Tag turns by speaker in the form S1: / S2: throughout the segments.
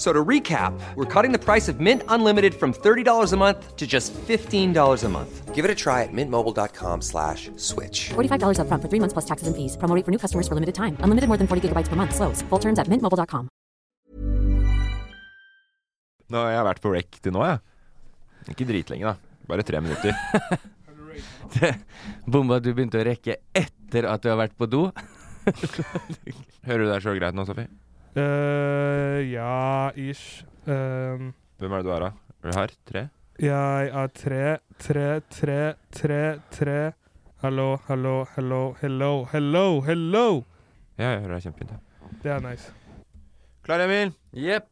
S1: So to recap, we're cutting the price of Mint Unlimited from $30 a month to just $15 a month. Give it a try at mintmobile.com slash switch.
S2: $45 up front for three months plus taxes and fees. Promote for new customers for limited time. Unlimited more than 40 gigabytes per month. Slows. Full terms at mintmobile.com.
S3: Nå har jeg vært på rec til nå, jeg. Ikke dritlenge, da. Bare tre minutter.
S4: Bomba, du begynte å rekke etter at du har vært på do.
S3: Hører du deg sjøl greit nå, Sofie?
S5: Eh, ja, ish. Ehm,
S3: Hvem er det du er, da? Er du her? Tre?
S5: jeg er tre, tre, tre, tre, tre. Hallo, hallo, hallo, hello, hello, hello!
S3: Ja, jeg hører deg kjempefint. Ja.
S5: Det er nice.
S3: Klar, Emil?
S4: Jepp.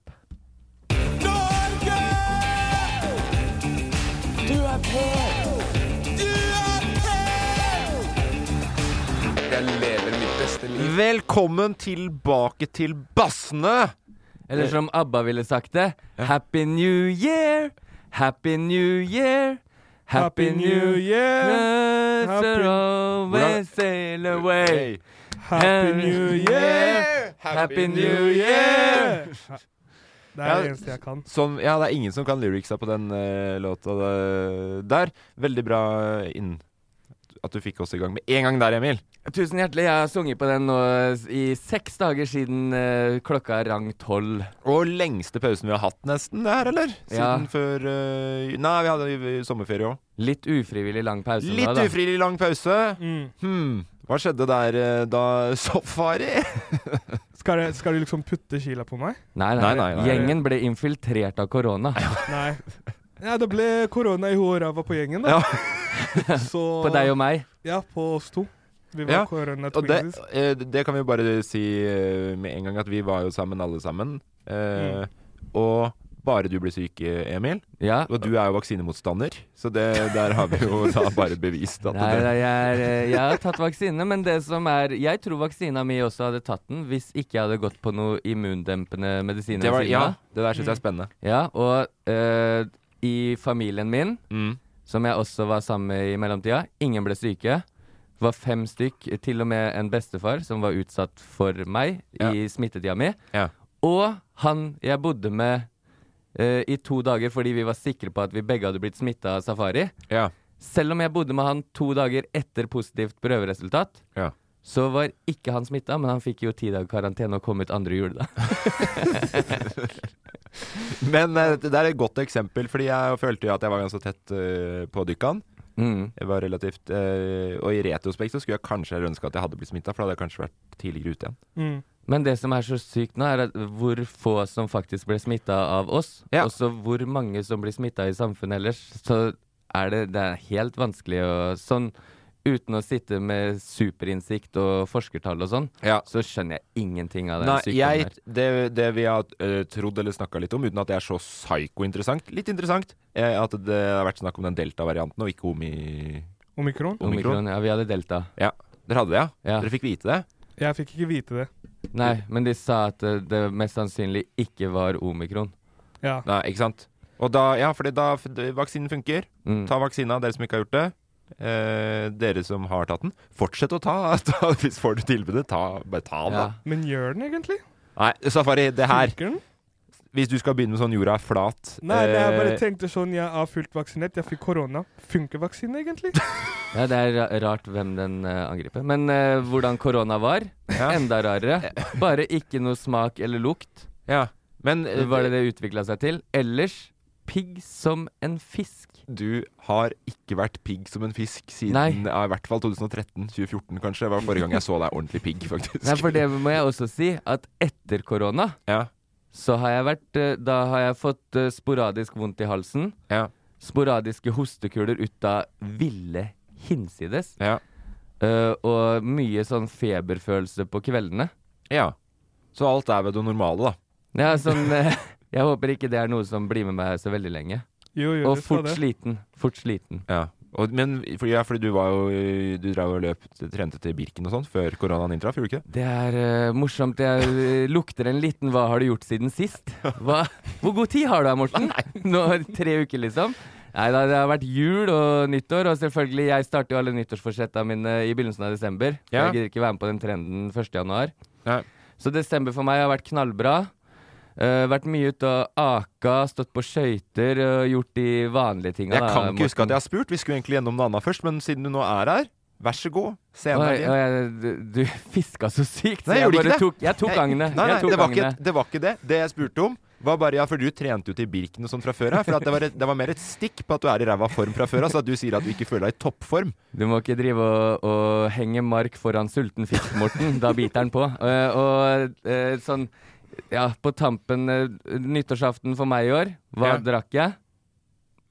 S3: Velkommen tilbake til bassene!
S4: Eller som ABBA ville sagt det. Happy New Year! Happy New Year!
S5: Happy New Year!
S4: Let's
S5: Happy-
S4: always sail away.
S5: Happy New Year!
S4: Happy New Year!
S5: Det er det
S3: Ja.
S5: eneste jeg kan.
S3: Sånn, ja, det er ingen som kan lyricsa på den eh, låta eh, der. Veldig bra eh, inn. At du fikk oss i gang med en gang der, Emil.
S4: Tusen hjertelig. Jeg har sunget på den nå i seks dager siden eh, klokka rang tolv.
S3: Og lengste pausen vi har hatt, nesten, det her, eller? Siden
S4: Ja.
S3: før eh, Nei, vi hadde i- i sommerferie òg.
S4: Litt ufrivillig lang pause. nå,
S3: Litt
S4: da.
S3: ufrivillig lang pause.
S5: Mm.
S3: Hm, hva skjedde der eh, da Safari
S5: Skal, jeg, skal du liksom putte kila på meg?
S4: Nei nei,
S3: Nei, nei, nei.
S4: Gjengen ble infiltrert av korona.
S5: Nei. Ja, det ble korona i hodet og ræva på gjengen, da. Så
S4: På deg og meg.
S5: Ja, på oss to. Vi var
S3: Ja, Og det,
S5: koronatwinsies.
S3: eh, det kan vi jo bare si eh, med en gang at vi var jo sammen alle sammen. Eh, Og bare du ble syk, eh, Emil.
S4: Ja.
S3: Og du er jo vaksinemotstander, så det, der har vi jo da bare bevist at
S4: Nei,
S3: det
S4: nei, jeg, er, eh, jeg har tatt vaksine, men det som er Jeg tror vaksina mi også hadde tatt den hvis ikke jeg hadde gått på noe immundempende medisiner.
S3: det, var,
S4: ved siden
S3: ja,
S4: av.
S3: det der syns jeg er spennende.
S4: ja. Og eh, i familien min,
S3: Mm.
S4: som jeg også var sammen med i mellomtida, ingen ble syke. Var fem stykk, til og med en bestefar som var utsatt for meg
S3: Ja.
S4: i smittetida mi.
S3: Ja.
S4: Og han jeg bodde med eh, i to dager fordi vi var sikre på at vi begge hadde blitt smitta av safari.
S3: Ja.
S4: Selv om jeg bodde med han to dager etter positivt prøveresultat,
S3: Ja.
S4: så var ikke han smitta, men han fikk jo ti dager karantene og kom ut andre juledag.
S3: Men eh, det der er et godt eksempel, fordi jeg følte jo at jeg var ganske tett eh, på dykkan.
S4: Mm.
S3: Jeg var relativt eh, Og i retrospekt så skulle jeg kanskje ønske at jeg hadde blitt smitta, for da hadde jeg kanskje vært tidligere ute igjen.
S5: Mm.
S4: Men det som er så sykt nå, er at hvor få som faktisk ble smitta av oss,
S3: Ja.
S4: og så hvor mange som blir smitta i samfunnet ellers, så er det, det er helt vanskelig å Sånn uten å sitte med superinnsikt og forskertall og sånn,
S3: Ja.
S4: så skjønner jeg ingenting av den
S3: Nei,
S4: sykdommen
S3: jeg,
S4: her.
S3: det, det vi har eh, trodd eller snakka litt om, uten at det er så psyko-interessant, litt interessant, eh, at det har vært snakk om den delta-varianten og ikke omi... omikron.
S5: Omikron?
S4: Omikron, ja, vi hadde delta.
S3: Ja, dere hadde det, ja?
S4: Ja.
S3: Dere fikk vite det?
S5: Jeg fikk ikke vite det.
S4: Nei, men de sa at eh, det mest sannsynlig ikke var omikron.
S5: Ja.
S3: Nei, ikke sant? Og da, ja, fordi da f- d- vaksinen funker.
S4: Mm.
S3: Ta vaksina, dere som ikke har gjort det. Eh, dere som har tatt den, fortsett å ta. ta hvis får du tilbudet, ta, bare ta den,
S4: ja.
S3: da.
S5: Men gjør den egentlig?
S3: Nei, Safari, det her
S5: Funker den?
S3: Hvis du skal begynne med sånn jorda er flat
S5: Nei, nei, jeg bare
S3: eh,
S5: tenkte sånn Jeg er fullt vaksinert, jeg fikk korona. Funker vaksine, egentlig?
S4: Ja, det er ra- rart hvem den eh, angriper. Men eh, hvordan korona var?
S3: Ja.
S4: Enda rarere. Bare ikke noe smak eller lukt.
S3: Ja. Men eh,
S4: Hva er det det utvikla seg til? Ellers pigg som en fisk.
S3: du har ikke vært pigg som en fisk siden
S4: Nei.
S3: ja, i hvert fall 2013-2014, kanskje. Det var forrige gang jeg så deg ordentlig pigg, faktisk.
S4: Nei, for det må jeg også si, at etter korona
S3: Ja.
S4: så har jeg vært eh, Da har jeg fått eh, sporadisk vondt i halsen.
S3: Ja.
S4: Sporadiske hostekuler ut av ville hinsides.
S3: Ja.
S4: eh, og mye sånn feberfølelse på kveldene.
S3: ja. Så alt er ved det normale, da.
S4: Ja, sånn eh, Jeg håper ikke det er noe som blir med meg så veldig lenge.
S5: Jo, jo,
S4: Og
S5: det skal
S4: fort
S5: det.
S4: sliten. Fort sliten.
S3: Ja. Og, men fordi, ja, fordi du var jo eh, Du drev og løp, trente til Birken og sånn før koronaen inntraff, gjorde du ikke det?
S4: Det er eh, morsomt. Jeg eh, lukter en liten 'hva har du gjort siden sist'? Hva, hvor god tid har du her, Morten? Nå er det Tre uker, liksom? Nei da, det har vært jul og nyttår, og selvfølgelig, jeg starter jo alle nyttårsforsettene mine i begynnelsen av desember. for
S3: Ja.
S4: Jeg gidder ikke være med på den trenden 1. januar.
S3: Nei.
S4: Så desember for meg har vært knallbra. Eh, vært mye ute og aka, stått på skøyter og gjort de vanlige tinga.
S3: Jeg kan ikke huske at jeg har spurt. Vi skulle egentlig gjennom noe annet først, men siden du nå er her, vær så god. Scenen er
S4: Oi,
S3: din.
S4: oi, jeg- du fiska så sykt, så
S3: Nei,
S4: jeg
S3: gjorde ikke
S4: bare
S3: det.
S4: tok Jeg tok
S3: Jeg-
S4: gangene.
S3: Nei, nei
S4: jeg tok
S3: det, var
S4: gangene.
S3: ikke, det var ikke det. Det jeg spurte om, var bare ja, for du trente jo til Birken og sånn fra før av. For at det, var et, det var mer et stikk på at du er i ræva form fra før av, så at du sier at du ikke føler deg i toppform.
S4: Du må ikke drive og, og henge mark foran sulten fisk, Morten. Da biter den på. Eh, og eh, sånn Ja, på tampen eh, nyttårsaften for meg i år, hva
S3: Ja.
S4: drakk jeg?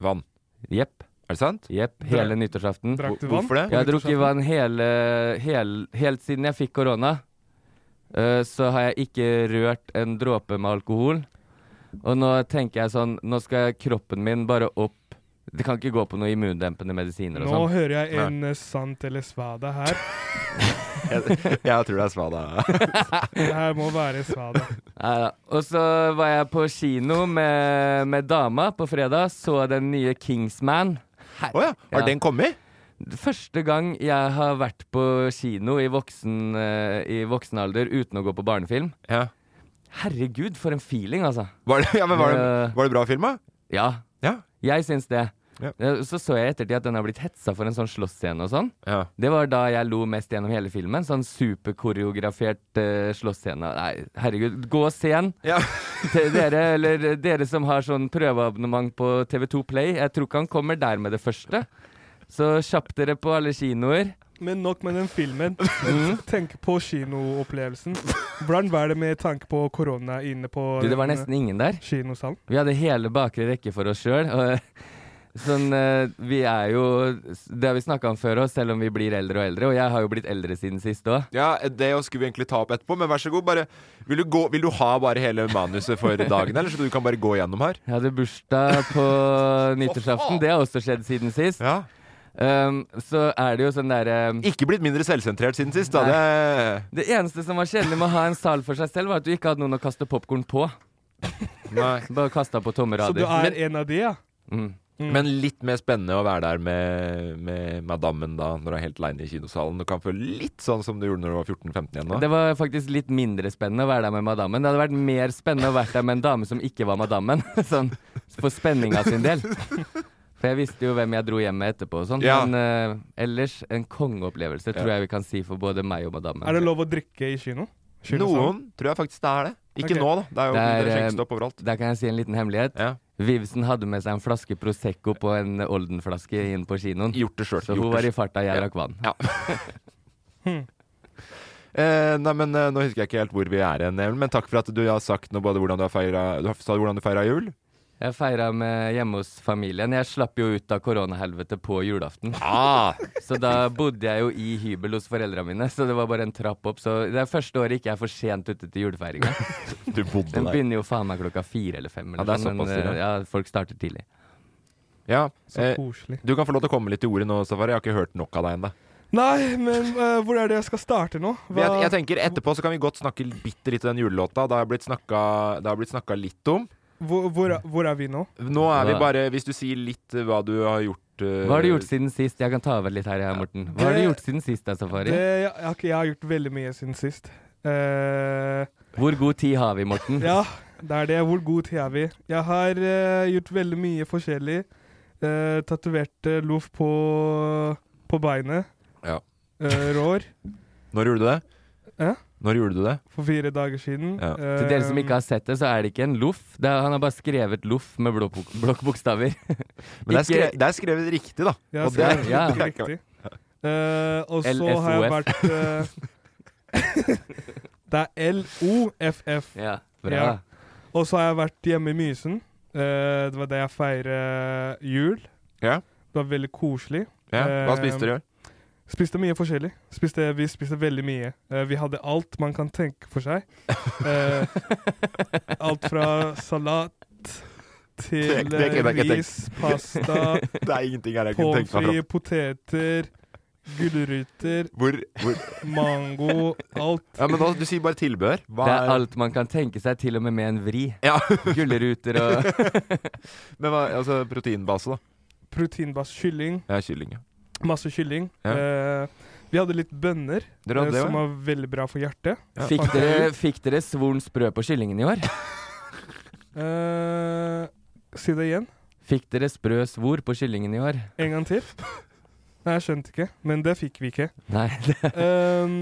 S3: Vann.
S4: Jepp.
S3: Er det sant?
S4: Jepp. Hele nyttårsaften.
S5: Drakk du vann?
S3: Hvorfor det?
S4: Jeg har drukket vann hele, hel, helt siden jeg fikk korona. Eh, så har jeg ikke rørt en dråpe med alkohol. Og nå tenker jeg sånn Nå skal kroppen min bare opp. Det kan ikke gå på noen immundempende medisiner og
S5: Nå
S4: sånn.
S5: hører jeg en eh, sant eller svada her.
S3: Jeg, jeg tror det er svada.
S5: Det her må være svada.
S4: Neida. Og så var jeg på kino med, med dama på fredag, så den nye Kingsman.
S3: Å ja. Har
S4: Ja.
S3: den kommet?
S4: Første gang jeg har vært på kino i voksen, eh, i voksen alder uten å gå på barnefilm.
S3: Ja.
S4: Herregud, for en feeling, altså.
S3: Var det, ja, men var det,
S4: Eh.
S3: var det bra filma?
S4: Ja,
S3: Ja.
S4: jeg syns det.
S3: Ja.
S4: Eh, Så så jeg i ettertid at den har blitt hetsa for en sånn slåssscene og sånn.
S3: ja.
S4: Det var da jeg lo mest gjennom hele filmen. Sånn superkoreografert uh, slåssscene. Nei, herregud. Gå og se den.
S3: Ja.
S4: Til dere, eller dere som har sånn prøveabonnement på TV2 Play, jeg tror ikke han kommer der med det første. Så kjapp dere på alle kinoer.
S5: Men nok med den filmen. Tenk på kinoopplevelsen. Hvordan var det med tanke på korona inne på
S4: Du, det var
S5: den,
S4: nesten ingen der.
S5: eh, kinosalen?
S4: Vi hadde hele bakre rekke for oss sjøl. Sånn, eh, vi er jo Det har vi snakka om før òg, selv om vi blir eldre og eldre. Og jeg har jo blitt eldre siden sist òg.
S3: ja, det skulle vi egentlig ta opp etterpå, men vær så god. Bare, vil, du gå, vil du ha bare hele manuset for dagen, eller så du kan bare gå gjennom her?
S4: Jeg hadde bursdag på nyttårsaften. Det har også skjedd siden sist.
S3: Ja.
S4: Um, så er det jo sånn derre
S3: Ikke blitt mindre selvsentrert siden sist, da. Det,
S4: Det eneste som var kjedelig med å ha en sal for seg selv, var at du ikke hadde noen å kaste popkorn på.
S3: nei.
S4: Bare kasta på tomme
S5: Så du
S4: rader.
S5: er en av de, ja?
S4: Mm.
S3: Men litt mer spennende å være der med, med madammen da, når du er helt aleine i kinosalen. Du kan føle litt sånn som du gjorde når du var 14-15 igjen nå.
S4: Det var faktisk litt mindre spennende å være der med madammen. Det hadde vært mer spennende å være der med en dame som ikke var madammen. Sånn, For spenninga sin del. For jeg visste jo hvem jeg dro hjem med etterpå og sånn.
S3: Ja.
S4: Men eh, ellers en kongeopplevelse, tror jeg vi kan si for både meg og madammen.
S5: Er det lov å drikke i kino? Kinosalen?
S3: Noen tror jeg faktisk det er det. Ikke
S5: Ok.
S3: nå, da. Det er jo
S4: Det er,
S3: det er
S4: eh,
S3: skjenkestopp overalt.
S4: Der kan jeg si en liten hemmelighet.
S3: Ja.
S4: Vivsen hadde med seg en flaske Prosecco på en Olden-flaske inn på kinoen.
S3: Gjort det sjøl.
S4: Så hun var i farta, jeg
S3: Ja.
S4: drakk vann.
S3: Ja.
S5: Hmm.
S3: eh, nei, men eh, Nå husker jeg ikke helt hvor vi er igjen, Emil, men takk for at du har sagt noe både hvordan du har feira Du har- sa hvordan du feira jul.
S4: Jeg feira med hjemme hos familien. Jeg slapp jo ut av koronahelvete på julaften.
S3: Ah,
S4: Så da bodde jeg jo i hybel hos foreldra mine, så det var bare en trapp opp. Så det er første året ikke jeg er for sent ute til julefeiringa.
S3: du bodde
S4: Den
S3: der.
S4: begynner jo faen meg klokka fire eller fem. Eller
S3: Ja, det er
S4: sånn,
S3: såpass
S4: men,
S3: tidlig.
S4: eh, ja, folk starter tidlig.
S3: Ja,
S5: Så
S3: eh,
S5: koselig.
S3: du kan få lov til å komme litt til ordet nå, Safari. Jeg har ikke hørt nok av deg ennå.
S5: Nei, men eh, hvor er det jeg skal starte nå? Hva-
S3: Jeg, jeg tenker Etterpå så kan vi godt snakke bitte litt om den julelåta. Det har jeg blitt snakka- det har blitt snakka litt om.
S5: hvor, hvor, er- hvor er vi nå?
S3: Nå er vi
S4: Hva-
S3: bare Hvis du sier litt eh, hva du har gjort eh,
S4: Hva har du gjort siden sist? Jeg kan ta over litt her, jeg, Morten. Hva har du
S5: Det-
S4: gjort siden sist, da, Safari?
S5: Det, jeg, jeg har ikke- jeg har gjort veldig mye siden sist. Eh,
S4: Hvor god tid har vi, Morten?
S5: Ja, det er det. Hvor god tid er vi? Jeg har eh, gjort veldig mye forskjellig. Uh, Tatovert eh, loff på, på beinet.
S3: Ja.
S5: Eh, rår.
S3: Når gjorde du det?
S5: Hæ?
S3: Når gjorde du det?
S5: For fire dager siden. Eh,
S3: Ja.
S4: Til dere som ikke har sett det, så er det ikke en loff. Det er, han har bare skrevet loff med blå bok- blokkbokstaver.
S3: Men det er,
S4: Ikke-
S3: skrevet, det er skrevet riktig, da.
S5: Jeg har
S3: Og det er-
S5: skrevet
S4: ja.
S5: det er riktig. Eh, og så har jeg
S4: LFOF.
S5: vært eh, Det er LOFF.
S4: Ja, bra.
S5: Ja. Og så har jeg vært hjemme i Mysen. Eh, det var det jeg feiret jul.
S3: Ja.
S5: Det var veldig koselig.
S3: Ja. Hva
S5: Eh,
S3: spiste du i år?
S5: Spiste mye forskjellig. Spiste, vi spiste veldig mye. Eh, vi hadde alt man kan tenke for seg. Eh, alt fra salat til
S3: Det- det
S5: eh,
S3: kunne jeg ikke
S5: ris, pasta,
S3: Det er ingenting her jeg
S5: pommes frites, poteter, gulrøtter,
S3: Hvor, hvor?
S5: mango, alt.
S3: Ja, men da, Du sier bare tilbehør. Hva
S4: Det er alt man kan tenke seg, til og med med en vri.
S3: Ja.
S4: Gullruter og
S3: Men hva, altså proteinbase, da.
S5: Proteinbasert kylling.
S3: Ja, kylling. Ja.
S5: Masse kylling.
S3: Ja.
S5: Eh, vi hadde litt bønner,
S3: Dere
S5: eh,
S3: hadde det,
S5: som
S3: ja?
S5: var veldig bra for hjertet.
S4: Fikk dere, fikk dere svoren sprø på kyllingen i år?
S5: Eh, si det igjen.
S4: Fikk dere sprø svor på kyllingen i år?
S5: En gang til. Nei, jeg skjønte ikke, men det fikk vi ikke.
S4: Nei. det-
S5: Ehm,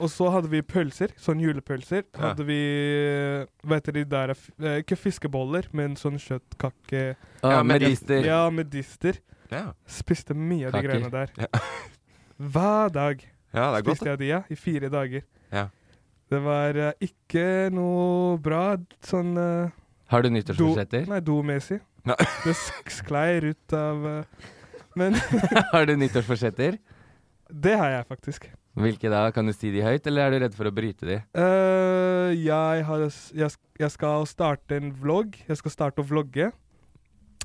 S5: og så hadde vi pølser, sånn julepølser.
S3: Ja.
S5: Hadde vi eh, Hva heter de der eh, f- eh, Ikke fiskeboller, men sånn kjøttkake...
S4: Å,
S3: Ja, men-
S4: medister.
S5: Ja, medister.
S3: ja.
S5: Spiste mye av de
S4: Kaker.
S5: greiene der.
S3: Ja.
S5: Hver dag
S3: ja, det er godt.
S5: spiste jeg de, ja. I fire dager.
S3: Ja.
S5: Det var eh, ikke noe bra sånn eh,
S4: Har du
S5: do,
S4: nyttårsforsetter?
S5: Nei, domessig.
S3: Nei.
S5: Det sk sklei ut av eh, Men
S4: Har du nyttårsforsetter?
S5: det har jeg faktisk.
S4: Hvilke da? Kan du si de høyt, eller er du redd for å bryte de?
S5: Eh, jeg, har, jeg, sk- jeg skal starte en vlogg. Jeg skal starte å vlogge.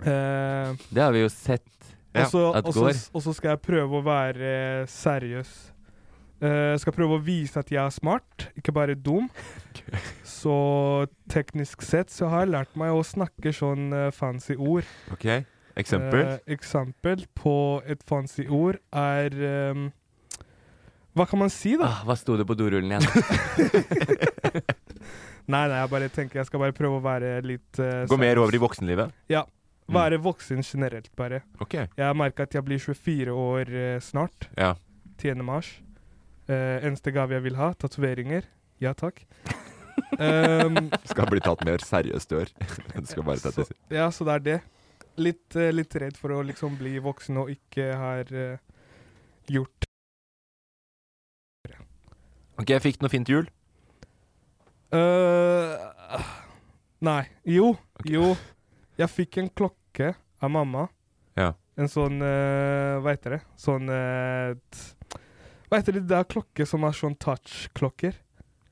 S5: Eh,
S4: Det har vi jo sett.
S3: Ja,
S5: og, så,
S4: at
S5: og, så,
S4: går.
S5: og så skal jeg prøve å være eh, seriøs. Eh, jeg skal prøve å vise at jeg er smart, ikke bare dum. Så teknisk sett så har jeg lært meg å snakke sånn eh, fancy ord.
S3: Ok, Eksempel?
S5: Eh, eksempel på et fancy ord er eh, Hva kan man si, da?
S4: Ah, hva sto det på dorullen igjen?
S5: Nei, nei, jeg bare tenker jeg skal bare prøve å være litt eh,
S3: Gå mer
S5: seriøs.
S3: over Mm. i voksenlivet?
S5: Være voksen generelt, bare.
S3: Ok.
S5: Jeg har merka at jeg blir 24 år eh, snart.
S3: Ja.
S5: 10. mars. Eh, eneste gave jeg vil ha, tatoveringer. Ja takk. Ehm,
S3: Skal bli tatt mer seriøst i år. Skal bare
S5: så,
S3: sette
S5: ja, så det er det. Litt, eh, litt redd for å liksom bli voksen og ikke har eh, gjort
S3: Ok, jeg fikk noe fint jul.
S5: Eh, Nei. Jo.
S3: Ok.
S5: Jo. Jeg fikk en klokke av mamma.
S3: Ja.
S5: En sånn eh, Hva heter det? Sånn eh, t- Hva heter det? Det er klokke som er sånn touch-klokker.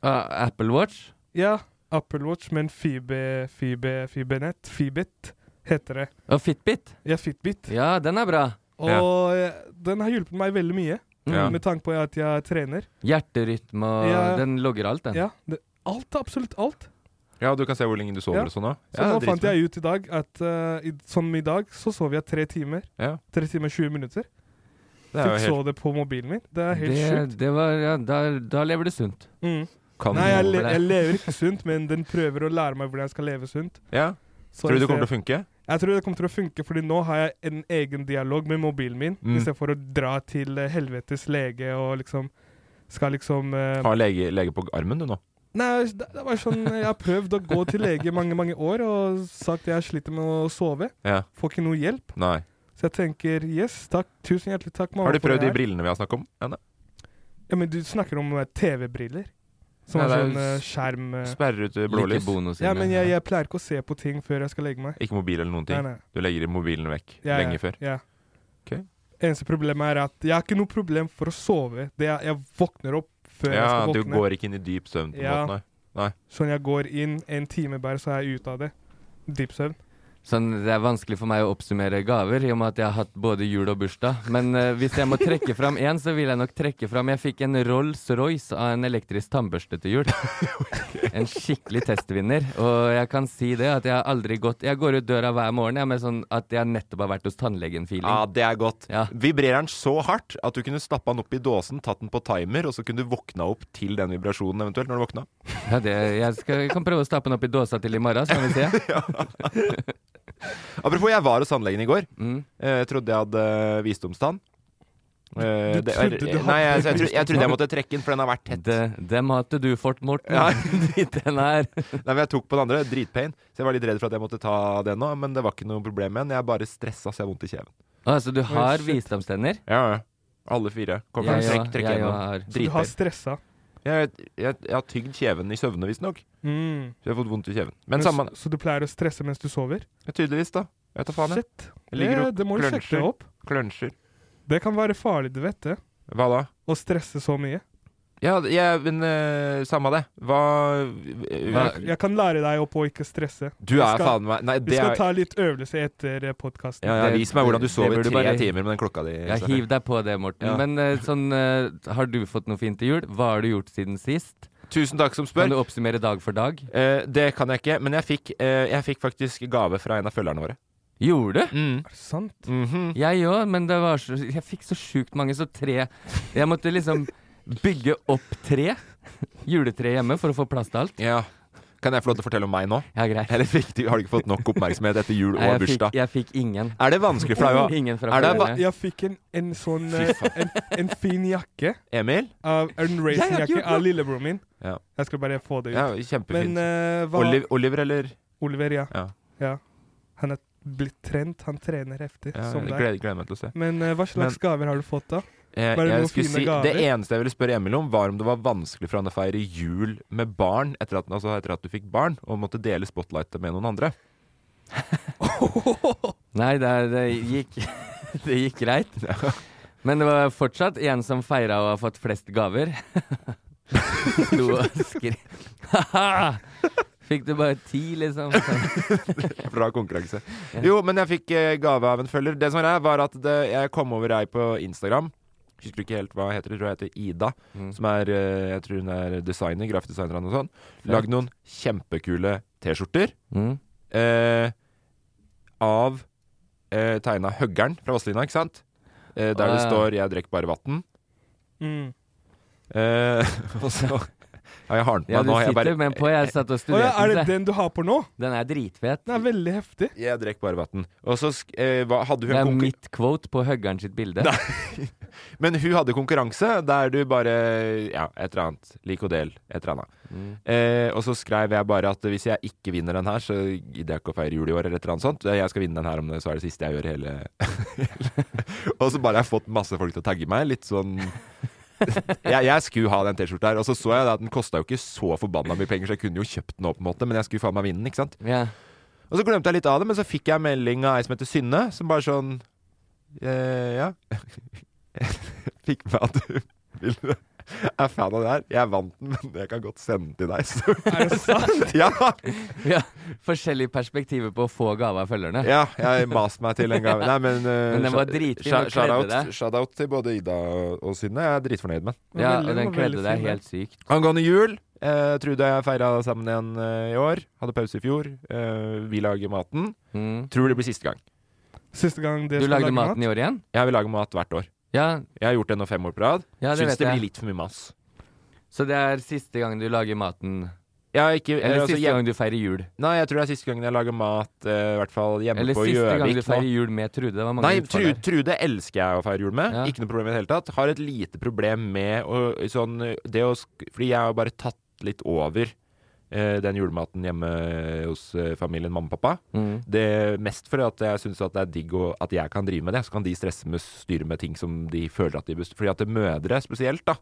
S4: Ah, Apple Watch?
S5: Ja, Apple Watch, men Fibe, Fibe, Fibenett, Fibit heter det.
S4: Og Fitbit?
S5: Ja, Fitbit.
S4: Ja, den er bra. Mm.
S5: Og eh, den har hjulpet meg veldig mye,
S3: Ja.
S5: med tanke på at jeg trener.
S4: Hjerterytme og
S5: Ja.
S4: Den logger alt, den.
S5: Ja, det, alt, absolutt alt.
S3: Ja, du kan se hvor lenge du sover
S5: Ja.
S3: og sånn òg.
S5: Så nå fant jeg ut i dag at eh, i, som i dag, så sov jeg tre timer.
S3: Ja.
S5: Tre timer og 20 minutter.
S3: Det er
S5: Fikk
S3: jo
S5: så
S3: helt
S5: det på mobilen min. Det er helt sjukt.
S4: det, det var, ja, da, da lever du sunt.
S5: Mm.
S3: kan
S5: Nei, jeg,
S4: over
S5: le,
S4: det.
S5: jeg lever ikke sunt, men den prøver å lære meg hvordan jeg skal leve sunt.
S3: Ja.
S5: Så
S3: Tror du
S5: jeg
S3: det kommer
S5: ser-
S3: til å funke?
S5: Jeg tror det kommer til å funke, fordi nå har jeg en egen dialog med mobilen min,
S3: Mm.
S5: istedenfor å dra til eh, helvetes lege og liksom skal liksom eh,
S3: Har lege, lege på armen du nå?
S5: Nei, det, det var sånn eh, Jeg har prøvd å gå til lege i mange, mange år og sagt jeg sliter med å sove.
S3: Ja.
S5: Får ikke noe hjelp.
S3: Nei.
S5: Så jeg tenker yes, takk. Tusen hjertelig takk, mamma.
S3: Har du
S5: for det
S3: prøvd de
S5: her.
S3: brillene vi har snakket om? ennå?
S5: Ja, men du snakker om eh, TV-briller. Som
S4: Ja,
S5: er
S4: det er
S5: sånn eh,
S4: jo s-
S5: skjerm eh.
S3: Sperrer ut eh, blålys?
S4: Like bonus
S5: Ja,
S4: inne.
S5: men jeg, jeg pleier ikke å se på ting før jeg skal legge meg.
S3: Ikke mobil eller noen
S5: Nei,
S3: ting?
S5: nei.
S3: Du legger mobilen vekk
S5: Ja,
S3: lenge
S5: ja,
S3: før?
S5: Ja.
S3: Ok.
S5: Eneste problemet er at jeg har ikke noe problem for å sove. Det er, jeg våkner opp før jeg
S3: Ja,
S5: skal
S3: du
S5: våkne.
S3: går ikke inn i dyp søvn på en
S5: Ja.
S3: måte, nei?
S5: Sånn jeg går inn en time bare, så er jeg ute av det. Dyp søvn.
S4: Sånn, det er vanskelig for meg å oppsummere gaver, i og med at jeg har hatt både jul og bursdag. Men eh, hvis jeg må trekke fram én, så vil jeg nok trekke fram Jeg fikk en Rolls-Royce av en elektrisk tannbørste til jul. En skikkelig testvinner. Og jeg kan si det at jeg har aldri gått Jeg går ut døra hver morgen jeg, med sånn at jeg nettopp har vært hos
S3: Ja,
S4: tannlegen-feeling.
S3: det er godt.
S4: Ja.
S3: Vibrerer den så hardt at du kunne stappa den opp i dåsen, tatt den på timer, og så kunne du våkna opp til den vibrasjonen eventuelt når du våkna.
S4: Ja, det, jeg skal, kan prøve å stappe den opp i dåsa til i morgen, så kan vi se.
S3: Apropos, jeg var hos tannlegen i går.
S4: Mm.
S3: Eh, Jeg trodde jeg hadde visdomstann. Eh,
S5: Du
S3: det-
S5: trodde du hadde
S3: Nei, jeg, jeg, trodde, jeg trodde jeg måtte trekke den, for den har vært tett.
S4: De, dem hadde du fort, Morten.
S3: Ja.
S4: Dit den er.
S3: Nei, men Jeg tok på den andre, dritpain, så jeg var litt redd for at jeg måtte ta den nå. Men det var ikke noe problem med den. Jeg er bare stressa så jeg har vondt i kjeven.
S4: Altså, du har
S5: shit.
S4: visdomstenner?
S3: Ja, ja. Alle fire. Kom
S4: Jeg
S3: igjen,
S4: òg-
S3: trekk, trekk
S4: jeg
S3: gjennom.
S4: òg har.
S5: Så du har
S3: Dritpain.
S5: stressa.
S3: Jeg, jeg, jeg har tygd kjeven i søvne, visstnok.
S5: Mm.
S3: Så jeg har fått vondt i kjeven.
S5: Men
S3: Men samme
S5: Så, så du pleier å stresse mens du sover?
S3: Tydeligvis, da. Jeg tar faen, jeg.
S5: Shit.
S3: Jeg ligger
S5: Det,
S3: og
S5: det må du sjekke
S3: klønsjer.
S5: opp.
S3: Klønsjer.
S5: Det kan være farlig, du vet det.
S3: Hva da?
S5: Å stresse så mye.
S3: Ja, jeg, men eh, samme det. Hva, eh,
S4: Hva-
S5: Jeg kan lære deg opp å ikke stresse.
S3: Du
S5: vi
S3: er
S5: skal-
S3: faen meg Nei,
S5: Vi
S3: det
S5: skal
S3: er
S5: ta litt øvelse etter eh, podkasten.
S3: ja, ja,
S4: Det-
S3: Vis meg hvordan du
S4: det-
S3: sov
S4: det
S3: i
S4: burde
S3: tre
S4: bare-
S3: timer med den klokka di.
S4: Ja,
S3: Sverre.
S4: hiv deg på det, Morten.
S3: Ja.
S4: Men eh, sånn, eh, har du fått noe fint til jul? Hva har du gjort siden sist?
S3: Tusen takk som spør.
S4: Kan du oppsummere dag for dag?
S3: Eh, det kan jeg ikke, men jeg fikk, eh, jeg fikk faktisk gave fra en av følgerne våre.
S4: Gjorde du?
S3: Mm.
S5: Er det sant?
S3: Mhm.
S4: Jeg òg, men det var så, jeg fikk så sjukt mange, så tre Jeg måtte liksom bygge opp tre juletre hjemme for å få plass til alt.
S3: Ja. Kan jeg få lov til å fortelle om meg nå?
S4: Ja, greit.
S3: Eller fikk du, har du ikke fått nok oppmerksomhet etter jul
S4: Nei,
S3: og
S4: jeg, fikk,
S3: bursdag?
S4: jeg fikk ingen.
S3: Er det vanskelig for deg å
S4: Ingen fra
S3: Er det
S4: foreldrene.
S5: Jeg fikk en, en sånn
S3: Fy
S5: eh, en, en fin jakke.
S3: Emil?
S5: Av, en
S3: Jeg har ikke
S5: racingjakke
S3: gjort noe.
S5: av lillebroren min.
S3: Ja.
S5: Jeg skulle bare få det ut.
S3: Ja,
S5: Men
S3: kjempefint.
S5: eh, hva
S3: Oliv, Oliver eller
S5: Oliver, ja.
S3: Ja.
S5: Ja. Han er blitt trent. Han trener heftig,
S3: ja,
S5: som
S3: jeg
S5: deg.
S3: gleder, gleder meg til å se.
S5: Men eh, hva slags
S3: Men-
S5: gaver har du fått, da?
S3: Jeg,
S5: Var det
S3: Eh, jeg
S5: noen
S3: skulle
S5: fine
S3: si,
S5: gaver?
S3: det eneste jeg ville spørre Emil om, var om det var vanskelig for han å feire jul med barn etter at, altså etter at du fikk barn, og måtte dele spotlightet med noen andre.
S4: Nei, det, det, gikk, det gikk greit. Men det var fortsatt en som feira og har fått flest gaver. Lo og skrek. Ha-ha! Fikk du bare ti, liksom?
S3: Fra konkurranse. Jo, men jeg fikk eh, gave av en følger. Det som var, her var at det, jeg kom over ei på Instagram. Husker ikke helt hva hun heter. Jeg tror hun heter Ida.
S4: Mm.
S3: Som er eh, Jeg tror hun er designer, grafikkdesigner og noe sånt.
S4: Fett.
S3: Lagd noen kjempekule T-skjorter
S4: Mm.
S3: eh, av eh, tegna Høggern fra Vazelina, ikke sant? Eh, der det
S4: Ah, ja.
S3: står 'Jeg drikker bare vann'.
S5: Mm.
S3: Eh, og så Ja, jeg har den på
S4: Ja,
S3: meg
S4: du
S3: nå. Jeg,
S4: sitter
S3: bare,
S4: med en på. Jeg satt og
S5: Å ja, er
S4: studerte
S5: det
S4: den. så
S5: den du har på nå?
S4: Den er dritfet.
S5: Den er veldig heftig.
S3: jeg drekk bare vann. Og så sk- eh, hva- hadde hun
S4: Det er
S3: konkur-
S4: mitt quote på Høggern sitt bilde.
S3: Men hun hadde konkurranse der du bare Ja, et eller annet. Lik og del. Et eller annet.
S4: Mm.
S3: Eh, og så skrev jeg bare at hvis jeg ikke vinner den her, så gidder jeg ikke å feire jul i år, eller et eller annet sånt. Eh, Jeg skal vinne den her om det, så er det siste jeg gjør i hele Og så bare har jeg fått masse folk til å tagge meg. Litt sånn jeg, jeg skulle ha den T-skjorta her, og så så jeg da at den kosta jo ikke så forbanna mye penger, så jeg kunne jo kjøpt den òg, på en måte, men jeg skulle faen meg vinne den, ikke sant?
S4: Ja.
S3: Og så glemte jeg litt av det, men så fikk jeg melding av ei som heter Synne, som bare sånn eh, Ja. fikk med at du ville er fan av det her. Jeg vant den, men jeg kan godt sende den til deg. Så.
S5: Er det sant?
S3: Ja,
S4: ja. Forskjellige perspektiver på å få gave av følgerne.
S3: ja, jeg maste meg til en gave. Nei, men eh,
S4: Men den var
S3: sha-
S4: dritfin,
S3: sha-
S4: og kledde
S3: shout-out-
S4: deg.
S3: Shout-out til både Ida og Synne. Jeg er dritfornøyd med den.
S4: Ja,
S5: Veldig-
S4: og den
S5: var veldig
S4: kledde deg
S5: fin,
S4: helt sykt.
S3: Angående jul, eh, Trude og jeg feira sammen igjen eh, i år. Hadde pause i fjor. Eh, vi lager maten.
S4: Mm.
S3: Tror det blir siste gang.
S5: Siste gang dere
S4: Du
S5: skal
S4: lagde
S5: lage mat?
S4: maten i år igjen?
S3: Jeg vil lage mat hvert år.
S4: Ja,
S3: Jeg har gjort det nå fem år på rad.
S4: ja det
S3: Syns
S4: vet
S3: det
S4: jeg.
S3: blir litt for mye mas.
S4: Så det er siste gang du lager maten?
S3: Jeg har ikke, eller,
S4: Eller
S3: altså,
S4: siste
S3: hjem-
S4: gang du feirer jul?
S3: Nei, jeg tror det er siste gangen jeg lager mat, eh, i hvert fall hjemme
S4: Eller
S3: på
S4: siste gang du
S3: Gjøvik.
S4: feirer
S3: nå.
S4: jul med Trude? Det var mange
S3: Nei,
S4: utfall
S3: Tru,
S4: der.
S3: Trude elsker jeg å feire jul med.
S4: Ja.
S3: Ikke noe problem i det hele tatt. Har et lite problem med å, sånn, det å sk- Fordi jeg har bare tatt litt over eh, den julematen hjemme hos eh, familien mamma og pappa.
S4: Mm.
S3: Det Mest fordi at jeg syns det er digg å, at jeg kan drive med det. Så kan de stresse med å styre med ting som de føler at de best- Fordi at det mødre spesielt, da.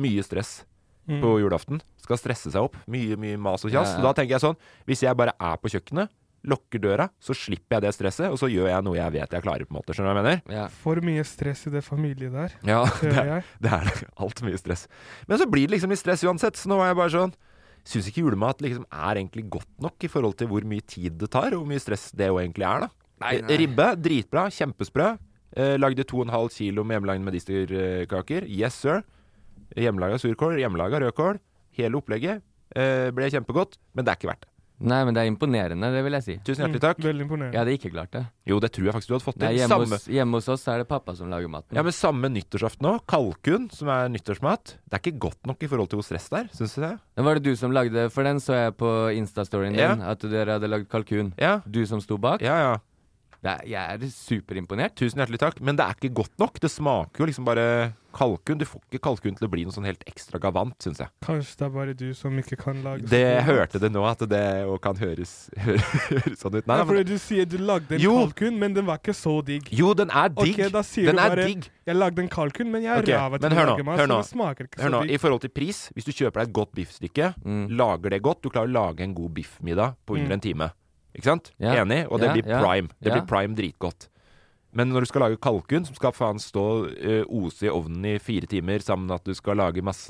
S3: Mye stress
S5: Mm.
S3: på julaften. Skal stresse seg opp. Mye mye mas og kjas. Så
S4: Ja, ja.
S3: Da tenker jeg sånn Hvis jeg bare er på kjøkkenet, lukker døra, så slipper jeg det stresset, og så gjør jeg noe jeg vet jeg klarer. på en måte Skjønner du hva jeg mener?
S4: Ja.
S5: For mye stress i det familiet der,
S3: Ja,
S5: hører
S3: det,
S5: jeg.
S3: det er altfor mye stress. Men så blir det liksom litt stress uansett, så nå er jeg bare sånn syns ikke julemat liksom er egentlig godt nok i forhold til hvor mye tid det tar, og hvor mye stress det jo egentlig er, da.
S6: Nei,
S3: Eh,
S6: nei.
S3: Ribbe, dritbra, kjempesprø. Eh, lagde 2,5 kilo med hjemmelagde medisterkaker. Yes, sir. Hjemmelaga surkål, hjemmelaga rødkål. Hele opplegget eh, ble kjempegodt, men det er ikke verdt det.
S4: Nei, men det er imponerende, det vil jeg si.
S3: Tusen hjertelig takk.
S5: Veldig imponerende.
S4: Jeg hadde ikke klart det.
S3: Jo, det tror jeg faktisk du hadde fått
S4: Mm. Nei,
S3: til.
S4: hjemme,
S3: Samme,
S4: hos, hjemme hos oss er det pappa som lager maten.
S3: ja, men samme nyttårsaften òg. Kalkun, som er nyttårsmat. Det er ikke godt nok i forhold til hvor stress det er, syns jeg.
S4: Men var det du som lagde For den så jeg på Insta-storyen din,
S3: Ja.
S4: at dere hadde lagd kalkun.
S3: Ja,
S4: Du som sto bak.
S3: ja, ja.
S4: Jeg, jeg er superimponert.
S3: Tusen hjertelig takk. Men det er ikke godt nok. Det smaker jo liksom bare kalkun. Du får ikke kalkun til å bli noe sånn helt ekstra gavant, syns jeg.
S5: Kanskje det er bare du som ikke kan lage
S3: Det jeg hørte det nå, at det jo kan høres, høres sånn ut. Nei, nei,
S5: Ja,
S3: men,
S5: fordi du sier du lagde en
S3: Jo.
S5: kalkun, men den var ikke så digg.
S3: jo, den er digg.
S5: Ok, da sier
S3: den
S5: du
S3: er
S5: bare
S3: digg.
S5: Jeg lagde en kalkun, men jeg er
S3: Ok,
S5: ræva
S3: men
S5: til å
S3: hør nå,
S5: lage mat,
S3: hør
S5: så
S3: nå.
S5: det smaker ikke
S3: Hør
S5: så
S3: nå,
S5: digg.
S3: I forhold til pris, hvis du kjøper deg et godt biffstykke,
S4: Mm.
S3: lager det godt, du klarer å lage en god biffmiddag på
S5: Mm.
S3: under en time. Ikke sant?
S4: Ja.
S3: Enig? Og det
S4: Ja,
S3: blir
S4: ja,
S3: prime. Det
S4: ja.
S3: blir prime dritgodt. Men når du skal lage kalkun, som skal faen stå eh, ose i ovnen i fire timer, sammen med at du skal lage masse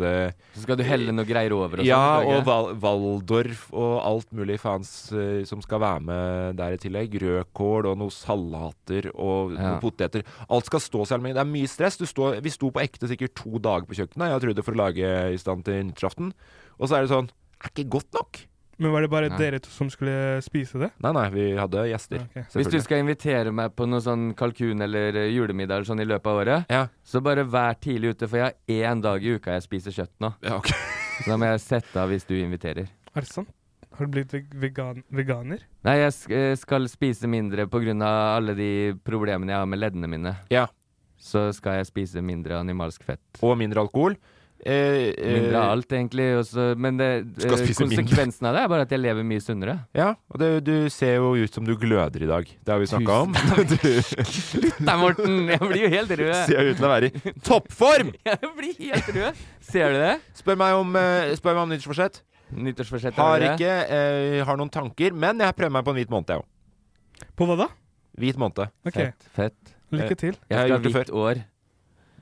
S4: Så skal du helle noe greier over og
S3: Ja, og
S4: sånn. tror jeg.
S3: Val Waldorf og alt mulig faens eh, som skal være med der i tillegg. Rødkål og noen salater og
S4: Ja.
S3: noen poteter. Alt skal stå selv om det er mye stress. Du står- vi sto på ekte sikkert to dager på kjøkkenet, jeg trodde for å lage i stand til nyttårsaften. Og så er det sånn Er ikke godt nok?
S5: Men var det bare
S4: Nei.
S5: dere to som skulle spise det?
S3: Nei, nei, vi hadde gjester.
S5: Ok.
S4: Hvis du
S3: Selvfølgelig.
S4: skal invitere meg på noe sånn kalkun eller eh, julemiddag eller sånn i løpet av året,
S3: Ja.
S4: så bare vær tidlig ute, for jeg har én dag i uka jeg spiser kjøtt nå.
S3: ja, ok.
S4: Så da må jeg sette av hvis du inviterer.
S5: Er det sant? Har du blitt veg- vegan veganer?
S4: Nei, jeg sk eh, skal spise mindre pga. alle de problemene jeg har med leddene mine.
S3: Ja.
S4: Så skal jeg spise mindre animalsk fett.
S3: Og mindre alkohol. Eh, eh,
S4: Mindre av alt, egentlig. og så- men det,
S3: Skal
S4: eh,
S3: spise mindre.
S4: konsekvensen av det er bare at jeg lever mye sunnere.
S3: Ja, og det, du ser jo ut som du gløder i dag. Det har vi snakka om. Du
S4: Nei, Morten! Jeg blir jo helt rød.
S3: ser ut til å være i toppform!
S4: Jeg blir helt rød. Ser du det?
S3: Spør meg om, eh, spør meg om nyttårsforsett.
S4: Nyttårsforsett er
S3: Har
S4: det.
S3: ikke eh, Har noen tanker, men jeg prøver meg på en hvit måned, jeg òg.
S5: På hva da?
S3: Hvit måned.
S5: Ok,
S4: Fett. fett.
S5: lykke til.
S4: Jeg
S3: har
S4: skal ha
S3: gjort det
S4: hvitt år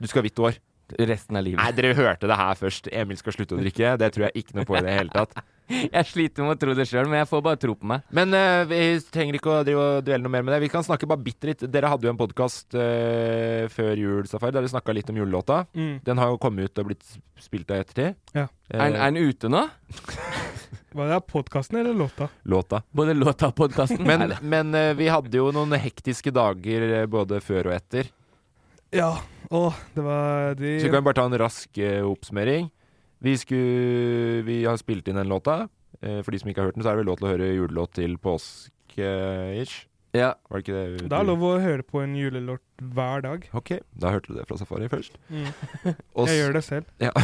S3: Du skal ha hvitt år.
S4: resten av
S3: Nei,
S4: livet.
S3: dere hørte det her først. Emil skal slutte å drikke. Det tror jeg ikke noe på i det hele tatt.
S4: Jeg sliter med å tro det sjøl, men jeg får bare tro på meg.
S3: Men eh, vi trenger ikke å drive og duelle noe mer med det. Vi kan snakke bare bitte litt. Dere hadde jo en podkast før jul, Safari, der dere snakka litt om julelåta.
S5: Mm.
S3: Den har jo kommet ut og blitt spilt av i ettertid.
S5: Ja.
S3: Eh,
S4: Er den- er den ute nå?
S5: Hva er det, podkasten eller låta?
S3: låta.
S4: Både låta og podkasten?
S3: Men, men eh, vi hadde jo noen hektiske dager eh, både før og etter.
S5: Ja, å, det var de
S3: Så kan vi bare ta en rask eh, oppsummering. Vi, skulle, vi har spilt inn den låta. Eh, for de som ikke har hørt den, så er det vel lov til å høre julelåt til påske-ish.
S4: ja.
S3: Var det ikke det?
S5: Det er lov å høre på en julelåt hver dag.
S3: Ok, da hørte du det fra Safari først.
S5: Mm.
S3: Og
S5: Jeg gjør det selv.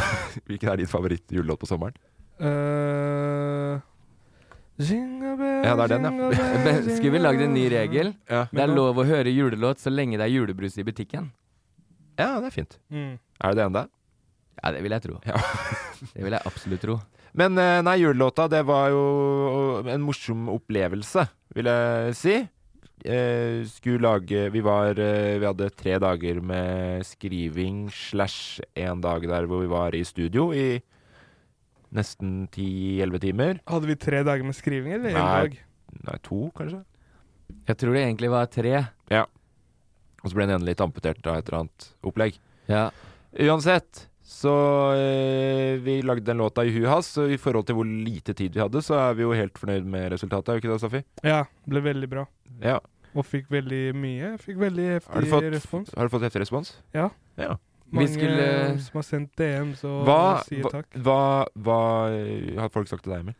S3: hvilken er din favoritt-julelåt på sommeren?
S5: Eh, jingle bell,
S3: Ja, det er den, ja.
S5: jingle bell,
S4: Men Skulle vi lagd en ny
S5: jingle bell.
S4: regel?
S3: Ja.
S4: Det er
S5: Men nå-
S4: lov å høre julelåt så lenge det er julebrus i butikken.
S3: ja, det er fint.
S5: Mm.
S3: Er det det enda?
S4: Ja, det vil jeg tro.
S3: Ja.
S4: Det vil jeg absolutt tro.
S3: Men eh, nei, julelåta, det var jo en morsom opplevelse, vil jeg si. Eh, skulle lage Vi var eh, Vi hadde tre dager med skriving slash en dag der hvor vi var i studio i nesten ti-elleve timer.
S5: Hadde vi tre dager med skriving, eller én
S3: Nei.
S5: dag?
S3: Nei, to, kanskje.
S4: Jeg tror det egentlig var tre.
S3: Og så ble den ene litt amputert av et eller annet opplegg.
S4: Ja.
S3: Uansett, så eh, vi lagde den låta i huet hans, og i forhold til hvor lite tid vi hadde, så er vi jo helt fornøyd med resultatet, er vi ikke det, Safi?
S5: Ja, ble veldig bra.
S3: Ja.
S5: Og fikk veldig mye. Fikk veldig
S3: Har du
S5: heftig
S3: fått-
S5: respons.
S3: Har du fått heftig respons?
S4: Vi
S5: Mange
S4: skulle-
S5: som har sendt DMs og
S3: Hva,
S5: sier
S3: hva,
S5: takk.
S3: hva, hva eh, har folk sagt til deg, Emil?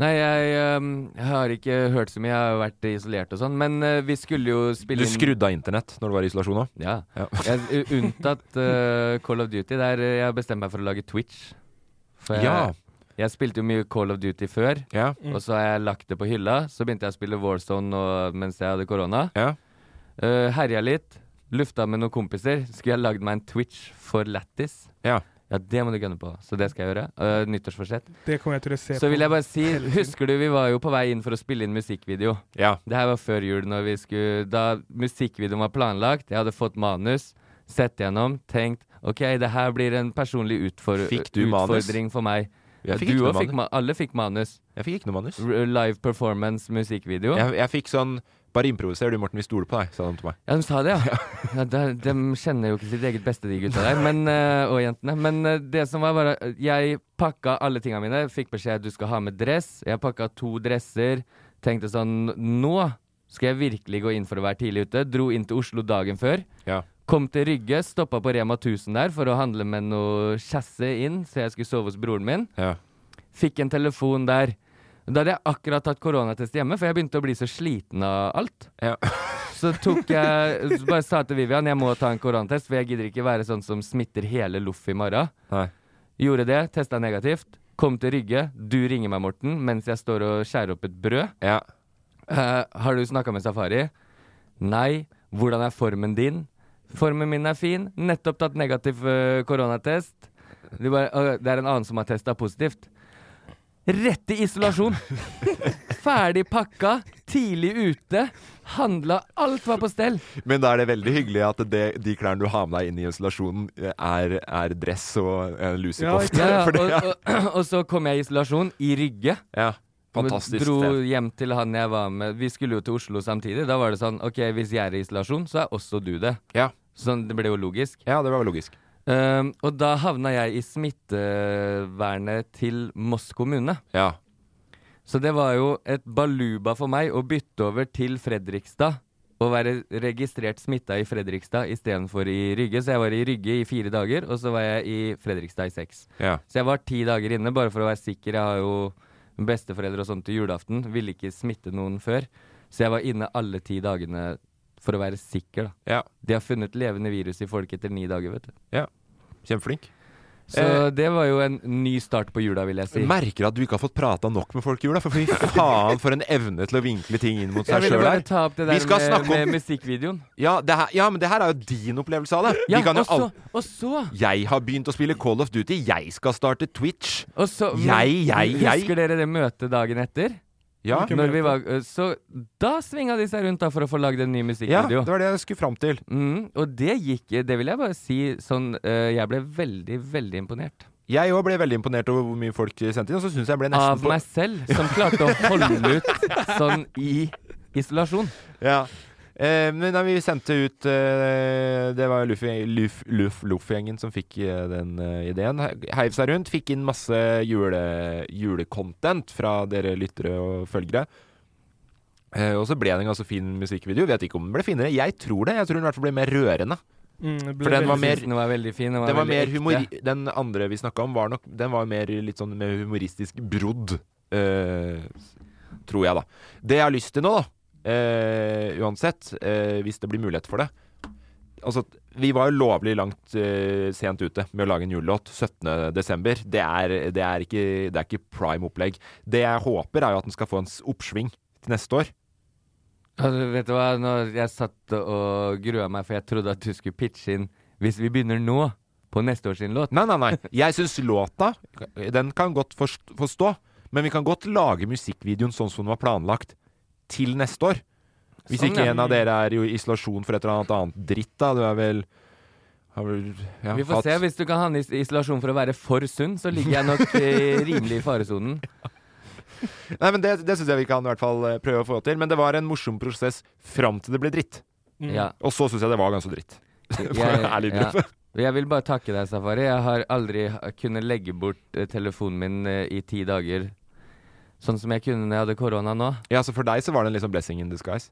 S4: Nei, jeg ehm, har ikke hørt så mye. Jeg har jo vært isolert og sånn. Men eh, vi skulle jo
S3: Du
S4: spille inn
S3: skrudde av internett når du var i isolasjon òg?
S4: Ja.
S3: Ja.
S4: Jeg, u- unntatt eh, Call of Duty, der eh, jeg bestemte meg for å lage Twitch. For jeg,
S3: Ja.
S4: jeg spilte jo mye Call of Duty før,
S3: Ja.
S5: Mm.
S4: og så har jeg lagt det på hylla. Så begynte jeg å spille Warzone og, mens jeg hadde korona.
S3: Ja.
S4: Uh, herja litt, lufta med noen kompiser. Skulle jeg lagd meg en Twitch for lættis?
S3: Ja.
S4: Ja, det må du gunne på, så det skal jeg gjøre. Eh, nyttårsforsett.
S5: Det kommer jeg til å se
S4: Så
S5: på.
S4: vil jeg bare si, husker du vi var jo på vei inn for å spille inn musikkvideo?
S3: ja.
S4: Det her var før jul, når vi skulle, da musikkvideoen var planlagt. Jeg hadde fått manus, sett gjennom, tenkt OK, det her blir en personlig utfor
S3: Fikk du manus?
S4: utfordring for meg.
S3: Jeg fikk,
S4: du
S3: ikke
S4: òg
S3: noe
S4: fikk
S3: manus.
S4: ma alle fikk manus.
S3: jeg fikk ikke noe manus.
S4: R live performance, musikkvideo.
S3: Jeg, jeg fikk sånn Bare improviser du, Morten. Vi stoler på deg, sa de til meg.
S4: Ja, de sa det, ja. ja de, de kjenner jo ikke sitt eget beste, de gutta der, men, eh, og jentene. Men eh, det som var bare Jeg pakka alle tingene mine. Fikk beskjed du skal ha med dress. Jeg pakka to dresser. Tenkte sånn Nå skal jeg virkelig gå inn for å være tidlig ute. Dro inn til Oslo dagen før.
S3: Ja.
S4: Kom til Rygge, stoppa på Rema 1000 der for å handle med noe kjasse inn, så jeg skulle sove hos broren min.
S3: ja.
S4: Fikk en telefon der. Da hadde jeg akkurat tatt koronatest hjemme, for jeg begynte å bli så sliten av alt.
S3: Ja.
S4: Så tok jeg så bare sa til Vivian jeg må ta en koronatest, for jeg gidder ikke være sånn som smitter hele loff i morgen.
S3: Nei.
S4: Gjorde det, testa negativt. Kom til Rygge. Du ringer meg, Morten, mens jeg står og skjærer opp et brød.
S3: Ja.
S4: Eh, har du snakka med Safari? Nei. Hvordan er formen din? Formen min er fin. Nettopp tatt negativ eh, koronatest. Du bare, «Å, det er en annen som har testa positivt. Rett i isolasjon! Ferdig pakka, tidlig ute. Handla, alt var på stell.
S3: Men da er det veldig hyggelig at det, de klærne du har med deg inn i isolasjonen, er, er dress og eh, lusekofte.
S4: Ja, ja.
S3: For det-
S4: Og, og, og så kom jeg i isolasjon i Rygge.
S3: ja. Fantastisk
S4: Dro
S3: sted.
S4: hjem til han jeg var med. Vi skulle jo til Oslo samtidig. Da var det sånn OK, hvis jeg er i isolasjon, så er også du det.
S3: Ja.
S4: Sånn, det ble jo logisk.
S3: ja, det var jo logisk.
S4: Ehm, og da havna jeg i smittevernet til Moss kommune.
S3: Ja.
S4: Så det var jo et baluba for meg å bytte over til Fredrikstad. Og være registrert smitta i Fredrikstad istedenfor i Rygge. Så jeg var i Rygge i fire dager, og så var jeg i Fredrikstad i seks.
S3: Ja.
S4: Så jeg var ti dager inne, bare for å være sikker. Jeg har jo besteforeldre og sånt til julaften. Ville ikke smitte noen før. Så jeg var inne alle ti dagene for å være sikker, da.
S3: ja.
S4: De har funnet levende virus i folk etter ni dager, vet du.
S3: Kjempeflink.
S4: Så
S3: Eh,
S4: det var jo en ny start på jula, vil jeg si.
S3: Jeg merker at du ikke har fått prata nok med folk i jula. For fy faen, for en evne til å vinkle ting inn mot
S4: Jeg
S3: seg
S4: ville
S3: sjøl
S4: bare
S3: her.
S4: ta opp det
S3: Vi
S4: der
S3: skal
S4: med,
S3: snakke om-
S4: med musikkvideoen.
S3: Ja, det her, ja, men det her er jo din opplevelse av det. Vi
S4: Ja,
S3: kan jo
S4: og så,
S3: al-
S4: og så,
S3: jeg har begynt å spille Call of Duty. Jeg skal starte Twitch.
S4: og så men
S3: Jeg, jeg, jeg.
S4: Husker dere det møtet dagen etter?
S3: Ja,
S5: Hvilken-
S4: Når vi var, så da svinga de seg rundt da for å få lagd en ny
S3: ja
S4: musikkvideo.
S3: det var det jeg skulle fram til.
S4: Mm, og det gikk Det vil jeg bare si sånn eh, Jeg ble veldig, veldig imponert.
S3: Jeg òg ble veldig imponert over hvor mye folk sendte inn. Og så syns jeg ble nesten
S4: Av
S3: på-
S4: meg selv, som klarte å holde ut sånn i isolasjon.
S3: Ja. Eh, men nei, vi sendte ut eh, Det var Luff-gjengen som fikk eh, den eh, ideen. He- Heiv seg rundt, fikk inn masse jule, julecontent fra dere lyttere og følgere. Eh, og så ble det en ganske fin musikkvideo. Vet ikke om den ble finere. Jeg tror det. Jeg tror den i hvert fall ble mer rørende.
S5: Mm, det ble
S3: For den
S5: veldig
S3: var
S4: Jeg
S3: mer-
S4: synes Den var veldig fin. Den var,
S3: Den var
S4: veldig
S3: mer
S4: ekte.
S3: humor... Den andre vi snakka om, var nok Den var mer litt sånn med humoristisk brodd. eh, tror jeg, da. Det jeg har lyst til nå, da, eh, uansett, eh, hvis det blir mulighet for det Altså, vi var jo lovlig langt eh, sent ute med å lage en julelåt 17.12. Det, er- det, er ikke- det er ikke prime opplegg. Det jeg håper, er jo at den skal få en s- oppsving til neste år.
S4: Altså, vet du hva, når jeg satt og grua meg, for jeg trodde at du skulle pitche inn Hvis vi begynner nå, på neste års sin låt
S3: Nei, nei, nei. Jeg syns låta, den kan godt forst- få stå. Men vi kan godt lage musikkvideoen sånn som den var planlagt, til neste år. Hvis
S4: Sånn,
S3: ikke
S4: ja.
S3: en av dere er jo i isolasjon for et eller annet annet dritt, da. Du er vel har vel ja,
S4: Vi får
S3: hatt-
S4: se. Hvis du kan havne i is- isolasjon for å være for sunn, så ligger jeg nok eh, rimelig i faresonen.
S3: Nei, men Det, det syns jeg vi kan i hvert fall eh, prøve å få til. Men det var en morsom prosess fram til det ble dritt.
S4: Ja.
S3: Og så syns jeg det var ganske dritt.
S4: Jeg,
S3: Ærlig
S4: ja.
S3: innrømme.
S4: jeg vil bare takke deg, Safari. Jeg har aldri ha- kunnet legge bort eh, telefonen min eh, i ti dager. Sånn som jeg kunne når jeg hadde korona nå.
S3: Ja, så for deg så var det en liksom blessing in disguise.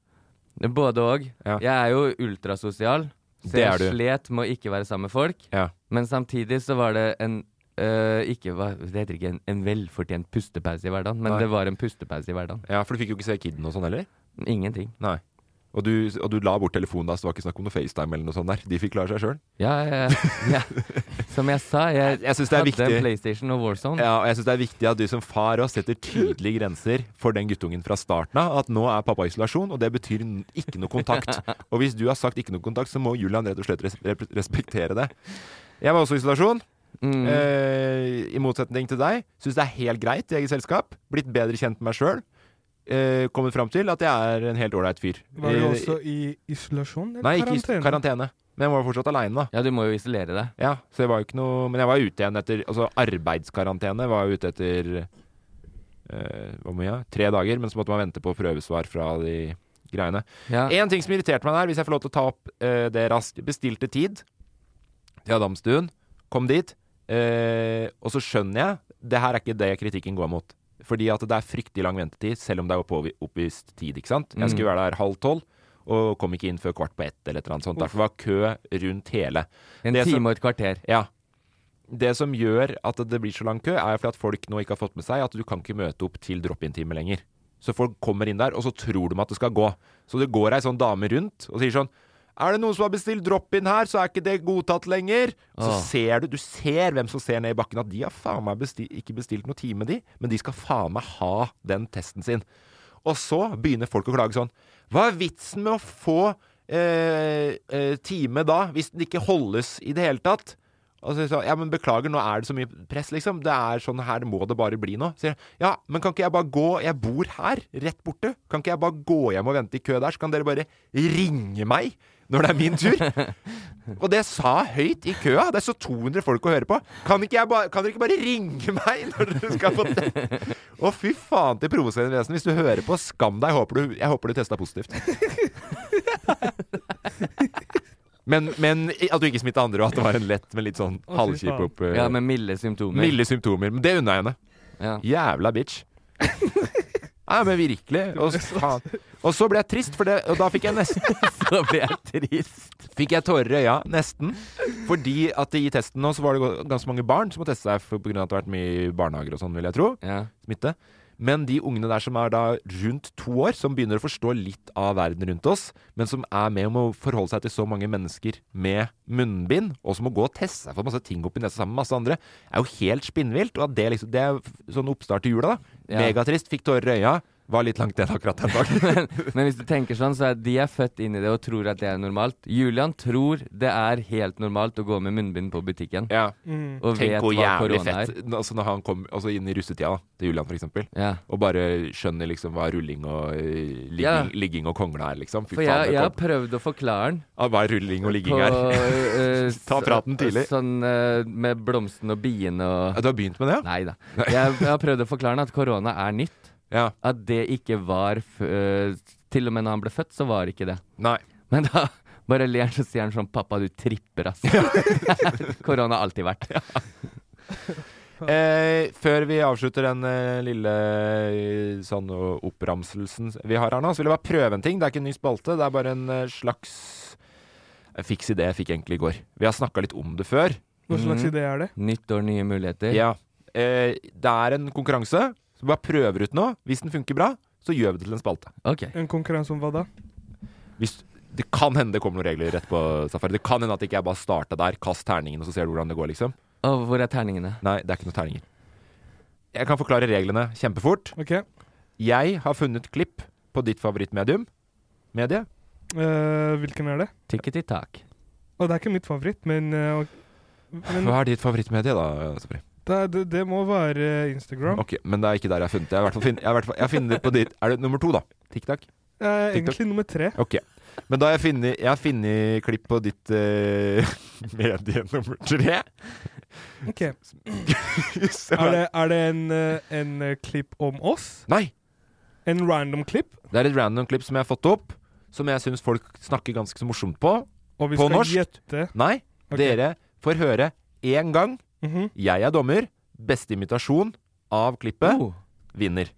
S4: Både og.
S3: Ja.
S4: Jeg er jo ultrasosial, så
S3: Det er
S4: jeg
S3: du.
S4: slet med å ikke være sammen med folk.
S3: Ja.
S4: Men samtidig så var det en øh, ikke, hva, Det heter ikke en, en velfortjent pustepause i hverdagen, men
S3: Nei.
S4: det var en pustepause i hverdagen.
S3: ja, For du fikk jo ikke se kiden og sånn heller?
S4: Ingenting.
S3: Nei. Og du, og du la bort telefonen da, så det var ikke snakk om noe FaceTime eller noe sånt der. De fikk klare seg sjøl.
S4: Ja, ja, ja. Som jeg sa, jeg,
S3: Jeg syns det er
S4: hadde en
S3: viktig.
S4: PlayStation og Warzone.
S3: Ja, og jeg synes det er viktig at du som far også setter tydelige grenser for den guttungen fra starten av. At nå er pappa i isolasjon, og det betyr n- ikke noe kontakt. Og hvis du har sagt ikke noe kontakt, så må Julian rett og slett res rep- respektere det. Jeg var også i isolasjon.
S4: Mm.
S3: Eh, I motsetning til deg. Syns det er helt greit i eget selskap. Blitt bedre kjent med meg sjøl. Eh, kommet fram til at jeg er en helt ålreit fyr.
S5: Var du
S3: Eh,
S5: også i isolasjon eller
S3: Nei, ikke i
S5: karantene?
S3: karantene. Men jeg var jo fortsatt aleine, da.
S4: Ja, du må jo isolere deg.
S3: Ja, så jeg var jo ikke noe Men jeg var ute igjen etter Altså arbeidskarantene var jeg ute etter eh, Hvor mye? ja? Tre dager, men så måtte man vente på prøvesvar fra de greiene.
S4: Ja.
S3: En ting som irriterte meg der, hvis jeg får lov til å ta opp eh, det raskt Bestilte tid til Adamstuen. Kom dit. eh, og så skjønner jeg Det her er ikke det kritikken går mot. Fordi at det er fryktelig lang ventetid, selv om det er oppå- oppvist tid. ikke sant? Jeg
S4: Mm.
S3: skulle være der halv tolv, og kom ikke inn før kvart på ett. eller et eller annet sånt. Derfor var kø rundt hele.
S4: En
S3: Det som-
S4: time og et kvarter.
S3: Ja. Det som gjør at det blir så lang kø, er fordi at folk nå ikke har fått med seg at du kan ikke møte opp til drop-in-time lenger. Så folk kommer inn der, og så tror de at det skal gå. Så det går ei sånn dame rundt og sier sånn Er det noen som har bestilt drop-in her, så er ikke det godtatt lenger. Og så
S4: Åh.
S3: ser du Du ser hvem som ser ned i bakken, at de har faen meg besti ikke bestilt noe time, de, men de skal faen meg ha den testen sin. Og så begynner folk å klage sånn Hva er vitsen med å få eh, eh, time da, hvis den ikke holdes i det hele tatt? Og så, så, ja, men beklager, nå er det så mye press, liksom. Det er sånn her må det bare bli nå. Sier jeg, ja, men kan ikke jeg bare gå Jeg bor her, rett borte. Kan ikke jeg bare gå hjem og vente i kø der, så kan dere bare ringe meg når det er min tur? og det sa jeg høyt i køa. Det er så 200 folk å høre på. Kan, ikke jeg bare- kan dere ikke bare ringe meg når dere skal på det? Å, fy faen til provoserende vesen. Hvis du hører på, skam deg. Håper du, jeg håper du testa positivt. Men, men at du ikke smitta andre, og at det var en lett, men litt sånn
S5: fy
S3: halvkjip
S5: faen.
S3: opp... eh,
S4: Ja, med milde symptomer.
S3: Milde symptomer. Men det unna henne.
S4: Ja.
S3: Jævla bitch. Nei, men virkelig. Og, s- faen. og så ble jeg trist, for det, og da fikk jeg nesten
S4: Da blir jeg trist.
S3: Fikk jeg tårer i øya. Nesten. Fordi at i testen nå så var det go- ganske mange barn som må teste seg for- på grunn av at det har vært mye barnehager og sånn, vil jeg tro.
S4: Ja.
S3: Smitte. Men de ungene der som er da rundt to år, som begynner å forstå litt av verden rundt oss, men som er med om å forholde seg til så mange mennesker med munnbind, og som må gå og teste seg for masse ting opp i nesa sammen med masse andre, er jo helt spinnvilt. Og at det liksom Det er f- sånn oppstart til jula, da.
S4: Ja.
S3: Megatrist. Fikk tårer i øya. Var litt langt den akkurat den dagen.
S4: Men hvis du tenker sånn, så er de er født inn i det og tror at det er normalt. Julian tror det er helt normalt å gå med munnbind på butikken.
S3: ja.
S4: Og
S3: Tenk
S4: Mm. vet
S3: hvor
S4: hva
S3: jævlig
S4: korona
S3: fett
S4: er.
S3: altså når han kom altså inn i russetida, da, til Julian, for eksempel.
S4: Ja.
S3: Og bare skjønner liksom hva rulling og eh, ligging,
S4: Ja.
S3: ligging og kongla er, liksom. Fy
S4: For
S3: faen,
S4: jeg,
S3: det
S4: jeg har
S3: kom-
S4: prøvd å forklare den.
S3: Ah, hva er rulling og ligging
S4: på,
S3: er?
S4: eh,
S3: Ta praten tidlig.
S4: Sånn eh, med blomsten og biene og
S3: Ja, Du har begynt med det, ja?
S4: Nei da. Jeg, jeg har prøvd å forklare den at korona er nytt.
S3: Ja.
S4: At det ikke var f eh, Til og med når han ble født, så var det ikke det.
S3: Nei.
S4: Men da bare ler han, så sier han sånn 'Pappa, du tripper, ass'. korona har alltid vært.
S3: Eh, før vi avslutter den eh, lille eh, sånn eh, oppramselsen vi har her nå, så vil jeg bare prøve en ting. Det er ikke en ny spalte, det er bare en eh, slags eh, fiks idé jeg fikk egentlig i går. Vi har snakka litt om det før.
S5: Hva slags
S3: Mhm.
S5: idé er det?
S4: Nytt år, nye muligheter.
S3: Ja. Eh, det er en konkurranse, så vi bare prøver ut noe. Hvis den funker bra, så gjør vi det til en spalte.
S4: Ok.
S5: En konkurranse om hva da?
S3: Hvis det kan hende det kommer noen regler rett på safari. Det kan hende at ikke jeg bare starta der, kast terningen, og så ser du hvordan det går, liksom.
S4: Og hvor er terningene?
S3: Nei, det er ikke noen terninger. Jeg kan forklare reglene kjempefort.
S5: Ok.
S3: Jeg har funnet klipp på ditt favorittmedium. Medie.
S5: Eh, hvilken er det?
S4: Tikketi-tak.
S5: Og det er ikke mitt favoritt, men, eh, ok. men
S3: Hva er ditt favorittmedie, da? Safari?
S5: det, det, det må være Instagram.
S3: Ok, Men det er ikke der jeg har funnet det. Jeg har i hvert fall funnet- jeg har i hvert fall- jeg har funnet det på ditt Er det nummer to, da? TikTok?
S5: Eh,
S3: TikTok.
S5: egentlig nummer tre.
S3: Ok. Men da har jeg funnet, jeg har funnet klipp på ditt eh, medie nummer tre.
S5: Ok. Er
S3: Så-
S5: det, er det en, eh, en eh, klipp om oss?
S3: Nei!
S5: En random klipp?
S3: Det er et random klipp som jeg har fått opp, som jeg syns folk snakker ganske så morsomt på.
S5: Og vi
S3: På
S5: skal
S3: norsk?
S5: gjette
S3: Nei,
S5: Ok.
S3: dere får høre én gang.
S5: Mhm.
S3: Jeg er dommer. Beste imitasjon av klippet
S4: Oh.
S3: vinner.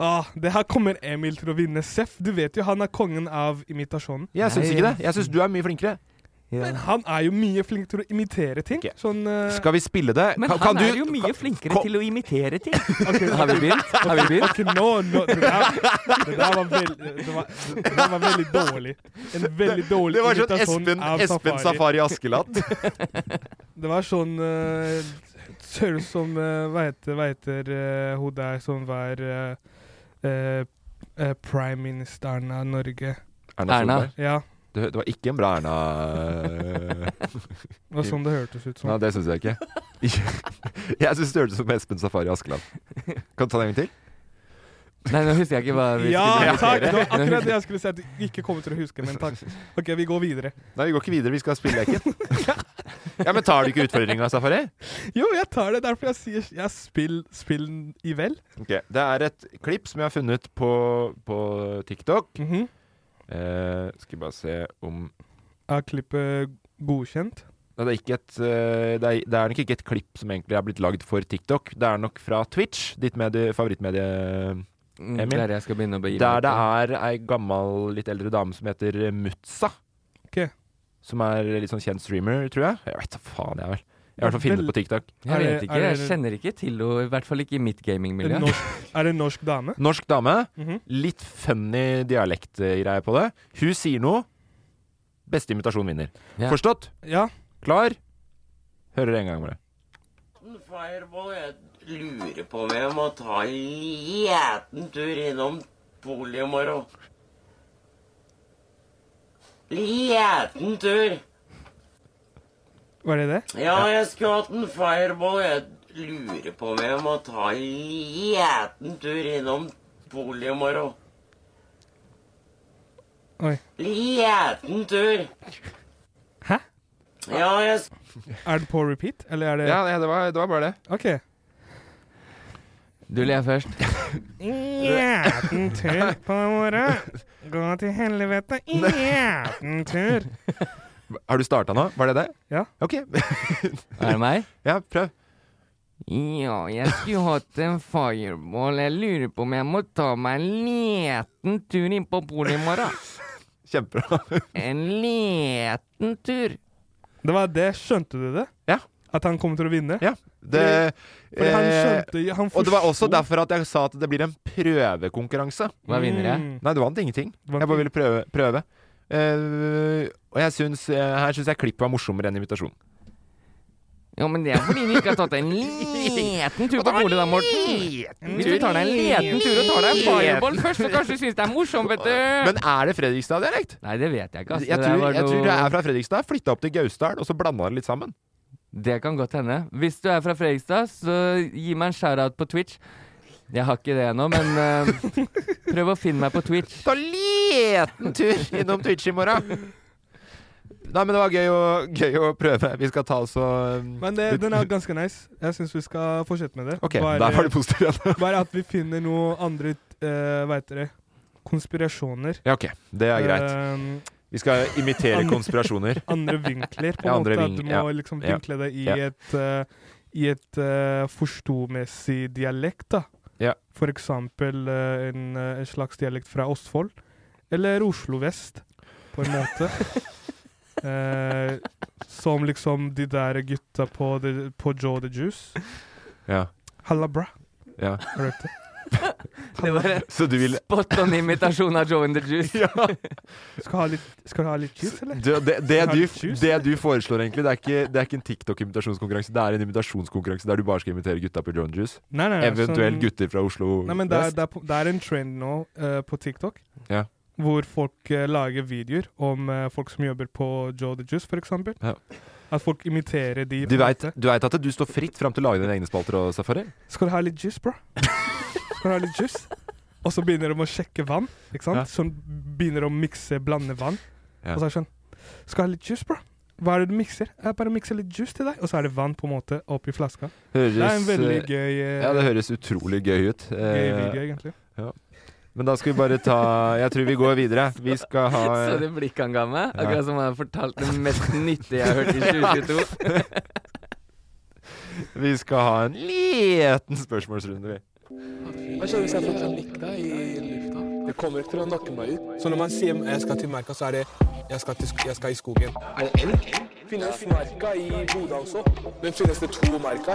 S5: ah, Det her kommer Emil til å vinne. Seff, du vet jo han er kongen av imitasjonen.
S3: Jeg syns
S4: Nei,
S3: ikke det. Jeg syns du er mye flinkere.
S5: Men han er jo mye flink til å imitere ting.
S3: Ok.
S5: Sånn eh,
S3: Skal vi spille det?
S4: Men
S3: Kan-
S4: han
S3: kan du-
S4: er jo mye
S3: kan-
S4: flinkere
S3: kom-
S4: til å imitere ting.
S5: ok,
S4: Har vi begynt? Har vi begynt?
S5: Ok, nå, nå det, der, det der var veldig det var, det der var veldig dårlig. En veldig dårlig
S3: Det var sånn
S5: imitasjon
S3: Espen,
S5: av
S3: Espen
S5: Safari.
S3: Safari Askeladd.
S5: Det var sånn uh, Høres som eh, Hva heter, hva heter eh, hun der som var eh, eh, eh, prime ministeren av Norge?
S4: Erna.
S3: Solberg.
S5: Ja,
S3: Det, det var ikke en bra Erna
S5: det var sånn det hørtes ut som.
S3: Nei, det syns jeg ikke. Jeg syns det hørtes ut som Espen Safari Askeland. Kan du ta det en gang til?
S4: Nei, nå husker jeg ikke hva vi
S5: Ja,
S4: diskutere.
S5: takk! Det var akkurat det jeg skulle si at du ikke kommer til å huske, men takk. Ok, vi går videre.
S3: Nei, vi går ikke videre. Vi skal spille leken. ja, men tar du ikke utfordringa, Safari?
S5: Jo, jeg tar det. Derfor jeg sier jeg spill, spill i vel.
S3: Ok, Det er et klipp som jeg har funnet på, på TikTok.
S5: Mhm.
S3: Eh, skal bare se om
S5: Er klippet godkjent?
S3: Nei, det er, ikke et, eh, det, er, det er nok ikke et klipp som egentlig er blitt lagd for TikTok. Det er nok fra Twitch, ditt medie, favorittmedie.
S4: Mm,
S3: Emil?
S4: Der jeg skal begynne å begi meg
S3: Der
S4: ut
S3: det
S4: på.
S3: er ei gammel, litt eldre dame som heter eh, Mutsa.
S5: Ok.
S3: Som er litt sånn kjent streamer, tror jeg. Jeg vet da faen, jeg vel. Jeg har i hvert fall funnet det på TikTok.
S4: Jeg
S5: Er
S4: vet
S5: det-
S4: ikke,
S5: er
S4: jeg
S5: det-
S4: kjenner ikke til henne, i hvert fall ikke i mitt
S5: Er det
S4: gamingmiljø.
S5: norsk, er det en norsk dame?
S3: Norsk dame.
S5: Mhm.
S3: Litt funny dialektgreier på det. Hun sier noe. Beste invitasjon vinner.
S4: Ja.
S3: Forstått?
S5: Ja.
S3: Klar? Hører det en gang bare.
S6: Fireball, jeg lurer på om jeg må ta en liten tur innom polet i morgen. Liten tur.
S5: Var det det?
S6: Ja, jeg skulle hatt en fireball. Jeg lurer på om jeg må ta en liten tur innom polet i morgen.
S5: Oi.
S6: Liten tur.
S5: Hæ?
S6: Ja, jeg sk-
S5: Er det på repeat, eller er det
S3: Ja, det var, det var bare det.
S5: OK.
S4: Du ler først.
S5: Jæten tur på året. Gå til helvete. Jæten tur.
S3: Har du starta nå? Var det det?
S5: Ja.
S3: Ok.
S4: Er det meg?
S3: ja, prøv.
S4: Ja, jeg skulle hatt en fireball. Jeg lurer på om jeg må ta meg en liten tur inn på polet i morgen.
S3: Kjempebra.
S4: En liten tur.
S5: Det var det. Skjønte du det?
S3: Ja.
S5: At han kommer til å vinne?
S3: Ja, det
S5: Fordi han
S3: eh,
S5: skjønte han
S3: Og det var også
S5: forsto-
S3: derfor at jeg sa at det blir en prøvekonkurranse.
S4: Hva vinner jeg?
S5: Mm.
S3: Nei, du vant ingenting.
S5: Du vant
S3: Jeg bare ville prøve. prøve. Eh, og jeg syns, eh, her syns jeg klippet var morsommere enn invitasjonen.
S4: Ja, men det er fordi du ikke har tatt deg en liten tur på polet da, Morten.
S3: Mm.
S4: Hvis du tar deg en liten tur og tar deg en fireball først, så kanskje du syns det er morsomt, vet du.
S3: Men er det Fredrikstad-dialekt?
S4: Nei, det vet jeg ikke. ass.
S3: Jeg,
S4: altså, Det der
S3: tror-
S4: var
S3: jeg tror
S4: noe-
S3: det er fra Fredrikstad. Flytta opp til Gausdal, og så blanda det litt sammen.
S4: Det kan godt hende. Hvis du er fra Fredrikstad, så gi meg en shout-out på Twitch. Jeg har ikke det ennå, men eh, prøv å finne meg på Twitch.
S3: Ta liten tur innom Twitch i morgen. Nei, men det var gøy å, gøy å prøve. Vi skal ta altså um,
S5: Men det, den er ganske nice. Jeg syns vi skal fortsette med det.
S3: Ok,
S5: bare,
S3: der var det positivt igjen.
S5: bare at vi finner noe andre uh, Veit dere Konspirasjoner.
S3: Ja, ok. Det er greit.
S5: Ehm,
S3: Vi skal imitere konspirasjoner.
S5: andre vinkler, på en
S3: Ja, andre
S5: måte. At du
S3: ving-
S5: må
S3: ja,
S5: liksom
S3: ja,
S5: vinkle det i
S3: ja.
S5: et eh, i et eh, forstomessig dialekt, da.
S3: Ja.
S5: For eksempel eh, en, eh, en slags dialekt fra Østfold. Eller Oslo vest, på en måte. Eh, som liksom de der gutta på, the, på Joe the Juice.
S3: Ja,
S5: Halla, bra.
S3: ja.
S5: Har du hørt det?
S4: Det var en
S3: Så du vil
S4: spot on imitasjon av Joe in the Juice.
S5: Skal du ha litt, skal du ha litt juice, eller?
S3: Du, det, det,
S5: Har
S3: du,
S5: du juice?
S3: det du foreslår, egentlig, det er ikke, det er ikke en TikTok-invitasjonskonkurranse. Det er en invitasjonskonkurranse der du bare skal invitere gutta på John Juice.
S5: Nei, nei, nei,
S3: Eventuelt
S5: sånn-
S3: gutter fra Oslo
S5: Nei, men det er,
S3: vest.
S5: det, er, på- det er en trend nå eh, på TikTok
S3: Ja.
S5: hvor folk eh, lager videoer om eh, folk som jobber på Joe the Juice, f.eks.
S3: Ja.
S5: At folk imiterer de.
S3: Du veit at du står fritt fram til å lage dine egne spalter og safari?
S5: Skal du ha litt juice, bro? Skal du ha litt juice? Og så begynner de å sjekke vann. ikke sant?
S3: Ja.
S5: Sånn begynner de å mikse, blande vann.
S3: Ja.
S5: Og så er det sånn Skal du ha litt juice, bro? Hva er det du mikser? Jeg bare mikser litt juice til deg. Og så er det vann på en måte oppi flaska.
S3: Høres,
S5: Det er en veldig
S3: eh,
S5: gøy, eh,
S3: ja, det høres utrolig gøy ut.
S5: gøy
S3: Eh,
S5: video, egentlig.
S3: men da skal vi bare ta Jeg tror vi går videre. Vi skal ha
S4: Så det blikket han ga meg, akkurat som han har fortalt det mest nyttige jeg har hørt i 2022.
S3: Vi skal ha en liten spørsmålsrunde, vi.
S7: Hva skjer hvis jeg får panikk da i lufta? Det kommer ikke til å nakke meg ut. Så når man sier jeg skal til merka, så er det jeg skal, i skogen. Er det elg? Finnes merka i Bodø også? Men finnes det to merker?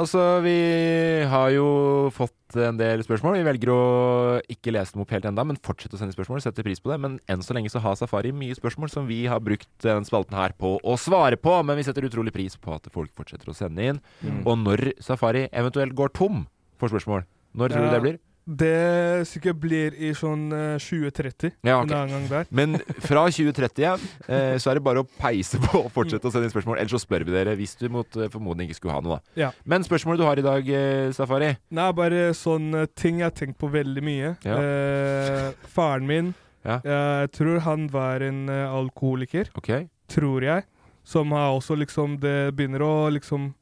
S3: Altså, vi har jo fått en del spørsmål. Vi velger å ikke lese dem opp helt enda, men fortsette å sende spørsmål. Setter pris på det. Men enn så lenge så har Safari mye spørsmål som vi har brukt den spalten her på å svare på. Men vi setter utrolig pris på at folk fortsetter å sende inn. Og når Safari eventuelt går tom for spørsmål, når tror du
S5: Ja.
S3: det blir?
S5: Det sikkert blir i sånn eh, 2030.
S3: Ja, ok.
S5: En annen gang der.
S3: Men fra 2030 ja, eh, så er det bare å peise på og fortsette å sende inn spørsmål. Ellers så spør vi dere hvis du mot eh, formodning ikke skulle ha noe, da.
S5: Ja.
S3: Men spørsmålet du har i dag, eh, Safari
S5: Nei, bare sånn eh, ting jeg har tenkt på veldig mye.
S3: Ja.
S5: Eh, faren min, eh,
S3: Ja.
S5: jeg tror han var en eh, alkoholiker.
S3: OK?
S5: tror jeg, som har også liksom Det begynner å liksom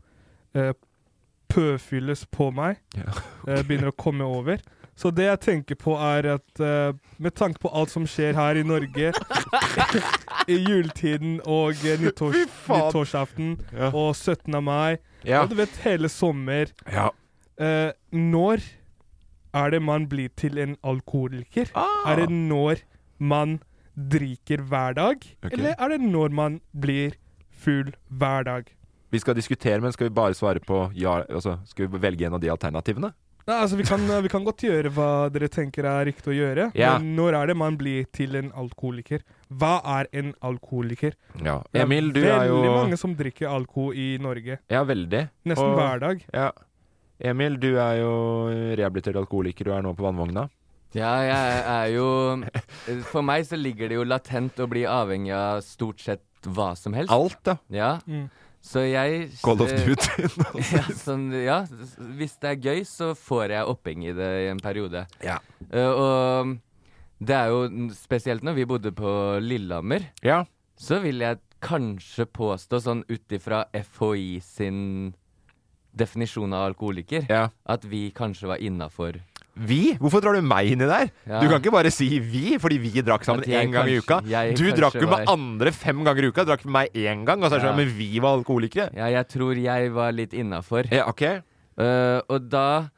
S5: eh, pøfylles på meg.
S3: Ja,
S5: eh, begynner å komme over. Så det jeg tenker på, er at eh, med tanke på alt som skjer her i Norge i juletiden og eh, nyttårs,
S3: faen.
S5: nyttårsaften
S3: Ja.
S5: og 17. av mai,
S3: Ja.
S5: og du vet hele sommer
S3: ja.
S5: eh, Når er det man blir til en alkoholiker?
S3: Ah.
S5: Er det når man drikker hver dag,
S3: Ok.
S5: eller er det når man blir full hver dag?
S3: Vi skal diskutere, men skal vi bare svare på ja altså, Skal vi velge en av de alternativene?
S5: Nei, altså vi kan, vi kan godt gjøre hva dere tenker er riktig å gjøre,
S3: Ja.
S5: men når er det man blir til en alkoholiker? Hva er en alkoholiker?
S3: Ja. Emil, du
S5: det
S3: er jo
S5: Veldig mange som drikker alkohol i Norge.
S3: Ja, veldig.
S5: Nesten hver dag.
S3: Ja. Emil, du er jo rehabilitert alkoholiker og er nå på vannvogna.
S4: Ja, jeg er jo For meg så ligger det jo latent å bli avhengig av stort sett hva som helst.
S3: Alt, da.
S4: Ja.
S5: Mm.
S4: Så jeg
S3: Call of
S4: eh,
S3: Duty.
S4: ja, sånn, ja, s- hvis det er gøy, så får jeg oppheng i det i en periode.
S3: Ja.
S4: Eh, og det er jo n- spesielt når vi bodde på Lillehammer,
S3: ja.
S4: så vil jeg kanskje påstå, sånn ut ifra FHI sin definisjon av alkoholiker,
S3: ja.
S4: at vi kanskje var innafor.
S3: Vi? Hvorfor drar du meg inni der?
S4: Ja.
S3: Du kan ikke bare si vi, fordi vi drakk sammen
S4: At jeg
S3: én gang i uka.
S4: kanskje- jeg
S3: Du
S4: kanskje
S3: drakk jo med
S4: var-
S3: andre fem ganger i uka. Drakk med meg én gang. Og så er det
S4: Ja.
S3: sånn, men vi var alkoholikere.
S4: Ja, jeg tror jeg var litt innafor.
S3: Ja, ok.
S4: Eh, og da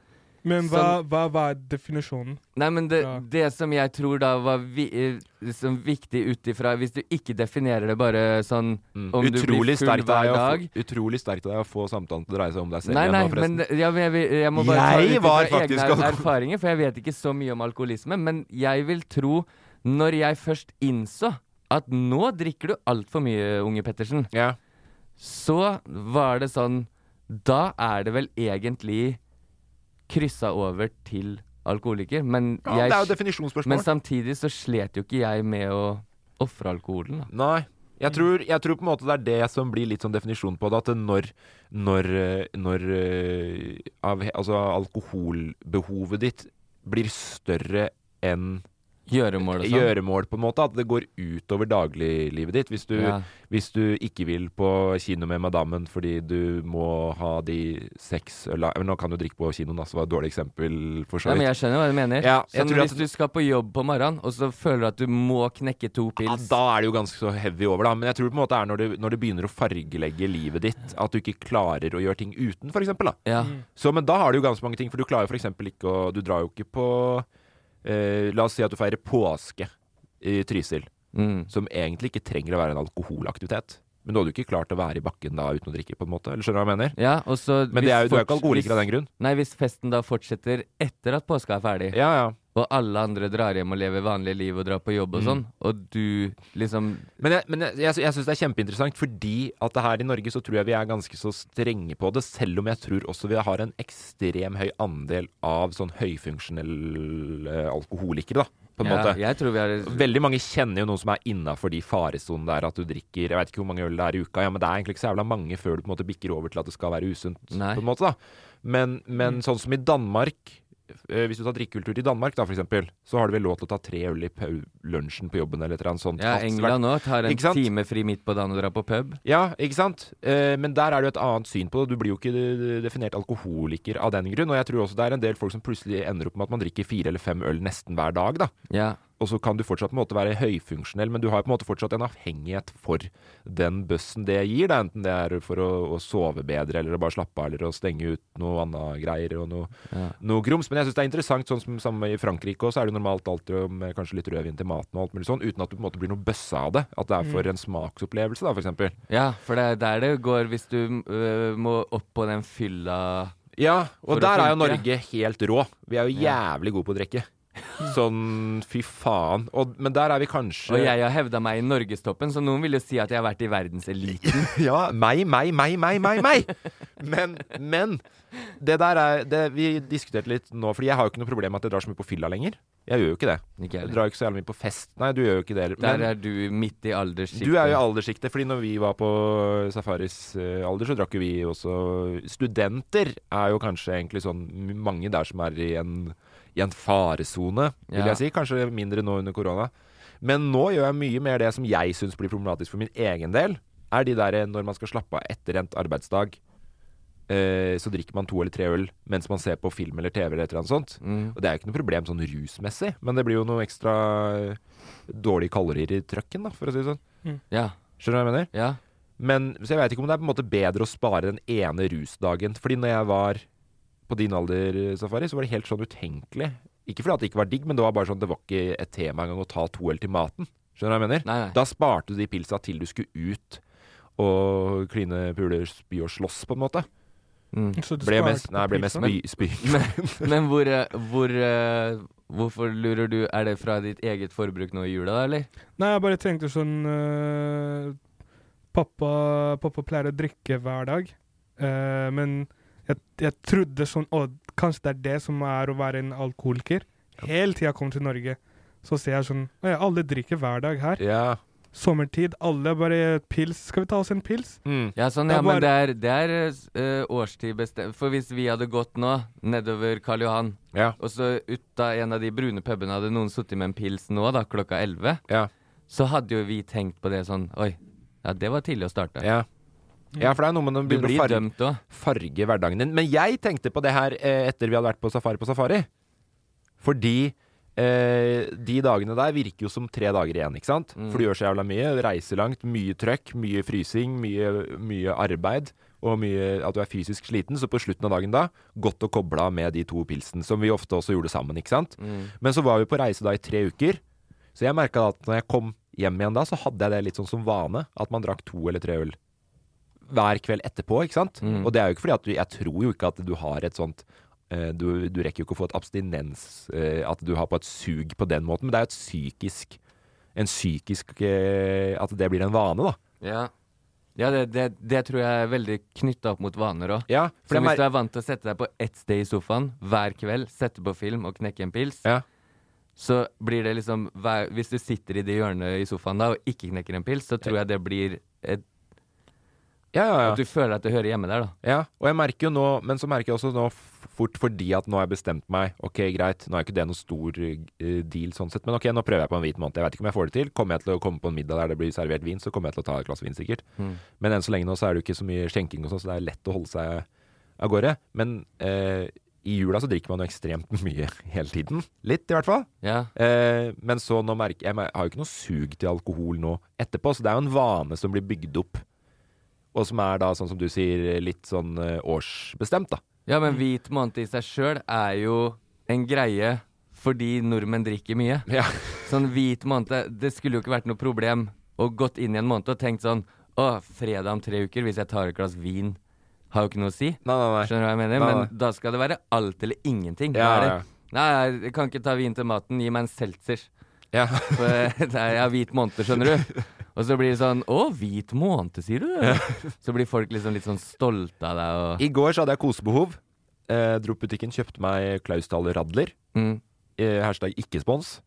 S5: Men hva, hva, hva er definisjonen?
S4: Nei, men det,
S5: Ja.
S4: det som jeg tror da var vi, eh, liksom viktig ut ifra Hvis du ikke definerer det bare sånn om du blir
S3: Mm. Utrolig
S4: full hver
S3: sterkt av deg å
S4: dag
S3: få- utrolig sterkt av deg å få samtalen til å dreie seg om deg selv
S4: Nei,
S3: igjen
S4: nei,
S3: nå, forresten.
S4: men ja, men jeg, vil- jeg må bare
S3: Jeg
S4: ta
S3: var
S4: ut ifra
S3: faktisk
S4: egne
S3: alkohol-
S4: erfaringer, for jeg vet ikke så mye om alkoholisme. Men jeg vil tro, når jeg først innså at nå drikker du altfor mye, unge Pettersen,
S3: Ja.
S4: så var det sånn Da er det vel egentlig kryssa over til alkoholiker. Men,
S3: Ja,
S4: jeg,
S3: det er jo definisjonsspørsmål.
S4: men samtidig så slet jo ikke jeg med å ofre alkoholen, da.
S3: Nei.
S4: Mm.
S3: Jeg tror, jeg tror på en måte det er det som blir litt sånn definisjonen på det. At det når, når, eh, når eh, av, altså alkoholbehovet ditt blir større enn
S4: Gjøremål og sånn.
S3: gjøremål, på en måte. At det går utover dagliglivet ditt. Hvis du,
S4: Ja.
S3: hvis du ikke vil på kino med madammen fordi du må ha de seks øla Nå kan du drikke på kinoen, da, så var det et dårlig eksempel, for så
S4: Ja,
S3: vidt.
S4: men jeg skjønner hva du mener.
S3: Ja, jeg
S4: sånn,
S3: tror
S4: hvis
S3: at-
S4: du skal på jobb på morgenen, og så føler du at du må knekke to pils
S3: Ah, Da er det jo ganske så heavy over, da. Men jeg tror det på en måte er når du, når du begynner å fargelegge livet ditt, at du ikke klarer å gjøre ting uten, for eksempel, da.
S4: Ja.
S3: Så, men da har du jo ganske mange ting, for du klarer for eksempel ikke å Du drar jo ikke på eh, La oss si at du feirer påske i Trysil, som egentlig ikke trenger å være en alkoholaktivitet. Men du hadde jo ikke klart å være i bakken da uten å drikke, på en måte. Eller skjønner du hva jeg mener?
S4: Ja, og så
S3: men det
S4: hvis
S3: er jo, du er ikke
S4: forts-
S3: alkoholiker av
S4: hvis-
S3: den grunn.
S4: Nei, hvis festen da fortsetter etter at påska er ferdig, og alle andre drar hjem og lever vanlige liv og drar på jobb og
S3: Mm.
S4: sånn, og du liksom
S3: Men jeg, men jeg, jeg, sy- jeg syns det er kjempeinteressant, fordi at det her i Norge så tror jeg vi er ganske så strenge på det, selv om jeg tror også vi har en ekstrem høy andel av sånn høyfunksjonelle alkoholikere, da. På en
S4: Ja,
S3: måte.
S4: jeg tror vi er-
S3: Veldig mange kjenner jo noen som er innafor de faresonen der at du drikker Jeg vet ikke hvor mange øl det er i uka, ja, men det er egentlig ikke så jævla mange før du på en måte bikker over til at det skal være usunt, på en måte, da. Men,
S4: Mm.
S3: men sånn som i Danmark eh, hvis du tar drikkekultur i Danmark, da, for eksempel, så har du vel lov til å ta tre øl i pau- lunsjen på jobben eller et eller annet sånt.
S4: Ja,
S3: Alt som er-
S4: England òg tar en
S3: Ikke sant?
S4: time fri midt på dagen og drar på pub.
S3: Ja, ikke sant? Eh, men der er det jo et annet syn på det. Du blir jo ikke definert alkoholiker av den grunn. Og jeg tror også det er en del folk som plutselig ender opp med at man drikker fire eller fem øl nesten hver dag, da. Og så kan du fortsatt på en måte være høyfunksjonell, men du har på en måte fortsatt en avhengighet for den bøssen det gir, da. Enten det er for å, å sove bedre, eller å bare slappe av, eller å stenge ut noe annet greier og noe,
S4: Ja.
S3: noe grums. Men jeg syns det er interessant, sånn som samme i Frankrike også, er det jo normalt alltid om eh, kanskje litt rødvin til maten og alt mulig sånn, uten at du på en måte blir noe bøsse av det. At det er for
S4: Mm.
S3: en smaksopplevelse, da, for eksempel.
S4: Ja, for det er der det går hvis du øh, må opp på den fylla
S3: Ja,
S4: for
S3: og
S4: å
S3: der er jo
S4: funke.
S3: Norge helt rå. Vi er jo
S4: Ja.
S3: jævlig gode på å drikke. Sånn fy faen. Og, men der er vi kanskje
S4: Og jeg har hevda meg i norgestoppen, så noen vil jo si at jeg har vært i verdenseliten.
S3: Ja, meg, meg, meg, meg, meg, meg! Men, men det der er det Vi diskuterte litt nå, Fordi jeg har jo ikke noe problem med at jeg drar så mye på fylla lenger. Jeg gjør jo ikke det. jeg drar jo ikke så jævlig mye på fest. Nei, du gjør jo ikke det heller.
S4: Der
S3: Men
S4: er du midt i alderssjiktet.
S3: Du er jo i alderssjiktet, fordi når vi var på Safaris eh, alder, så drakk jo vi også Studenter er jo kanskje egentlig sånn mange der som er i en, i en faresone, vil
S4: Ja.
S3: jeg si. Kanskje mindre nå under korona. Men nå gjør jeg mye mer det som jeg syns blir problematisk for min egen del, er de der eh, når man skal slappe av etter endt arbeidsdag. eh, Så drikker man to eller tre øl mens man ser på film eller TV. eller et eller annet sånt
S4: Mm.
S3: Og det er jo ikke noe problem sånn rusmessig, men det blir jo noe ekstra eh, dårlige kalorier i trøkken, da, for å si det sånn.
S4: Mm. Ja.
S3: Skjønner du hva jeg mener?
S4: Ja.
S3: Men, så jeg veit ikke om det er på en måte bedre å spare den ene rusdagen. Fordi når jeg var på din alder, Safari, så var det helt sånn utenkelig. Ikke fordi at det ikke var digg, men det var bare sånn, det var ikke et tema engang å ta to øl til maten. Skjønner du hva jeg mener? Da sparte du de pilsa til du skulle ut og kline, pule, spy og slåss, på en måte.
S4: Så du
S3: ble
S4: sparte
S3: mest,
S4: på
S3: nei, ble mest
S4: pilsa?
S3: spy, spy.
S4: Men, Mm. men hvor, eh, hvor eh, Hvorfor lurer du Er det fra ditt eget forbruk nå i jula, da, eller?
S5: Nei, jeg bare tenkte sånn øh, pappa, pappa pleier å drikke hver dag. Eh, men jeg, jeg trodde sånn Å, kanskje det er det som er å være en alkoholiker. Helt til jeg kom til Norge, så ser jeg sånn Å ja, alle drikker hver dag her.
S3: Ja.
S5: Sommertid, alle bare Pils. Skal vi ta oss en pils?
S3: Mm.
S4: Ja, sånn,
S5: Det er
S4: ja, men det
S5: bare-
S4: er, det er eh, årstid bestemt For hvis vi hadde gått nå, nedover Karl Johan, og så ut av en av de brune pubene hadde noen sittet med en pils nå, da, klokka 11, så hadde jo vi tenkt på det sånn Oi, ja, det var tidlig å starte.
S3: Ja. Ja, for det er noe med når
S4: Mm. Du
S3: begynner å
S4: blir
S3: farge-
S4: dømt også.
S3: farge hverdagen din. Men jeg tenkte på det her eh, etter vi hadde vært på safari på safari. Fordi eh, de dagene der virker jo som tre dager igjen, ikke sant?
S4: Mm.
S3: For du gjør så jævla mye. Reiser langt, mye trøkk, mye frysing, mye, mye arbeid. Og mye at du er fysisk sliten. Så på slutten av dagen da, godt å koble av med de to pilsene, som vi ofte også gjorde sammen, ikke sant?
S4: Mm.
S3: Men så var vi på reise da i tre uker. Så jeg merka at når jeg kom hjem igjen da, så hadde jeg det litt sånn som vane. At man drakk to eller tre øl hver kveld etterpå, ikke sant?
S4: Mm.
S3: Og det er jo ikke fordi at du Jeg tror jo ikke at du har et sånt eh, du, du rekker jo ikke å få et abstinens eh, At du har på et sug på den måten, men det er jo et psykisk En psykisk eh, At det blir en vane, da.
S4: Ja, ja det, det, det tror jeg er veldig knytta opp mot vaner òg.
S3: Ja, for
S4: for
S3: jeg mer-
S4: hvis du er vant til å sette deg på ett sted i sofaen hver kveld, sette på film og knekke en pils, så blir det liksom hver, Hvis du sitter i det hjørnet i sofaen da og ikke knekker en pils, så tror jeg det blir et
S3: Ja, ja, ja.
S4: At du føler at du hører hjemme der, da.
S3: Ja, og jeg merker jo nå, men så merker jeg også nå f- fort fordi at nå har jeg bestemt meg. Ok, greit, nå er ikke det noen stor eh, deal sånn sett, men ok, nå prøver jeg på en hvit måned. Jeg vet ikke om jeg får det til. Kommer jeg til å komme på en middag der det blir servert vin, så kommer jeg til å ta et glass vin sikkert.
S4: Mm.
S3: Men enn så lenge nå så er det jo ikke så mye skjenking og sånn, så det er lett å holde seg av gårde. Men eh, i jula så drikker man jo ekstremt mye hele tiden. Litt, i hvert fall.
S4: Ja.
S3: Eh, men så nå merker jeg, jeg har jo ikke noe sug til alkohol nå etterpå, så det er jo en vane som blir bygd opp. Og som er da, sånn som du sier, litt sånn eh, årsbestemt, da.
S4: Ja, men hvit måned i seg sjøl er jo en greie fordi nordmenn drikker mye. Sånn hvit måned Det skulle jo ikke vært noe problem å gått inn i en måned og tenkt sånn Å, fredag om tre uker, hvis jeg tar et glass vin, har jo ikke noe å si. Skjønner du hva jeg mener?
S3: Nei,
S4: men
S3: nei.
S4: da skal det være alt eller ingenting. Da
S3: Ja,
S4: er
S3: ja,
S4: det,
S3: ja.
S4: Nei, jeg kan ikke ta vin til maten. Gi meg en seltzer.
S3: Ja.
S4: For det er, jeg har hvit måned, skjønner du. Og så blir det sånn Å, hvit måned, sier du? Så blir folk liksom litt sånn stolte av deg og
S3: I går så hadde jeg kosebehov. Eh, dro på butikken, kjøpte meg Klausdal Radler.
S4: Mm.
S3: Eh, hashtag ikke spons.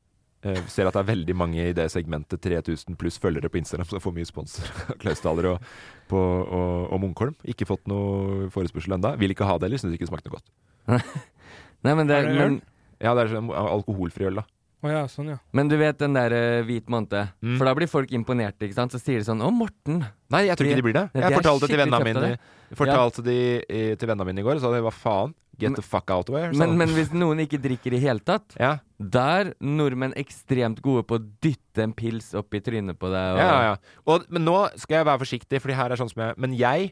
S3: Eh, ser at det er veldig mange i det segmentet, 3000 pluss følgere på Instagram, som får mye spons av Klausdaler og, på- og, og Munkholm. Ikke fått noe forespørsel ennå. Vil ikke ha det heller, syns ikke det smakte noe godt.
S4: Nei, men det,
S3: Er det øl?
S4: men,
S3: Ja, det er sånn alkoholfri øl, da.
S5: Å ja, sånn ja.
S4: men du vet den der eh, hvit måned?
S3: Mm.
S4: For da blir folk imponerte, ikke sant? Så sier de sånn Å, Morten.
S3: Nei, jeg tror ikke de blir det.
S4: Nei,
S3: Jeg
S4: er
S3: fortalte til
S4: skikkelig
S3: vennene
S4: kjapt av
S3: mine
S4: det.
S3: Fortalte de eh, til vennene mine i går, og sa de hva faen? Get
S4: Men-
S3: the fuck out of here. sa
S4: Men,
S3: de.
S4: men hvis noen ikke drikker i hele tatt,
S3: Ja.
S4: der nordmenn ekstremt gode på å dytte en pils opp i trynet på deg. Og,
S3: Ja, ja, ja. Og, men nå skal jeg være forsiktig, Fordi her er sånn som jeg Men jeg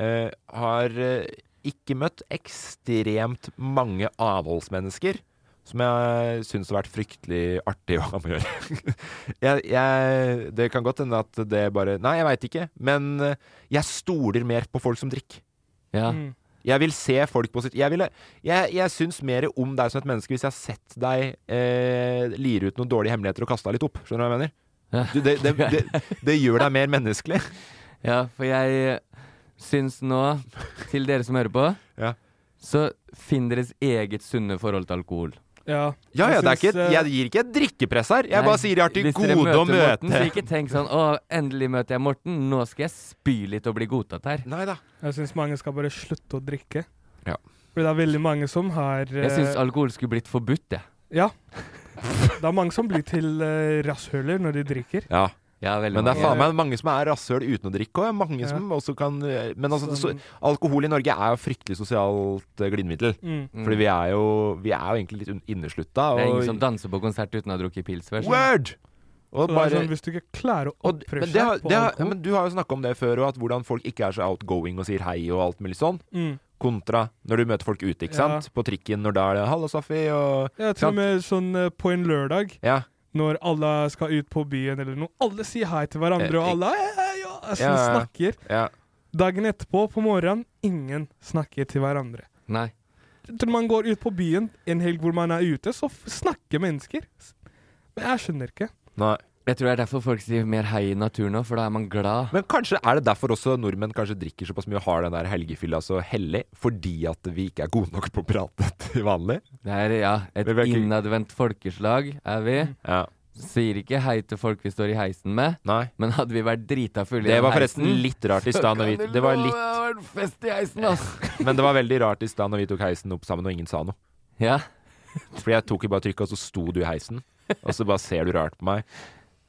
S3: eh, har eh, ikke møtt ekstremt mange avholdsmennesker som jeg syns har vært fryktelig artig å ha med å gjøre. jeg, jeg, det kan godt hende at det bare Nei, jeg veit ikke. Men eh, jeg stoler mer på folk som drikker.
S4: Ja.
S5: Mm.
S3: Jeg vil se folk på sitt Jeg, ville- jeg, jeg syns mer om deg som et menneske hvis jeg har sett deg eh, lire ut noen dårlige hemmeligheter og kasta litt opp. Skjønner du hva jeg mener? Du, det, det, det, det gjør deg mer menneskelig.
S4: Ja, for jeg eh, syns nå, til dere som hører på,
S3: Ja.
S4: så finn deres eget sunne forhold til alkohol.
S5: Ja,
S3: Ja, ja, det er
S5: Jeg
S3: ikke,
S5: syns, eh,
S3: jeg gir ikke et drikkepress her. Jeg bare sier jeg har til
S4: Hvis dere
S3: gode å
S4: møter Morten,
S3: møte
S4: så ikke tenk sånn Å, endelig møter jeg Morten. Nå skal jeg spy litt og bli godtatt her.
S3: Nei da.
S5: Jeg syns mange skal bare slutte å drikke.
S3: Ja.
S5: For det er veldig mange som har eh,
S4: Jeg syns alkohol skulle blitt forbudt, jeg.
S5: Ja. Det er mange som blir til eh, rasshøler når de drikker.
S3: Ja.
S4: Ja, veldig
S3: Men det er
S4: mange.
S3: faen meg mange som er rasshøl uten å drikke òg. Mange
S5: Ja.
S3: som også kan eh, Men altså, det, så,
S5: Som-
S3: alkohol i Norge er jo fryktelig sosialt eh, glidemiddel.
S5: Mm.
S3: Fordi vi er jo, vi er jo egentlig litt un- inneslutta.
S4: Det er
S3: og-
S4: ingen som danser på konsert uten å ha drukket pils før. så-
S3: Word! Og
S5: Så det er
S3: bare
S5: sånn, hvis du ikke klarer å
S3: og,
S5: oppføre
S3: men, det har,
S5: seg på
S3: det har,
S5: alkohol
S3: men du har jo snakka om det før, og at hvordan folk ikke er så outgoing og sier hei og alt mulig sånn.
S5: mm.
S3: Kontra når du møter folk ute, ikke
S5: Ja.
S3: sant? På trikken når da er det 'hallo, Safi', og
S5: Ja, til og med sånn eh, på en lørdag,
S3: Ja.
S5: når alle skal ut på byen eller noe, alle sier hei til hverandre, og alle hei, hei, ja, altså,
S3: Eh, Ja, ja.
S5: snakker.
S3: ja.
S5: Dagen etterpå, på morgenen, ingen snakker til hverandre.
S4: Nei.
S5: Når man går ut på byen en helg hvor man er ute, så f- snakker mennesker. S- Men jeg skjønner ikke.
S3: Nei.
S4: Jeg tror det er derfor folk sier mer hei i naturen nå, for da er man glad.
S3: Men kanskje er det derfor også nordmenn kanskje drikker såpass mye og har den der helgefylla så hellig? Fordi at vi ikke er gode nok på å prate til vanlig?
S4: Det er ja, et
S3: Men vi er ikke-
S4: innadvendt folkeslag, er vi.
S3: Ja.
S4: Sier ikke hei til folk vi står i heisen med,
S3: Nei.
S4: men hadde vi vært drita fulle i
S3: Det
S4: den
S3: var forresten
S4: heisen,
S3: litt rart i
S4: så
S3: stad når
S4: kan
S3: vi
S4: du
S3: Det var
S4: love
S3: litt
S4: det har vært fest i heisen, ass!
S3: Men det var veldig rart i stad når vi tok heisen opp sammen og ingen sa noe.
S4: Ja.
S3: Fordi jeg tok jo bare trykket, og så sto du i heisen. Og så bare ser du rart på meg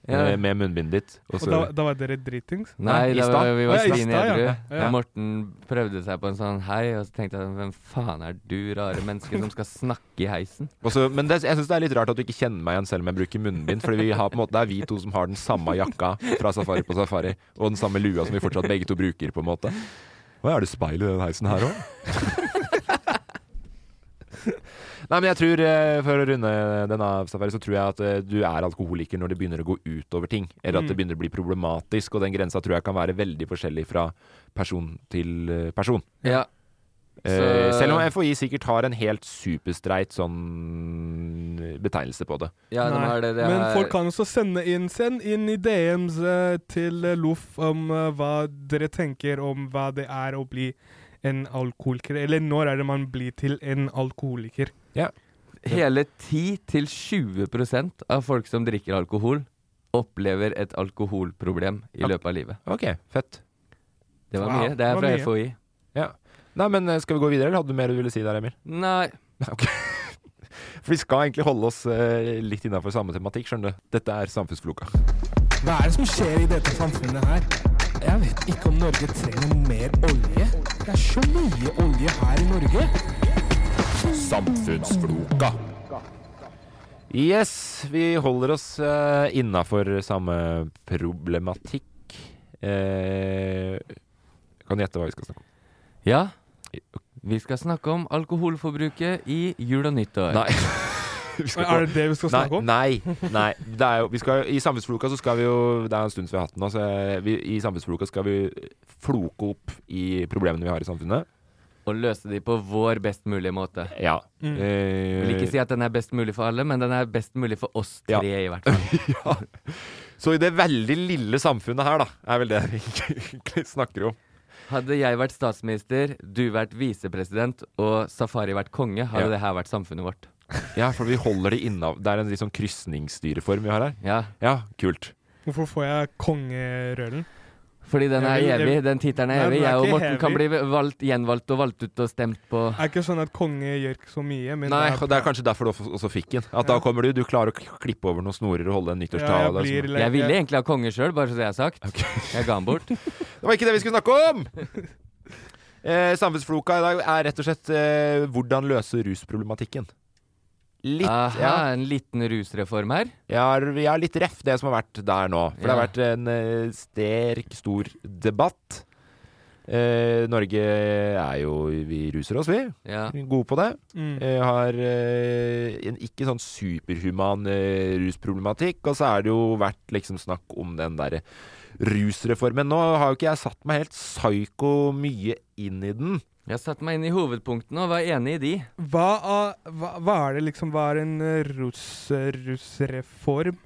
S4: Ja.
S3: eh, med munnbindet ditt. Og
S5: Og
S3: så
S5: da, da var dere dritings.
S4: Nei,
S3: i
S4: da
S3: stad?
S4: var vi
S5: Å,
S4: var
S5: ja, i
S4: svin
S5: stad, ja.
S4: edru.
S5: Ja.
S4: Og Morten prøvde seg på en sånn hei, og så tenkte jeg hvem faen er du, rare menneske, som skal snakke i heisen?
S3: Og så- men det, jeg syns det er litt rart at du ikke kjenner meg igjen selv om jeg bruker munnbind. Fordi vi har på en måte, det er vi to som har den samme jakka fra safari på safari, og den samme lua som vi fortsatt begge to bruker, på en måte. Hva er det speil i den heisen her òg? Nei, men jeg tror, eh, for å runde den av, Safari, så tror jeg at eh, du er alkoholiker når det begynner å gå utover ting. Eller at det begynner å bli problematisk, og den grensa tror jeg kan være veldig forskjellig fra person til eh, person.
S4: Ja.
S3: Eh,
S4: Så-
S3: selv om FHI sikkert har en helt superstreit sånn betegnelse på det.
S4: Ja, de
S5: Nei,
S4: har det, det
S5: Men
S4: er-
S5: folk kan også sende inn Send inn i DMs eh, til eh, Loff om eh, hva dere tenker om hva det er å bli en alkoholiker. Eller når er det man blir til en alkoholiker?
S4: Hele 10-20 av folk som drikker alkohol, opplever et alkoholproblem i
S3: Ok.
S4: løpet av livet.
S3: Ok, fett.
S4: Det var mye. Det er fra FHI.
S3: Ja. Nei, men eh, skal vi gå videre, eller hadde du mer du ville si der, Emil?
S4: Nei.
S3: For vi skal egentlig holde oss eh, litt innafor samme tematikk, skjønner du. Dette er Samfunnsfloka.
S7: Hva er det som skjer i dette samfunnet her? Jeg vet ikke om Norge trenger mer olje. Det er så mye olje her i Norge.
S3: Samfunnsfloka. Yes, vi holder oss uh, innafor samme problematikk. Eh, kan du gjette hva vi skal snakke om?
S4: Ja. Vi skal snakke om alkoholforbruket i jul og nyttår.
S3: Nei. Vi skal gå-
S5: Er det det vi skal snakke om?
S3: Nei. nei, nei. Det er jo, vi skal, I Samfunnsfloka så skal vi jo Det er en stund siden vi har hatt den nå. Så eh, vi, I Samfunnsfloka skal vi floke opp i problemene vi har i samfunnet.
S4: Og løse de på vår best mulige måte.
S3: Ja.
S4: Mm.
S3: Eh,
S4: Vil ikke si at den er best mulig for alle, men den er best mulig for oss tre, i hvert fall.
S3: Så i det veldig lille samfunnet her, da, er vel det vi egentlig snakker om.
S4: Hadde jeg vært statsminister, du vært visepresident og Safari vært konge, hadde
S3: Ja.
S4: det her vært samfunnet vårt.
S3: Ja, for vi holder det innav. Det er en litt sånn krysningsstyreform vi har her.
S4: Ja.
S3: kult.
S5: Hvorfor får jeg kongerølen?
S4: Fordi den er
S5: Jeg vil- jeg-
S4: evig, den tittelen
S5: Nei,
S4: er evig.
S5: den er
S4: Jeg og
S5: ikke
S4: Morten kan bli
S5: evig.
S4: valgt, gjenvalgt og valgt ut og stemt på
S5: Er ikke sånn at konge gjør ikke så mye, men
S3: Nei,
S5: det
S3: og det er kanskje derfor du også- også fikk den. At da kommer du, du klarer å k- klippe over noen snorer og holde en nyttårstale.
S5: Ja, jeg blir
S3: som-
S5: litt- Jeg ville
S4: egentlig ha konge sjøl, bare så det er sagt. Jeg ga den bort.
S3: Det var ikke det vi skulle snakke om! Eh, samfunnsfloka i dag er rett og slett eh, hvordan løse rusproblematikken. Litt,
S4: Aha,
S3: ja.
S4: Ah, en liten rusreform her.
S3: Ja, vi er litt ref det som har vært der nå. For det har
S4: Ja.
S3: vært en eh, sterk, stor debatt. Eh, Norge er jo Vi ruser oss, vi.
S4: Ja.
S3: Vi er Gode på det.
S4: Mm.
S3: Eh, har eh, en ikke sånn superhuman eh, rusproblematikk. Og så er det jo vært liksom snakk om den derre rusreformen. Nå har jo ikke jeg satt meg helt psyko mye inn i den.
S4: Jeg satte meg inn i hovedpunktene og var enig i de.
S5: Hva, er- hva, hva er det liksom Hva er en eh, russ, russreform?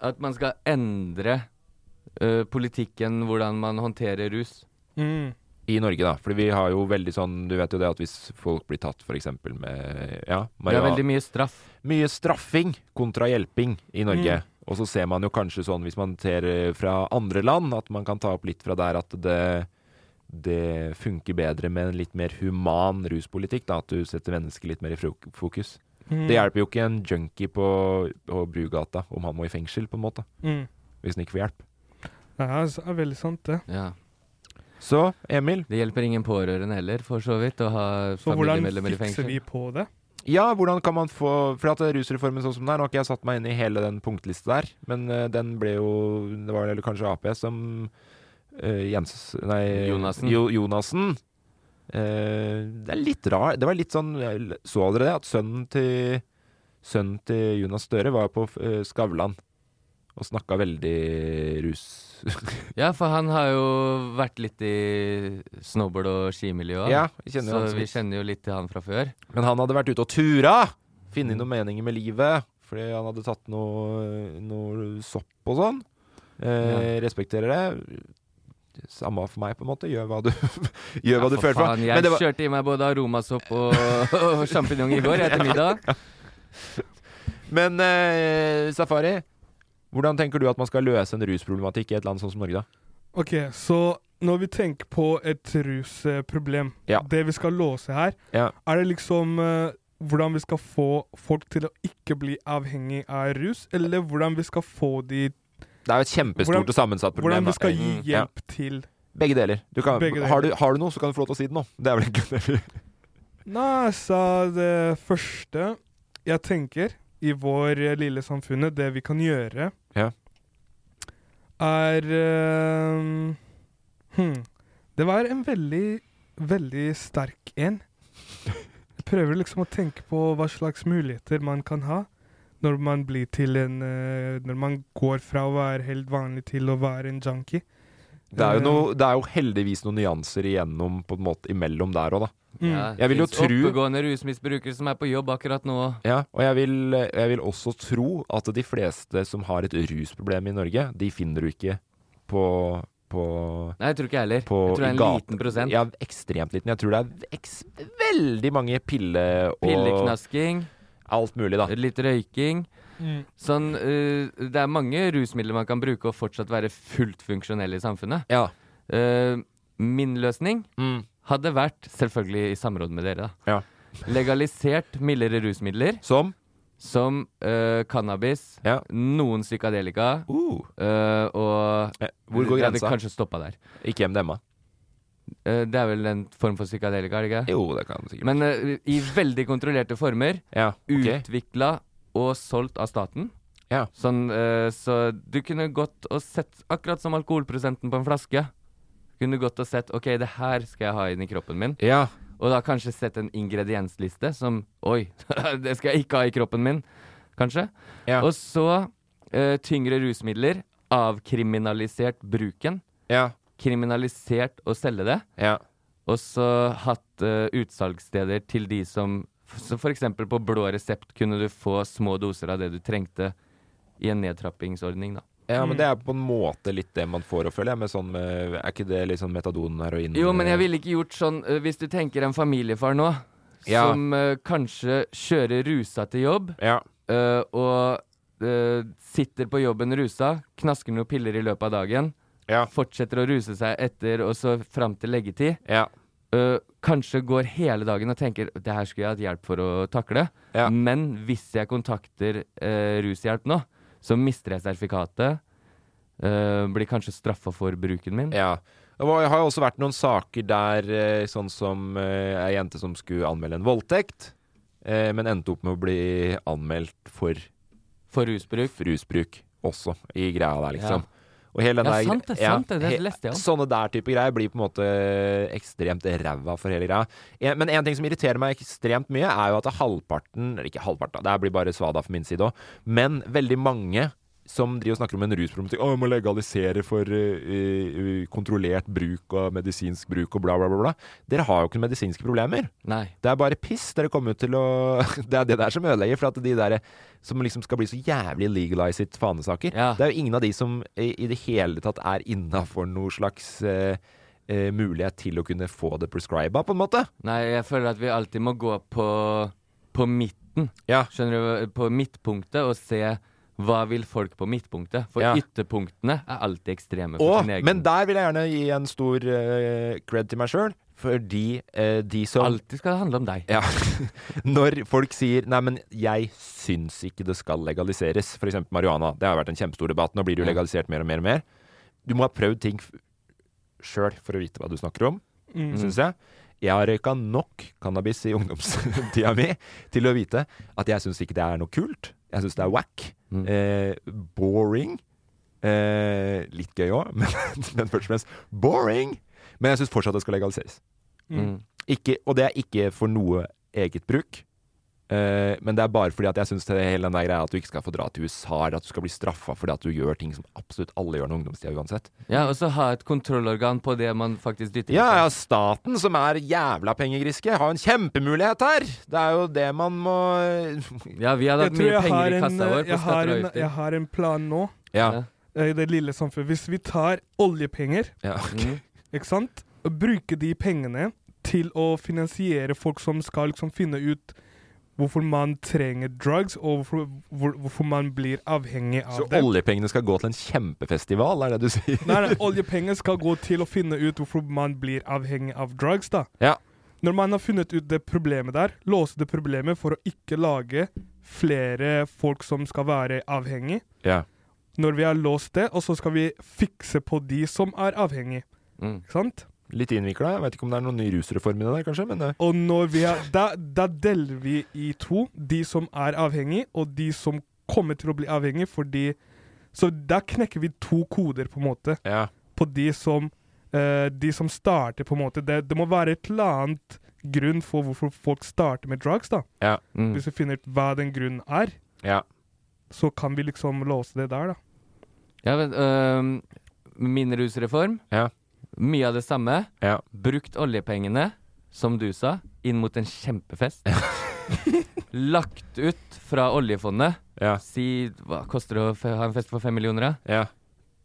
S4: At man skal endre ø, politikken, hvordan man håndterer rus.
S5: Mm.
S3: I Norge, da. Fordi vi har jo veldig sånn Du vet jo det at hvis folk blir tatt f.eks. med ja,
S4: Det er
S3: marihuana-
S4: veldig mye straff.
S3: mye straffing kontra hjelping i Norge.
S4: Mm.
S3: Og så ser man jo kanskje sånn, hvis man ser eh, fra andre land, at man kan ta opp litt fra der at det, det funker bedre med en litt mer human ruspolitikk. Da, at du setter mennesket litt mer i fro- fokus.
S5: Mm.
S3: Det hjelper jo ikke en junkie på, på Brugata om han må i fengsel, på en måte.
S5: Mm.
S3: Hvis han ikke får hjelp.
S5: Ja, det er veldig sant, det.
S3: Så, Emil?
S4: Det hjelper ingen pårørende heller, for så vidt, å ha
S5: Så hvordan
S4: familiemedlemmer i
S5: fikser
S4: fengsel.
S5: vi på det?
S3: Ja, hvordan kan man få For at rusreformen sånn som den er, nå har ikke jeg satt meg inn i hele den punktlista der, men eh, den ble jo Det var vel kanskje Ap som eh, Jens Nei,
S4: Jonassen.
S3: Jo, Jonassen. Eh, det er litt rar Det var litt sånn jeg Så dere det? At sønnen til Sønnen til Jonas Støre var på eh, Skavlan og snakka veldig rus...
S4: Ja, for han har jo vært litt i snowboard- og skimiljøet.
S3: Ja,
S4: han.
S3: vi kjenner jo
S4: så
S3: han så
S4: vi
S3: vidt.
S4: kjenner jo litt til han fra før.
S3: Men han hadde vært ute og tura! Finne noen meninger med livet. Fordi han hadde tatt noe, noe sopp og sånn. Eh, Respekterer det. Samme for meg, på en måte. Gjør hva du, gjør hva du
S4: for
S3: føler for.
S4: faen,
S3: Men
S4: Jeg
S3: det var-
S4: kjørte i meg både aromasopp og, og sjampinjong i går etter middag.
S3: Men eh, Safari, hvordan tenker du at man skal løse en rusproblematikk i et land sånn som Norge, da?
S5: Ok, så når vi tenker på et rusproblem,
S3: Ja.
S5: det vi skal låse her,
S3: Ja.
S5: er det liksom eh, hvordan vi skal få folk til å ikke bli avhengig av rus, eller hvordan vi skal få de
S3: Det er jo et kjempestort
S5: Hvordan-
S3: og sammensatt problem.
S5: Hvordan
S3: da.
S5: vi skal gi
S3: Mm, ja.
S5: hjelp til
S3: Begge deler. Du kan,
S5: Begge deler.
S3: Har, du, har du noe, så kan du få lov til å si det nå. Det er vel egentlig det vi
S5: Nei, så det første jeg tenker i vår eh, lille samfunnet, det vi kan gjøre,
S3: Ja.
S5: er eh, hm, Det var en veldig, veldig sterk en. Jeg prøver liksom å tenke på hva slags muligheter man kan ha når man blir til en eh, Når man går fra å være helt vanlig til å være en junkie.
S3: Det er, jo
S5: Eh,
S3: noe, det er jo heldigvis noen nyanser igjennom på en måte imellom der òg, da.
S5: Mm.
S4: Ja,
S3: Jeg vil jo
S4: finnes
S3: tro
S4: Oppegående rusmisbrukere som er på jobb akkurat nå.
S3: ja, Og jeg vil, jeg vil også tro at de fleste som har et rusproblem i Norge, de finner du ikke på, på
S4: Nei, jeg tror ikke jeg heller.
S3: På,
S4: Jeg tror det er en
S3: i gaten.
S4: liten prosent.
S3: Ja, ekstremt liten. Jeg tror det er eks veldig mange pille og
S4: Pilleknasking.
S3: Alt mulig, da.
S4: Litt røyking.
S5: Mm.
S4: Sånn, eh, det er mange rusmidler man kan bruke og fortsatt være fullt funksjonell i samfunnet.
S3: Ja.
S4: Eh, Min løsning
S3: Mm.
S4: hadde vært, selvfølgelig i samråd med dere, da legalisert mildere rusmidler.
S3: Som?
S4: Som eh, cannabis, noen psykadelika eh, og
S3: hvor går
S4: Jeg hadde
S3: grensa?
S4: Kanskje stoppa der.
S3: Ikke MDMA.
S4: Eh, det er vel en form for psykadelika, er det ikke?
S3: Jo, det kan det sikkert
S4: Men eh, i veldig kontrollerte former.
S3: Ja, ok.
S4: Utvikla og solgt av staten.
S3: Ja.
S4: Sånn, eh, så du kunne gått og sett, akkurat som alkoholprosenten på en flaske, kunne du gått og sett OK, det her skal jeg ha inn i kroppen min.
S3: Ja.
S4: Og da kanskje sett en ingrediensliste som Oi, det skal jeg ikke ha i kroppen min, kanskje. Og så eh, tyngre rusmidler. Avkriminalisert bruken. Kriminalisert å selge det. Og så hatt eh, utsalgssteder til de som så For eksempel på blå resept kunne du få små doser av det du trengte i en nedtrappingsordning, da.
S3: Ja, men det er på en måte litt det man får å føle. Med sånn, eh, er ikke det litt sånn metadon, heroin
S4: Jo, men jeg ville ikke gjort sånn eh, Hvis du tenker en familiefar nå,
S3: Ja.
S4: som eh, kanskje kjører rusa til jobb, eh, og eh, sitter på jobben rusa, knasker noen piller i løpet av dagen, fortsetter å ruse seg etter og så fram til leggetid, eh, kanskje går hele dagen og tenker det her skulle jeg hatt hjelp for å takle, men hvis jeg kontakter eh, rushjelp nå, så mister jeg sertifikatet, eh, blir kanskje straffa for bruken min.
S3: Ja. Det var- har jo også vært noen saker der eh, sånn som eh, ei jente som skulle anmelde en voldtekt, eh, men endte opp med å bli anmeldt for
S4: For rusbruk.
S3: også, i greia der, liksom.
S4: Ja.
S3: Og hele den
S4: Ja,
S3: der-
S4: sant det, sant det, det
S3: he-
S4: leste jeg om.
S3: Sånne der type greier blir på en måte ekstremt ræva for hele greia. En, men en ting som irriterer meg ekstremt mye, er jo at halvparten eller Ikke halvparten, da, det her blir bare svada fra min side òg, men veldig mange som driver og snakker om en rusproblematikk. Å, vi må legalisere for eh, eh, kontrollert bruk og medisinsk bruk og bla, bla, bla. bla. Dere har jo ikke medisinske problemer.
S4: Nei.
S3: Det er bare piss. Dere kommer jo til å Det er det der som ødelegger. For at de der som liksom skal bli så jævlig legalize it fanesaker Det er jo ingen av de som i, i det hele tatt er innafor noe slags eh, eh, mulighet til å kunne få det prescriba, på en måte.
S4: Nei, jeg føler at vi alltid må gå på, på midten. Skjønner du? På midtpunktet og se hva vil folk på midtpunktet. For
S3: Ja.
S4: ytterpunktene er alltid ekstreme for
S3: Og,
S4: sin egen.
S3: men der vil jeg gjerne gi en stor eh, cred til meg sjøl, fordi eh, de som
S4: Alltid skal det handle om deg.
S3: Ja. Når folk sier 'nei, men jeg syns ikke det skal legaliseres', f.eks. marihuana. Det har vært en kjempestor debatt. Nå blir det jo legalisert mer og mer og mer. Du må ha prøvd ting sjøl for å vite hva du snakker om,
S8: Mm.
S3: syns jeg. Jeg har røyka nok cannabis i ungdomstida mi til å vite at jeg syns ikke det er noe kult. Jeg syns det er whack. Eh, boring. Eh, litt gøy òg, men, men først og fremst boring. Men jeg syns fortsatt det skal legaliseres.
S4: Mm.
S3: Ikke, og det er ikke for noe eget bruk. Eh, men det er bare fordi at jeg syns hele den der greia at du ikke skal få dra til USA, eller at du skal bli straffa fordi at du gjør ting som absolutt alle gjør i ungdomstida uansett.
S4: Ja, og så ha et kontrollorgan på det man faktisk dytter i
S3: Ja,
S4: seg.
S3: ja, staten som er jævla pengegriske, har en kjempemulighet her! Det er jo det man må
S4: Ja, vi hadde
S5: Jeg tror jeg har en, jeg har en, jeg har en plan nå.
S3: Ja.
S5: Eh, I det lille samfunnet. Hvis vi tar oljepenger,
S3: Ja, ok.
S5: ikke sant? Og bruker de pengene til å finansiere folk som skal liksom finne ut hvorfor man trenger drugs, og hvorfor, hvor, hvorfor man blir avhengig av
S3: Så
S5: det.
S3: oljepengene skal gå til en kjempefestival, er det du sier?
S5: Nei, nei, oljepenger skal gå til å finne ut hvorfor man blir avhengig av drugs, da.
S3: Ja.
S5: Når man har funnet ut det problemet der, låse det problemet for å ikke lage flere folk som skal være avhengig.
S3: Ja.
S5: Når vi har låst det, og så skal vi fikse på de som er avhengig. Ikke sant?
S3: Litt innvikla. Vet ikke om det er noen ny rusreform i det der, kanskje, men eh,
S5: Og når vi er, da, da deler vi i to de som er avhengig, og de som kommer til å bli avhengig, fordi Så da knekker vi to koder, på en måte, på de som, eh, de som starter, på en måte. Det, det må være et eller annet grunn for hvorfor folk starter med drugs, da.
S3: Ja. Mm.
S5: Hvis vi finner ut hva den grunnen er,
S3: Ja.
S5: så kan vi liksom låse det der, da.
S4: Ja, men øhm, Min rusreform. Mye av det samme. Brukt oljepengene, som du sa, inn mot en kjempefest. Lagt ut fra oljefondet. Si hva koster det å fe- ha en fest for fem millioner? da?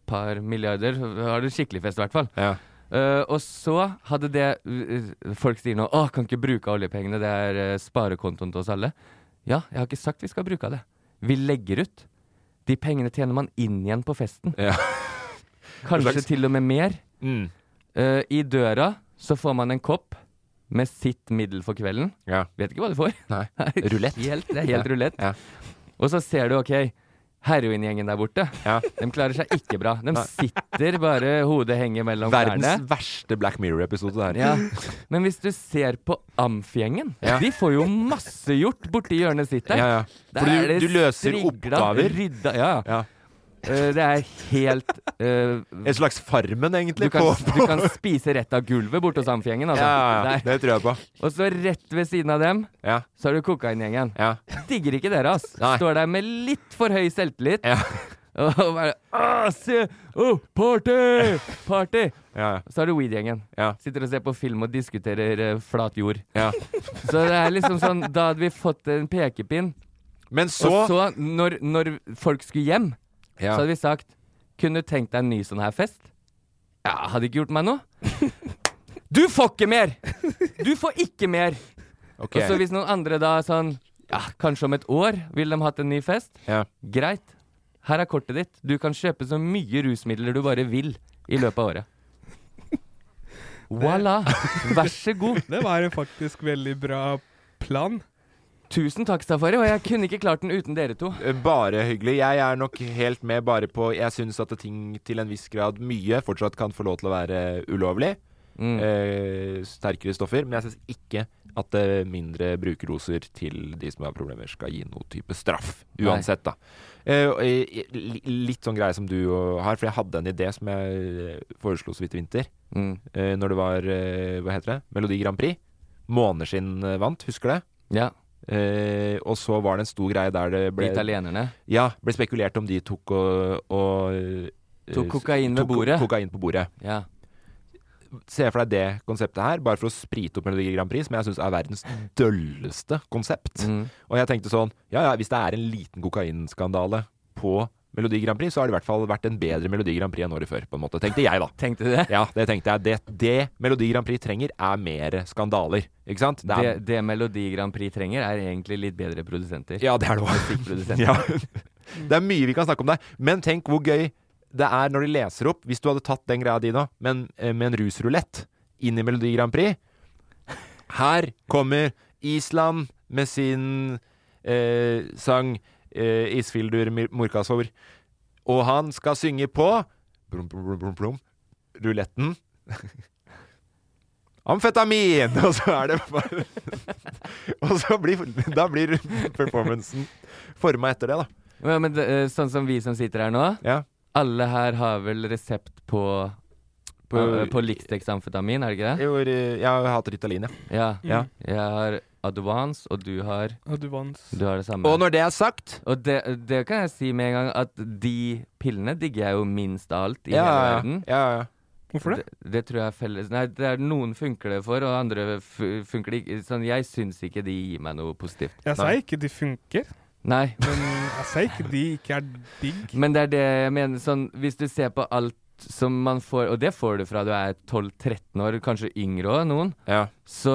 S4: Par milliarder. Har du skikkelig fest, i hvert fall. Eh, og så hadde det eh, Folk sier nå Å, kan ikke bruke oljepengene, det er eh, sparekontoen til oss alle. Ja, jeg har ikke sagt vi skal bruke av det. Vi legger ut. De pengene tjener man inn igjen på festen. Kanskje
S3: En slags-
S4: til og med mer.
S3: Mm.
S4: Eh, I døra så får man en kopp med sitt middel for kvelden. Vet ikke hva du får.
S3: Rulett.
S4: Helt, det er helt
S3: Ja.
S4: rulett. Og så ser du, OK, heroingjengen der borte, de klarer seg ikke bra. De
S3: Nei.
S4: sitter bare, hodet henger mellom
S3: Verdens
S4: knærne.
S3: verste Black Mirror-episode der.
S4: Ja. Men hvis du ser på Amf-gjengen,
S3: Ja.
S4: de får jo masse gjort borti hjørnet sitt der.
S3: Ja, ja.
S4: Der
S3: Fordi
S4: er det
S3: du løser
S4: strigla,
S3: oppgaver.
S4: Rydda, ja, ja. Eh, det er helt En
S3: slags Farmen, egentlig.
S4: du kan,
S3: på, på.
S4: du kan spise rett av gulvet borte hos Amfgjengen. Altså.
S3: Ja, ja, ja.
S4: Der.
S3: Det tror jeg på.
S4: Og så rett ved siden av dem, så har du kokaingjengen. Digger ikke dere, ass. Står der med litt for høy selvtillit. Og bare «Ah, se! Oh, party! Party! Så har du weed-gjengen. Sitter og ser på film og diskuterer eh, flat jord. Så det er liksom sånn Da hadde vi fått en pekepinn.
S3: Men
S4: Og
S3: så-
S4: så, når, når folk skulle hjem,
S3: Ja.
S4: så hadde vi sagt Kunne du tenkt deg en ny sånn her fest? Ja, hadde ikke gjort meg noe. Du får ikke mer! Du får ikke mer!
S3: Ok.
S4: Og så hvis noen andre da sånn Ja, kanskje om et år vil de hatt en ny fest.
S3: Ja.
S4: Greit. Her er kortet ditt. Du kan kjøpe så mye rusmidler du bare vil i løpet av året. Voilà. Vær så god.
S5: Det var en faktisk veldig bra plan.
S4: Tusen takk, Safari. Og jeg kunne ikke klart den uten dere to.
S3: Bare hyggelig. Jeg er nok helt med bare på Jeg syns at ting til en viss grad, mye, fortsatt kan få lov til å være ulovlig.
S4: Mm.
S3: Eh, sterkere stoffer. Men jeg syns ikke at eh, mindre brukerdoser til de som har problemer, skal gi noe type straff.
S4: Nei.
S3: Uansett, da. Eh, og, eh, li- litt sånn greie som du og- har, for jeg hadde en idé som jeg eh, foreslo så vidt i vinter.
S4: Mm.
S3: Eh, når det var eh, Hva heter det? Melodi Grand Prix. Måneskinn eh, vant, husker du det?
S4: Ja.
S3: Eh, og så var det en stor greie der det ble
S4: Italienerne.
S3: Ja, ble spekulert om de tok og, og eh,
S4: Tok kokain ved
S3: tok
S4: bordet.
S3: Kokain på bordet.
S4: Ja.
S3: Se for deg det konseptet her, bare for å sprite opp Melodi Grand Prix, som jeg syns er verdens dølleste konsept.
S4: Mm.
S3: Og jeg tenkte sånn, ja ja, hvis det er en liten kokainskandale på Melodi Grand Prix, så har det i hvert fall vært en bedre Melodi Grand Prix enn året før, på en måte. Tenkte jeg, da.
S4: Tenkte du det?
S3: Ja, det tenkte jeg. Det, det Melodi Grand Prix trenger, er mer skandaler. Ikke sant?
S4: Det,
S3: er,
S4: det Melodi Grand Prix trenger, er egentlig litt bedre produsenter.
S3: Ja, det er det også.
S4: Musikkprodusenter.
S3: ja. Det er mye vi kan snakke om der. Men tenk hvor gøy det er når de leser opp. Hvis du hadde tatt den greia di nå, men eh, med en rusrulett inn i Melodi Grand Prix Her kommer Island med sin eh, sang eh, 'Isfildur Mir- Morkasor'. Og han skal synge på brum, brum, brum, brum, brum, ruletten. Amfetamin! Og så er det bare Og så blir, da blir performancen forma etter det, da.
S4: Ja, men det, eh, sånn som vi som sitter her nå, alle her har vel resept på på,
S3: På-
S4: på Lixtex amfetamin, er det ikke det?
S3: Jo, eh, jeg har hatt Ritalin,
S4: ja.
S3: Ja.
S4: Jeg har Advance, og du har
S5: Advance.
S4: Du har det samme.
S3: Og når det er sagt
S4: Og det, det kan jeg si med en gang, at de pillene digger jeg jo minst av alt i
S3: Ja,
S4: hele
S3: ja, ja.
S4: verden.
S3: Ja, ja.
S5: Hvorfor
S4: det? det? tror jeg er felles Nei, det er noen funker det for, og andre fu- funker det ikke Sånn, jeg syns ikke de gir meg noe positivt.
S5: Jeg sa
S4: Nei.
S5: ikke de funker.
S4: Nei.
S5: Men jeg sa ikke de ikke er digg.
S4: Men det er det jeg mener. Sånn, hvis du ser på alt som man får, og det får du fra du er 12-13 år, kanskje yngre òg, noen, så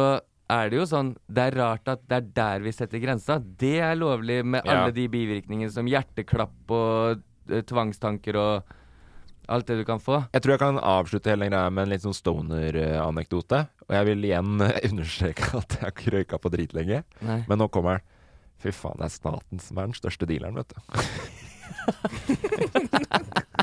S4: er det jo sånn Det er rart at det er der vi setter grensa. Det er lovlig med
S3: Ja.
S4: alle de bivirkningene som hjerteklapp og eh, tvangstanker og alt det du kan få.
S3: Jeg tror jeg kan avslutte hele den greia med en litt sånn stoner-anekdote. Og jeg vil igjen eh, understreke at jeg har ikke røyka på dritlenge.
S4: Nei.
S3: Men nå kommer den. Fy faen, det er staten som er den største dealeren, vet du.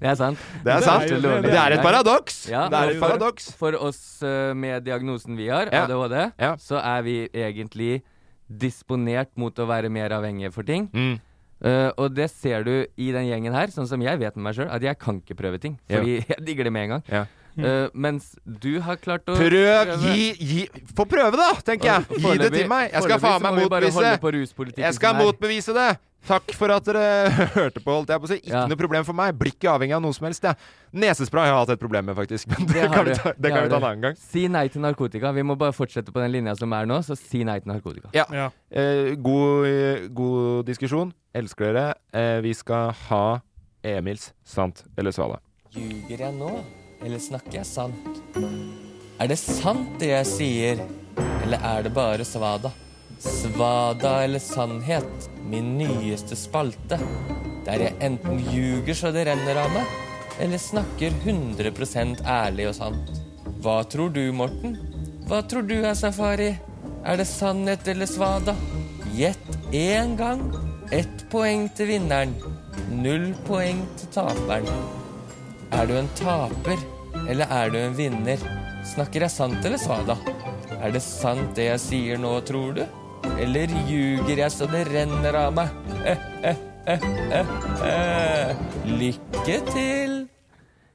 S4: Det er sant.
S3: Det er sant.
S4: jo lovlig.
S3: Det er et paradoks.
S4: Ja,
S3: Det er et
S4: og
S3: paradoks.
S4: For for oss eh, med diagnosen vi har,
S3: Ja.
S4: ADHD, så er vi egentlig disponert mot å være mer avhengige for ting.
S3: Mm.
S4: Eh, og det ser du i den gjengen her, sånn som jeg vet med meg sjøl, at jeg kan ikke prøve ting. Fordi
S3: Ja.
S4: jeg digger det med en gang.
S3: Ja.
S4: Eh, mens du har klart å
S3: Prøv! Gi, gi Få prøve, da, tenker
S4: Og
S3: jeg. Gi det
S4: foreløpig-
S3: til meg. Jeg skal
S4: foreløpig
S3: faen
S4: så
S3: meg
S4: må vi bare
S3: motbevise.
S4: holde på ruspolitikken
S3: Jeg skal
S4: som er.
S3: motbevise det. Takk for at dere hørte på. holdt jeg på å si Ikke noe problem for meg. Blir ikke avhengig av noe som helst. Jeg. Nesespray har jeg hatt et problem med, faktisk. Men det,
S4: har
S3: kan vi
S4: du.
S3: ta,
S4: Det
S3: det kan
S4: har
S3: vi ta
S4: du.
S3: en annen gang.
S4: Si nei til narkotika. Vi må bare fortsette på den linja som er nå, så si nei til narkotika.
S3: Ja. Eh, god, eh, god diskusjon. Elsker dere. Eh, vi skal ha Emils sant eller svale.
S4: Ljuger jeg nå, eller snakker jeg sant? Er det sant det jeg sier, eller er det bare svada? Svada eller sannhet, min nyeste spalte, der jeg enten ljuger så det renner av meg,
S9: Eller snakker 100 ærlig og sant? Hva tror du, Morten? Hva tror du er safari? Er det sannhet eller svada? Gjett én gang. Ett poeng til vinneren. Null poeng til taperen. Er du en taper, eller er du en vinner? Snakker jeg sant eller svada? Er det sant det jeg sier nå, tror du? Eller ljuger jeg så det renner av meg? Eh, eh, eh, eh, eh. Lykke til!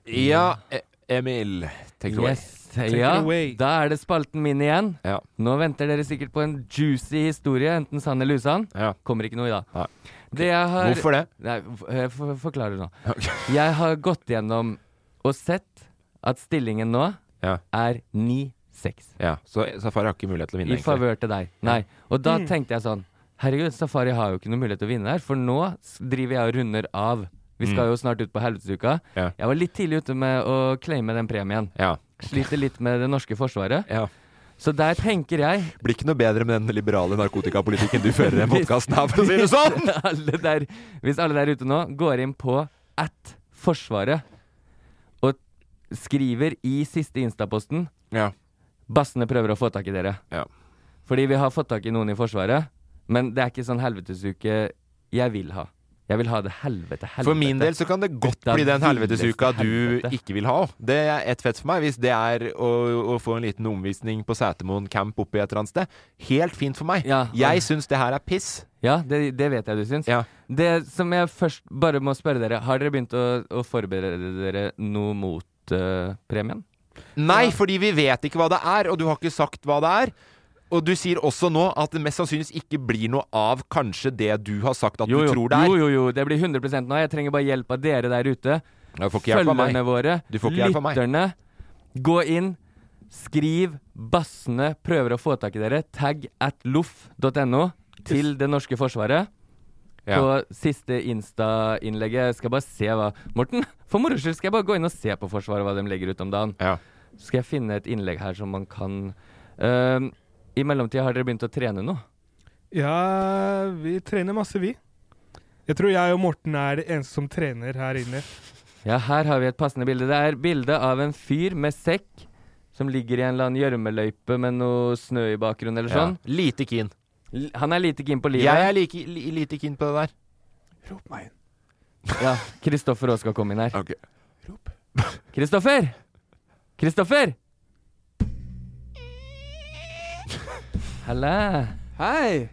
S3: Ja, E- Emil. Take it away.
S4: Yes. ja, da er det spalten min igjen. Nå venter dere sikkert på en juicy historie, enten sann eller usann. Kommer ikke noe i dag. Det jeg har,
S3: Hvorfor det?
S4: Nei, f- jeg f- forklarer nå. Jeg har gått gjennom og sett at stillingen nå er 9-6.
S3: Ja, så Safari har ikke mulighet til å vinne.
S4: I favør til deg. Nei. Og da tenkte jeg sånn Herregud, Safari har jo ikke noen mulighet til å vinne her, for nå s- driver jeg og runder av. Vi skal
S3: Mm.
S4: jo snart ut på helvetesuka.
S3: Ja.
S4: Jeg var litt tidlig ute med å claime den premien. Sliter litt med det norske forsvaret. Så der tenker jeg
S3: Blir ikke noe bedre med den liberale narkotikapolitikken du fører i denne podkasten her, for å si det sånn!
S4: Hvis alle der, hvis alle der ute nå går inn på at Forsvaret og skriver i siste Instaposten Bassene prøver å få tak i dere. Fordi vi har fått tak i noen i Forsvaret, men det er ikke sånn helvetesuke jeg vil ha. Jeg vil ha det helvete, helvete.
S3: For min del så kan det godt
S4: Dette er
S3: bli den
S4: villeste
S3: helvetesuka du
S4: helvete.
S3: ikke vil ha. Det er ett fett for meg, hvis det er å, å få en liten omvisning på Setermoen camp oppe i et eller annet sted. Helt fint for meg. Jeg syns det her er piss.
S4: Ja, det, det vet jeg du syns. Det som jeg først bare må spørre dere, har dere begynt å, å forberede dere noe mot eh, premien?
S3: Nei, fordi vi vet ikke hva det er, og du har ikke sagt hva det er. Og du sier også nå at det mest sannsynligvis ikke blir noe av kanskje det du har sagt at
S4: Jo,
S3: du
S4: jo.
S3: tror det er.
S4: Jo, jo, jo, det blir 100 nå. Jeg trenger bare hjelp av dere der ute.
S3: Du får ikke hjelp av meg.
S4: Følgerne våre,
S3: Du får ikke hjelp av meg.
S4: lytterne. Gå inn, skriv 'Bassene prøver å få tak i dere', tagg at loff.no til det norske forsvaret.
S3: Ja.
S4: På siste Insta-innlegget. Jeg Skal bare se hva Morten, for moro skyld skal jeg bare gå inn og se på Forsvaret hva de legger ut om dagen. Så skal jeg finne et innlegg her som man kan Ehm, I mellomtida har dere begynt å trene nå?
S5: Ja, vi trener masse, vi. Jeg tror jeg og Morten er det eneste som trener her inne.
S4: Ja, her har vi et passende bilde. Det er bilde av en fyr med sekk som ligger i en eller annen gjørmeløype med noe snø i bakgrunnen eller
S3: Ja,
S4: sånn. Lite keen. Han er lite keen på livet.
S3: Jeg er like, li, lite keen på det der.
S4: Ja, Kristoffer òg skal komme inn her. Kristoffer! Kristoffer! Halla.
S10: Hei!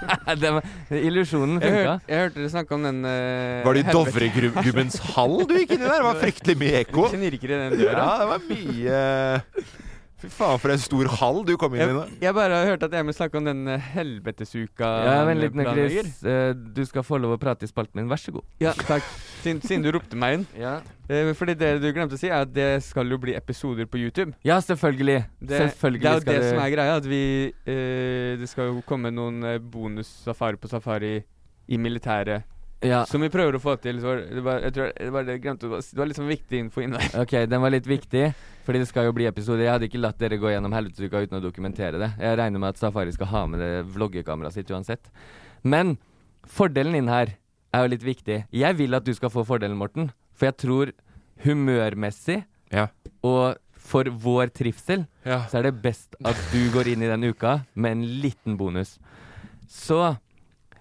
S4: Det var- Illusjonen
S10: Jeg,
S4: funka.
S10: hør, jeg hørte dere snakke om den eh,
S3: Var det i
S10: helvete-
S3: Dovregubbens hall du gikk inn i der? Det var fryktelig mye ekko.
S10: Knirker i den døra.
S3: Ja, det var mye Fy faen, for en stor hall du kom inn i nå.
S10: Jeg, jeg bare hørte at Emil snakket om den eh, helvetesuka
S4: Ja, vent litt, nå,
S10: planlegger.
S4: Chris. Eh, Du skal få lov å prate i spalten min. Vær så god.
S10: Ja, takk. Siden, siden du ropte meg inn.
S4: Ja.
S10: Eh, fordi det du glemte å si, er at det skal jo bli episoder på YouTube.
S4: Ja, selvfølgelig.
S10: Det,
S4: Selvfølgelig
S10: det er jo
S4: skal
S10: det
S4: det-
S10: som er greia, at vi eh, Det skal jo komme noen eh, bonus safari på safari i militæret.
S4: Ja.
S10: Som vi prøver å få til. Så var det- det var, jeg tror det var det jeg glemte å si. Det var litt sånn viktig info inn der.
S4: Ok, den var litt viktig, fordi det skal jo bli episode. Jeg hadde ikke latt dere gå gjennom helvetesuka uten å dokumentere det. Jeg regner med at Safari skal ha med det vloggekameraet sitt uansett. Men fordelen din her er jo litt viktig. Jeg vil at du skal få fordelen, Morten. For jeg tror humørmessig og for vår trivsel så er det best at du går inn i den uka med en liten bonus. Så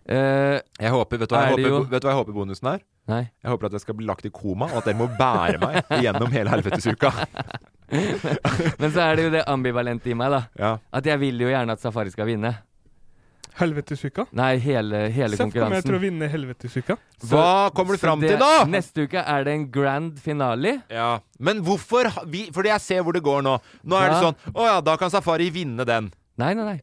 S3: Jeg håper, vet du, hva
S4: er
S3: jeg
S4: det
S3: håper,
S4: jo-
S3: vet du hva jeg håper bonusen er?
S4: Nei.
S3: Jeg håper at jeg skal bli lagt i koma, og at dere må bære meg gjennom hele helvetesuka.
S4: Men så er det jo det ambivalente i meg, da.
S3: Ja.
S4: At jeg vil jo gjerne at Safari skal vinne.
S5: Helvetesuka?
S4: Nei, hele, hele
S5: Seff kommer jeg til å
S4: konkurransen.
S5: vinne helvetesuka.
S3: Hva kommer du
S4: så
S3: fram
S4: det-
S3: til da?
S4: Neste uke er det en grand finale.
S3: Ja. Men hvorfor ha- vi, Fordi jeg ser hvor det går nå. Nå er det
S4: Ja.
S3: sånn Å ja, da kan Safari vinne den.
S4: Nei, nei, nei.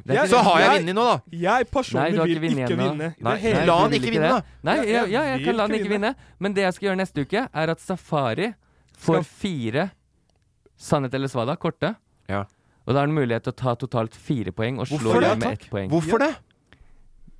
S5: det er ikke
S3: så
S5: det.
S3: har jeg
S5: Jeg-
S3: vunnet nå, da.
S5: Jeg personlig vil ikke vinne. Det
S4: Nei,
S5: er helt-
S4: la han
S5: vil
S4: ikke vinne, da.
S5: det.
S4: Nei, ja, ja, jeg
S5: vil
S4: kan la han ikke vinne. Men det jeg skal gjøre neste uke, er at Safari får fire sannhet eller svada, korte. Og da er det mulighet til å ta totalt fire poeng og slå
S3: Hvorfor det?
S4: deg med ett
S3: Takk.
S4: poeng.
S3: Hvorfor det?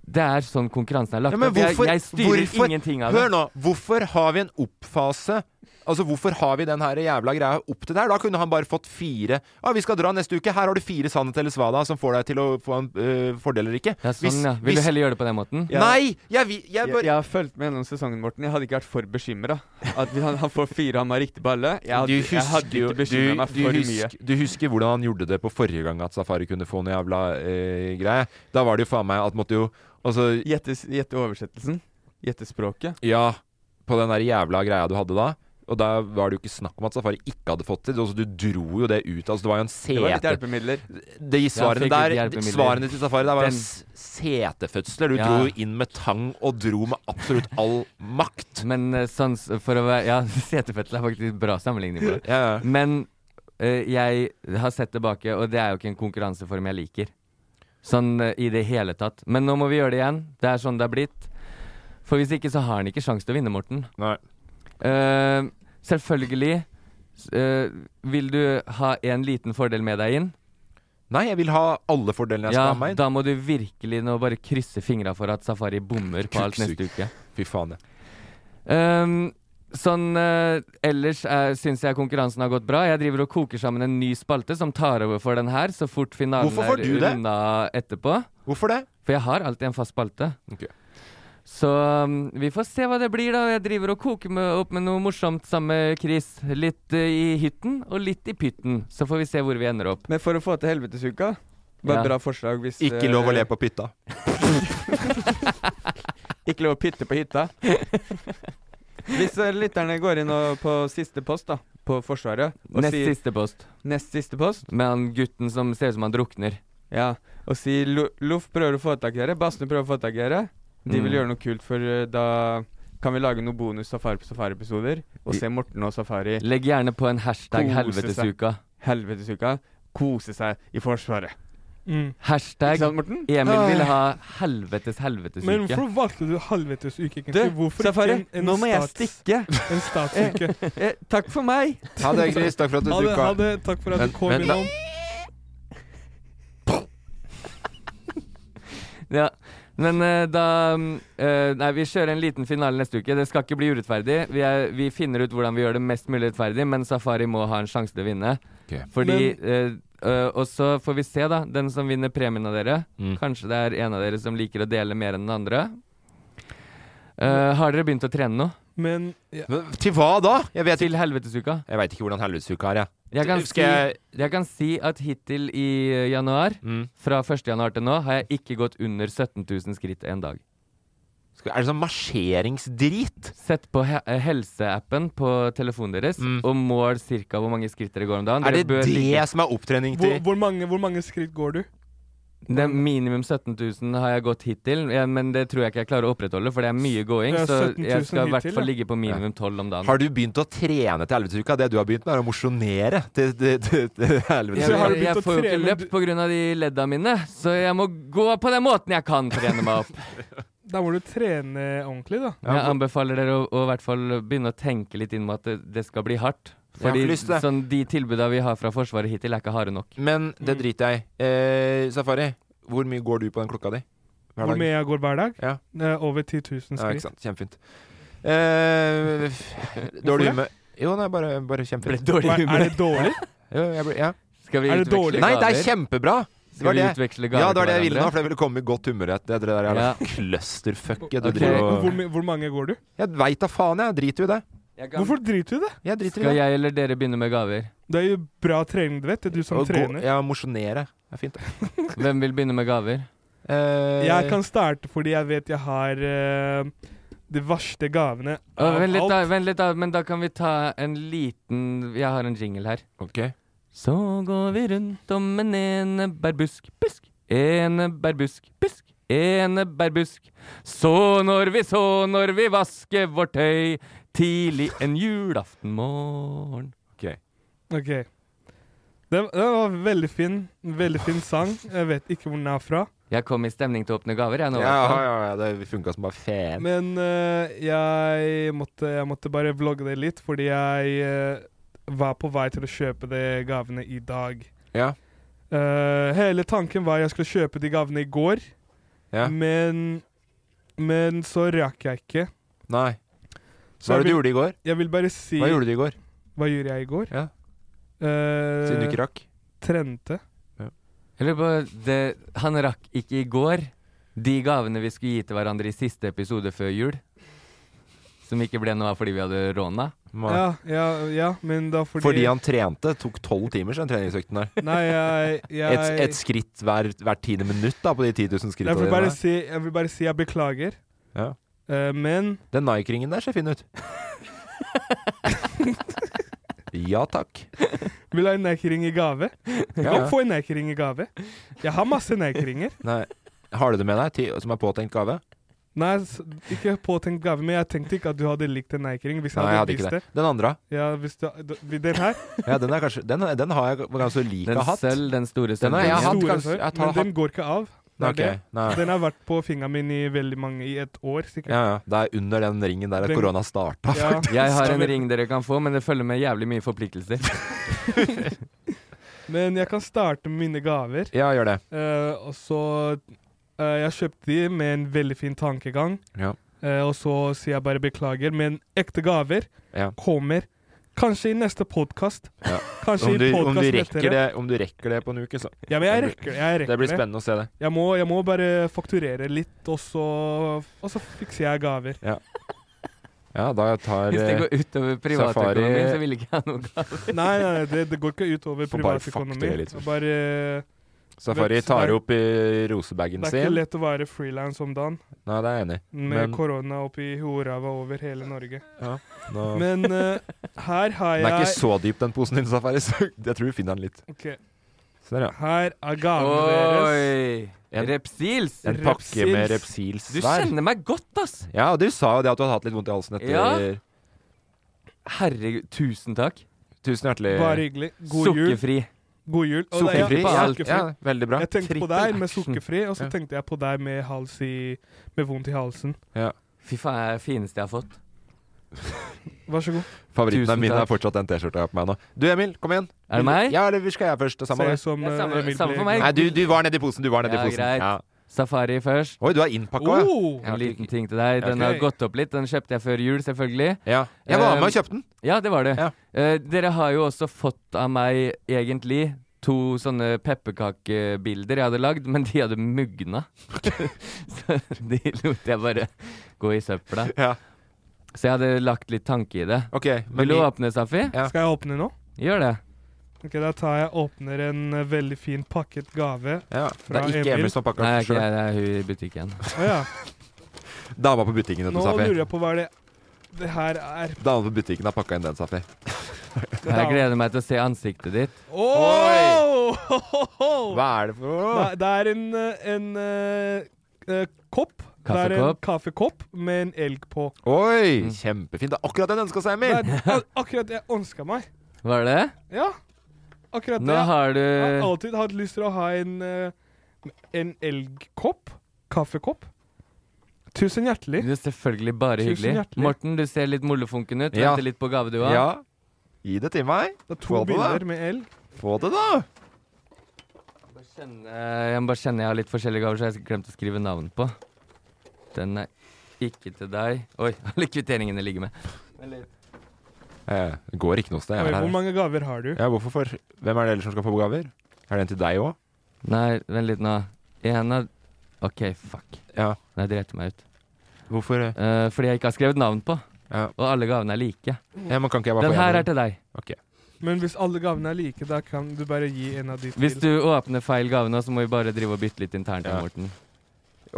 S4: Det er sånn konkurransen er lagt
S3: Ja, men
S4: opp. Jeg,
S3: hvorfor,
S4: jeg styrer
S3: hvorfor,
S4: ingenting av det.
S3: Hør nå. Hvorfor har vi en oppfase Altså, Hvorfor har vi den her jævla greia opp til der? Da kunne han bare fått fire. Ja, vi skal dra neste uke. Her har du fire sannhet eller svada som får deg til å få en øh, fordel eller ikke.
S4: Ja, sånn, ja. Vil du heller gjøre det på den måten?
S3: Nei! Jeg, vil- jeg
S10: jeg,
S3: bare-
S10: jeg har fulgt med gjennom sesongen, Morten. Jeg hadde ikke vært for bekymra. At vi- han, han får fire, han har riktig på alle. Jeg hadde,
S3: Du
S10: jeg hadde
S3: husker jo-
S10: ikke bekymra
S3: du-
S10: meg
S3: du
S10: for mye.
S3: husker- Du husker hvordan han gjorde det på forrige gang at Safari kunne få noe jævla eh, greie. Da var det jo faen meg at måtte jo altså,
S10: Gjette gjette oversettelsen? Gjette språket?
S3: Ja, på den der jævla greia du hadde da. Og da var det jo ikke snakk om at Safari ikke hadde fått det. Altså, du dro jo det ut. Altså, det var jo en
S10: Det
S3: sete
S10: var litt hjelpemidler.
S3: De svarene
S10: Ja, fikk litt
S3: der
S10: hjelpemidler.
S3: Svarene til Safari der var
S10: Den-
S3: jo s- setefødsler. Du
S4: Ja.
S3: dro jo inn med tang og dro med absolutt all makt.
S4: Men eh, sånn s- for å være Ja, setefødsel er faktisk bra sammenligning. på det.
S3: Ja, ja.
S4: Men eh, jeg har sett tilbake, og det er jo ikke en konkurranseform jeg liker. Sånn eh, i det hele tatt. Men nå må vi gjøre det igjen. Det er sånn det er blitt. For hvis ikke, så har han ikke sjanse til å vinne, Morten. Eh,
S3: Nei.
S4: selvfølgelig s- eh, Vil du ha en liten fordel med deg inn?
S3: Nei, jeg vil ha alle fordelene jeg
S4: ja,
S3: skal ha med inn.
S4: Da må du virkelig nå bare krysse fingra for at Safari bommer på alt
S3: Kuksug.
S4: neste uke.
S3: Fy faen, ja.
S4: Ehm, sånn eh, ellers uh, syns jeg konkurransen har gått bra. Jeg driver og koker sammen en ny spalte som tar over for den her, så fort finalen
S3: Hvorfor får du
S4: er
S3: det?
S4: unna etterpå.
S3: Hvorfor det?
S4: For jeg har alltid en fast spalte.
S3: Ok.
S4: Så um, vi får se hva det blir, da. Jeg driver og koker med, opp med noe morsomt sammen med Chris. Litt eh, i hytten og litt i pytten. Så får vi se hvor vi ender opp.
S10: Men for å få til helvetesuka Bare
S4: Ja.
S10: bra forslag hvis eh,
S4: Ikke lov å le på
S3: pytta.
S10: ikke lov å pytte på hytta. Hvis eh, lytterne går inn og på siste post, da, på Forsvaret og
S4: Nest
S10: sier-
S4: siste post.
S10: Nest siste post.
S4: Med han gutten som ser ut som han drukner.
S10: Ja, og si Lo- Loff prøver å få tak i dere, Bassene prøver å få tak i dere. De
S4: Mm.
S10: vil gjøre noe kult, for eh, da kan vi lage noen bonus Safari på Safari-episoder. Og se Morten og Safari
S4: Legg gjerne på en hashtag
S10: Kose
S4: helvetesuka.
S10: seg. Helvetesuka. Kose seg i Forsvaret.
S5: Mm.
S4: Hashtag
S10: Ikke sant, Morten?
S4: Emil vil
S10: Nei.
S4: ha helvetes helvetesuke.
S5: Men hvorfor valgte du helvetesuke, egentlig?
S10: Du,
S5: Hvorfor
S10: Safari,
S5: ikke en, en
S10: nå må jeg stikke.
S5: En statsuke.
S10: Eh, takk for meg.
S3: Ha det, Chris. Takk for at du
S5: Ha det,
S3: dukka.
S5: ha det. Takk for at
S3: Men-
S5: du kom
S3: men-
S5: innom.
S4: Ja, men eh, da mm, eh, Nei, vi kjører en liten finale neste uke. Det skal ikke bli urettferdig. Vi, er, vi finner ut hvordan vi gjør det mest mulig rettferdig, men Safari må ha en sjanse til å vinne.
S3: Ok.
S4: Fordi eh, eh, Og så får vi se, da. Den som vinner premien av dere.
S3: Mm.
S4: Kanskje det er en av dere som liker å dele mer enn den andre. Eh, har dere begynt å trene nå?
S5: Men ja.
S3: Til hva da? Jeg vet
S4: Til helvetesuka.
S3: Jeg veit ikke hvordan helvetesuka er, jeg.
S4: Jeg kan, si,
S3: Skal jeg- Mm.
S4: jeg kan si at hittil i eh, januar, fra 1. januar til nå, har jeg ikke gått under 17 000 skritt en dag.
S3: Skal- Er det sånn marsjeringsdrit?
S4: Sett på he eh, helseappen på telefonen deres og mål cirka hvor mange skritt dere går om dagen.
S3: Mm. Er
S4: Dere
S3: det
S4: bør
S3: det
S4: ligge-
S3: som er opptrening
S5: Hvor,
S3: til
S5: hvor, mange, hvor mange skritt går du?
S4: Det er minimum 17 000 har jeg gått hittil, ja, men det tror jeg ikke jeg klarer å opprettholde, for det er mye gåing.
S3: Ja,
S4: Så
S3: 17 000
S4: jeg skal i hvert
S3: hittil,
S4: fall
S3: ja.
S4: ligge på minimum 12 om dagen.
S3: Har du begynt å trene til helvetesuka? Det du har begynt med, er å mosjonere til, til, til, til
S4: Jeg, jeg,
S3: helvetesuka.
S4: får jo ikke løpt pga. de ledda mine, så jeg må gå på den måten jeg kan trene meg opp.
S5: Da må du trene ordentlig, da.
S4: Jeg anbefaler dere å, å i hvert fall begynne å tenke litt inn mot at det, det skal bli hardt.
S3: Jeg har
S4: Fordi
S3: ikke lyst til det.
S4: sånn, de tilbuda vi har fra Forsvaret hittil, er ikke harde nok.
S3: Men det driter jeg i. Eh, Safari, hvor mye går du på den klokka di? Hver
S5: Hvor
S3: dag?
S5: mye jeg går hver dag?
S3: Ja.
S5: Det er Over 10 000
S3: Ja, ikke
S5: skritt.
S3: sant. Kjempefint. Eh, f- dårlig
S5: Hvorfor
S3: humør Jo, nei, bare, bare kjempefint.
S4: Ble dårlig Hva, er humør. det
S5: dårlig?
S3: jo, jeg ble, ja.
S4: Skal vi utveksle gaver?
S3: Nei, det er kjempebra! Det
S4: Skal
S3: var
S4: vi
S3: det.
S4: utveksle gaver
S3: Ja, det var
S4: til
S3: det jeg ville
S4: hverandre?
S3: nå, for jeg ville komme i godt humør. Det er det der jævla
S4: Ja.
S3: clusterfucket du
S4: Ok.
S3: driver og
S5: Hvor, my- hvor mange går du?
S3: Jeg veit da faen, jeg. Driter jo i det.
S5: Hvorfor driter du i det?
S3: Jeg driter i
S4: Skal
S3: det.
S4: jeg eller dere begynne med gaver?
S5: Det er jo bra trening, du vet. Det er du som
S3: Å gå-
S5: trener.
S3: Ja, mosjonere. Det er fint, det.
S4: Hvem vil begynne med gaver? Eh,
S5: Jeg kan starte fordi jeg vet jeg har eh, de verste gavene.
S4: Å,
S5: av
S4: vent, litt da,
S5: alt.
S4: vent litt, da. Men da kan vi ta en liten Jeg har en jingle her.
S3: Ok.
S4: Så går vi rundt om en enebærbusk, busk, enebærbusk, busk, enebærbusk. Så når vi så når vi vasker vårt tøy tidlig en julaftenmorgen.
S3: Ok.
S5: Ok. Den, den var veldig fin. Veldig fin sang. Jeg vet ikke hvor den er fra.
S4: Jeg kom i stemning til å åpne gaver, jeg nå. i hvert
S3: Ja,
S4: fall.
S3: ja, ja, det funka som bare faen.
S5: Men eh, jeg, måtte, jeg måtte bare vlogge det litt, fordi jeg eh, var på vei til å kjøpe de gavene i dag.
S3: Ja.
S5: Eh, hele tanken var jeg skulle kjøpe de gavene i går,
S3: Ja.
S5: men, men så rakk jeg ikke.
S3: Nei. Hva var det du
S5: jeg vil-
S3: gjorde i går?
S5: Jeg vil bare si
S3: Hva gjorde du i går?
S5: Hva gjorde jeg i går?
S3: Ja.
S5: Eh,
S3: Siden du ikke rakk.
S5: Trente.
S4: Jeg lurer på det, Han rakk ikke i går de gavene vi skulle gi til hverandre i siste episode før jul. Som ikke ble noe av fordi vi hadde råna.
S5: Ja, ja, ja, men da fordi
S3: Fordi han trente. Tok tolv timer, den treningsøkten der.
S5: Nei, jeg, jeg
S3: Et, et skritt hver, hvert tiende minutt da, på de 10 000
S5: jeg
S3: skrittene
S5: vil, bare
S3: dine.
S5: si, jeg vil bare si jeg beklager.
S3: Ja.
S5: Eh, men
S3: Den Nike-ringen der ser fin ut. ja takk.
S5: Vil du ha en Nike-ring i gave?
S3: Ja.
S5: Ja. Få en Nike-ring i gave. Jeg har masse Nike-ringer.
S3: Nei. Har du det med deg til, som er påtenkt gave?
S5: Nei, s- ikke påtenkt gave, men jeg tenkte ikke at du hadde likt en Nike-ring. Hvis jeg
S3: Nei, jeg hadde
S5: hadde
S3: ikke
S5: visst
S3: det.
S5: det.
S3: Den andre?
S5: Ja, hvis du, d- den her?
S3: Ja, den, er kanskje, den, den har jeg ganske like
S4: Den
S3: hatt.
S4: sølv, den store
S3: Den har jeg
S4: sølvringen.
S3: hatt
S4: Store
S3: ganske
S4: sølv,
S3: jeg
S5: Men
S3: tar,
S5: den går ikke av. Det er
S3: Ok,
S5: det.
S3: nei.
S5: Den har vært på fingeren min i veldig mange i et år, sikkert.
S3: ja, ja. Det er under den ringen der at
S5: Den-
S3: korona starta,
S5: Ja.
S3: faktisk.
S4: Jeg har en ring dere kan få, men det følger med jævlig mye forpliktelser.
S5: Men jeg kan starte med mine gaver.
S3: Ja, gjør det.
S5: Eh, og så eh, Jeg kjøpte de med en veldig fin tankegang.
S3: Ja.
S5: Eh, og så sier jeg bare beklager, men ekte gaver
S3: Ja.
S5: kommer kanskje i neste podkast.
S3: Ja.
S5: Kanskje
S3: om, du,
S5: i
S3: om, du
S5: podkast
S3: rekker det, om du rekker det på en uke, så.
S5: Ja, men jeg
S3: Det
S5: rekker,
S3: blir-
S5: jeg rekker
S3: Det blir spennende å se det.
S5: Jeg må, jeg må bare fakturere litt, og så, og så fikser jeg gaver.
S3: Ja. Ja, da tar
S4: Hvis det
S3: eh,
S4: går utover
S3: Safari-
S4: privatøkonomien, så vil ikke jeg ha noe gaver.
S5: Nei, nei, nei, det, det går ikke utover
S3: Får bare
S5: privatøkonomi.
S3: fakturere litt liksom. først.
S5: Jeg Bare
S3: eh, Safari
S5: vet-
S3: tar
S5: det er-
S3: opp i rosebagen
S5: Det er ikke
S3: sin.
S5: lett å være frilans om dagen
S3: Nei, det er jeg enig i.
S5: med
S3: Men
S5: korona oppi horava over hele Norge.
S3: Ja, nå-
S5: Men eh, her har
S3: den
S5: jeg
S3: er ikke så dyp, den posen din, Safari, så jeg tror du finner den litt.
S5: Ok.
S3: Se der, ja.
S5: Her er gavene
S4: Oi!
S3: En-
S4: Repsils.
S3: En pakke med repsils
S4: Du
S3: hver.
S4: kjenner meg godt, ass.
S3: Ja, og du sa jo det at du hadde hatt litt vondt i halsen etter
S4: Ja. Herregud, tusen takk.
S3: Tusen hjertelig.
S5: Bare hyggelig. God jul.
S4: Sukkerfri.
S5: God jul. Og det er-
S4: Sukkerfri
S5: ja,
S4: på alt.
S5: sukkerfri.
S4: Ja,
S3: veldig bra.
S5: Jeg tenkte på
S3: Trippel
S5: deg med
S3: action.
S5: sukkerfri, og så
S3: Ja.
S5: tenkte jeg på deg med, hals i, med vondt i halsen.
S3: Ja.
S4: Fy faen, det er det fineste jeg har fått.
S5: Vær så god.
S3: Favoritten
S4: Tusen
S3: er min
S4: takk.
S3: er fortsatt den T-skjorta jeg har på meg nå. Du, Emil, kom igjen.
S4: Er det meg?
S3: Ja, eller skal jeg først? Det samme
S4: Ser
S3: det.
S4: ut som, Det er eh, samme- Emil samme for Blekman. meg.
S3: Nei, du, du var nedi posen. Du var nedi
S4: Ja,
S3: posen.
S4: greit.
S3: Ja.
S4: Safari først.
S3: Oi, du har innpakka, ja.
S4: Oh!
S3: Ja,
S4: En
S3: ok.
S4: liten ting til deg. Den
S3: Ok.
S4: har gått opp litt. Den kjøpte jeg før jul, selvfølgelig.
S3: Ja. Jeg var med
S4: Eh,
S3: og kjøpte den.
S4: Ja, det var det. Eh, dere har jo også fått av meg, egentlig, to sånne pepperkakebilder jeg hadde lagd, men de hadde mugna. Så de lot jeg bare gå i søpla. Så jeg hadde lagt litt tanke i det.
S5: men
S4: Vil du
S5: vi-
S4: åpne, Safi?
S5: Skal jeg åpne nå?
S4: Gjør det.
S5: Ok, Da tar jeg åpner en eh, veldig fin pakket gave fra Emil.
S4: Nei, ikke jeg, det er hun i butikken.
S5: Å ja.
S3: Dama på butikken, vet du,
S5: Nå
S3: Safi.
S5: lurer jeg på hva er det Det her er
S3: Dama på butikken har pakka inn den, Safi.
S4: Jeg gleder meg til å se ansiktet ditt.
S5: Oi!
S3: Hva er det for
S5: Det, det er en, eh, en eh, eh, kopp. Det er en
S3: Kaffekopp.
S5: kaffekopp med en elg på.
S3: Oi, kjempefint. Det Mm. er akkurat det den ønska seg,
S5: Det
S3: Emil.
S5: er ak- akkurat det jeg ønska meg.
S4: Var det det?
S5: Ja. Akkurat det.
S4: Nå har du-
S5: Jeg har alltid hatt lyst til å ha en, eh, en elgkopp. Kaffekopp. Tusen hjertelig.
S4: Du er selvfølgelig bare
S5: Tusen
S4: hyggelig.
S5: hjertelig.
S4: Morten, du ser litt mollefunken ut.
S3: Ja.
S4: Venter litt på gave du har.
S3: Ja. Gi det til meg.
S5: To
S3: Få det, da.
S5: bilder med elg.
S3: Få det, da.
S4: Eh, Jeg må bare kjenne jeg har litt forskjellige gaver, så jeg har glemt å skrive navn på. Den er ikke til deg. Oi, alle kvitteringene ligger med.
S3: Eh, Det går ikke noe sted. Jeg
S5: Oi,
S3: er
S5: hvor
S3: her.
S5: mange gaver har du?
S3: Ja, hvorfor for? Hvem er det ellers som skal få gaver? Er det en til deg òg?
S4: Nei, vent litt nå. En av OK, fuck.
S3: Ja.
S4: Nei, det retter meg ut.
S3: Hvorfor det?
S4: Eh, fordi jeg ikke har skrevet navn på. Og alle gavene er like.
S3: Ja, men kan ikke jeg bare få
S4: Den
S3: en
S4: her
S3: av
S4: er til deg.
S5: Men hvis alle gavene er like, da kan du bare gi en av de til.
S4: Hvis du åpner feil gave nå, så må vi bare drive og bytte litt internt. her, Morten.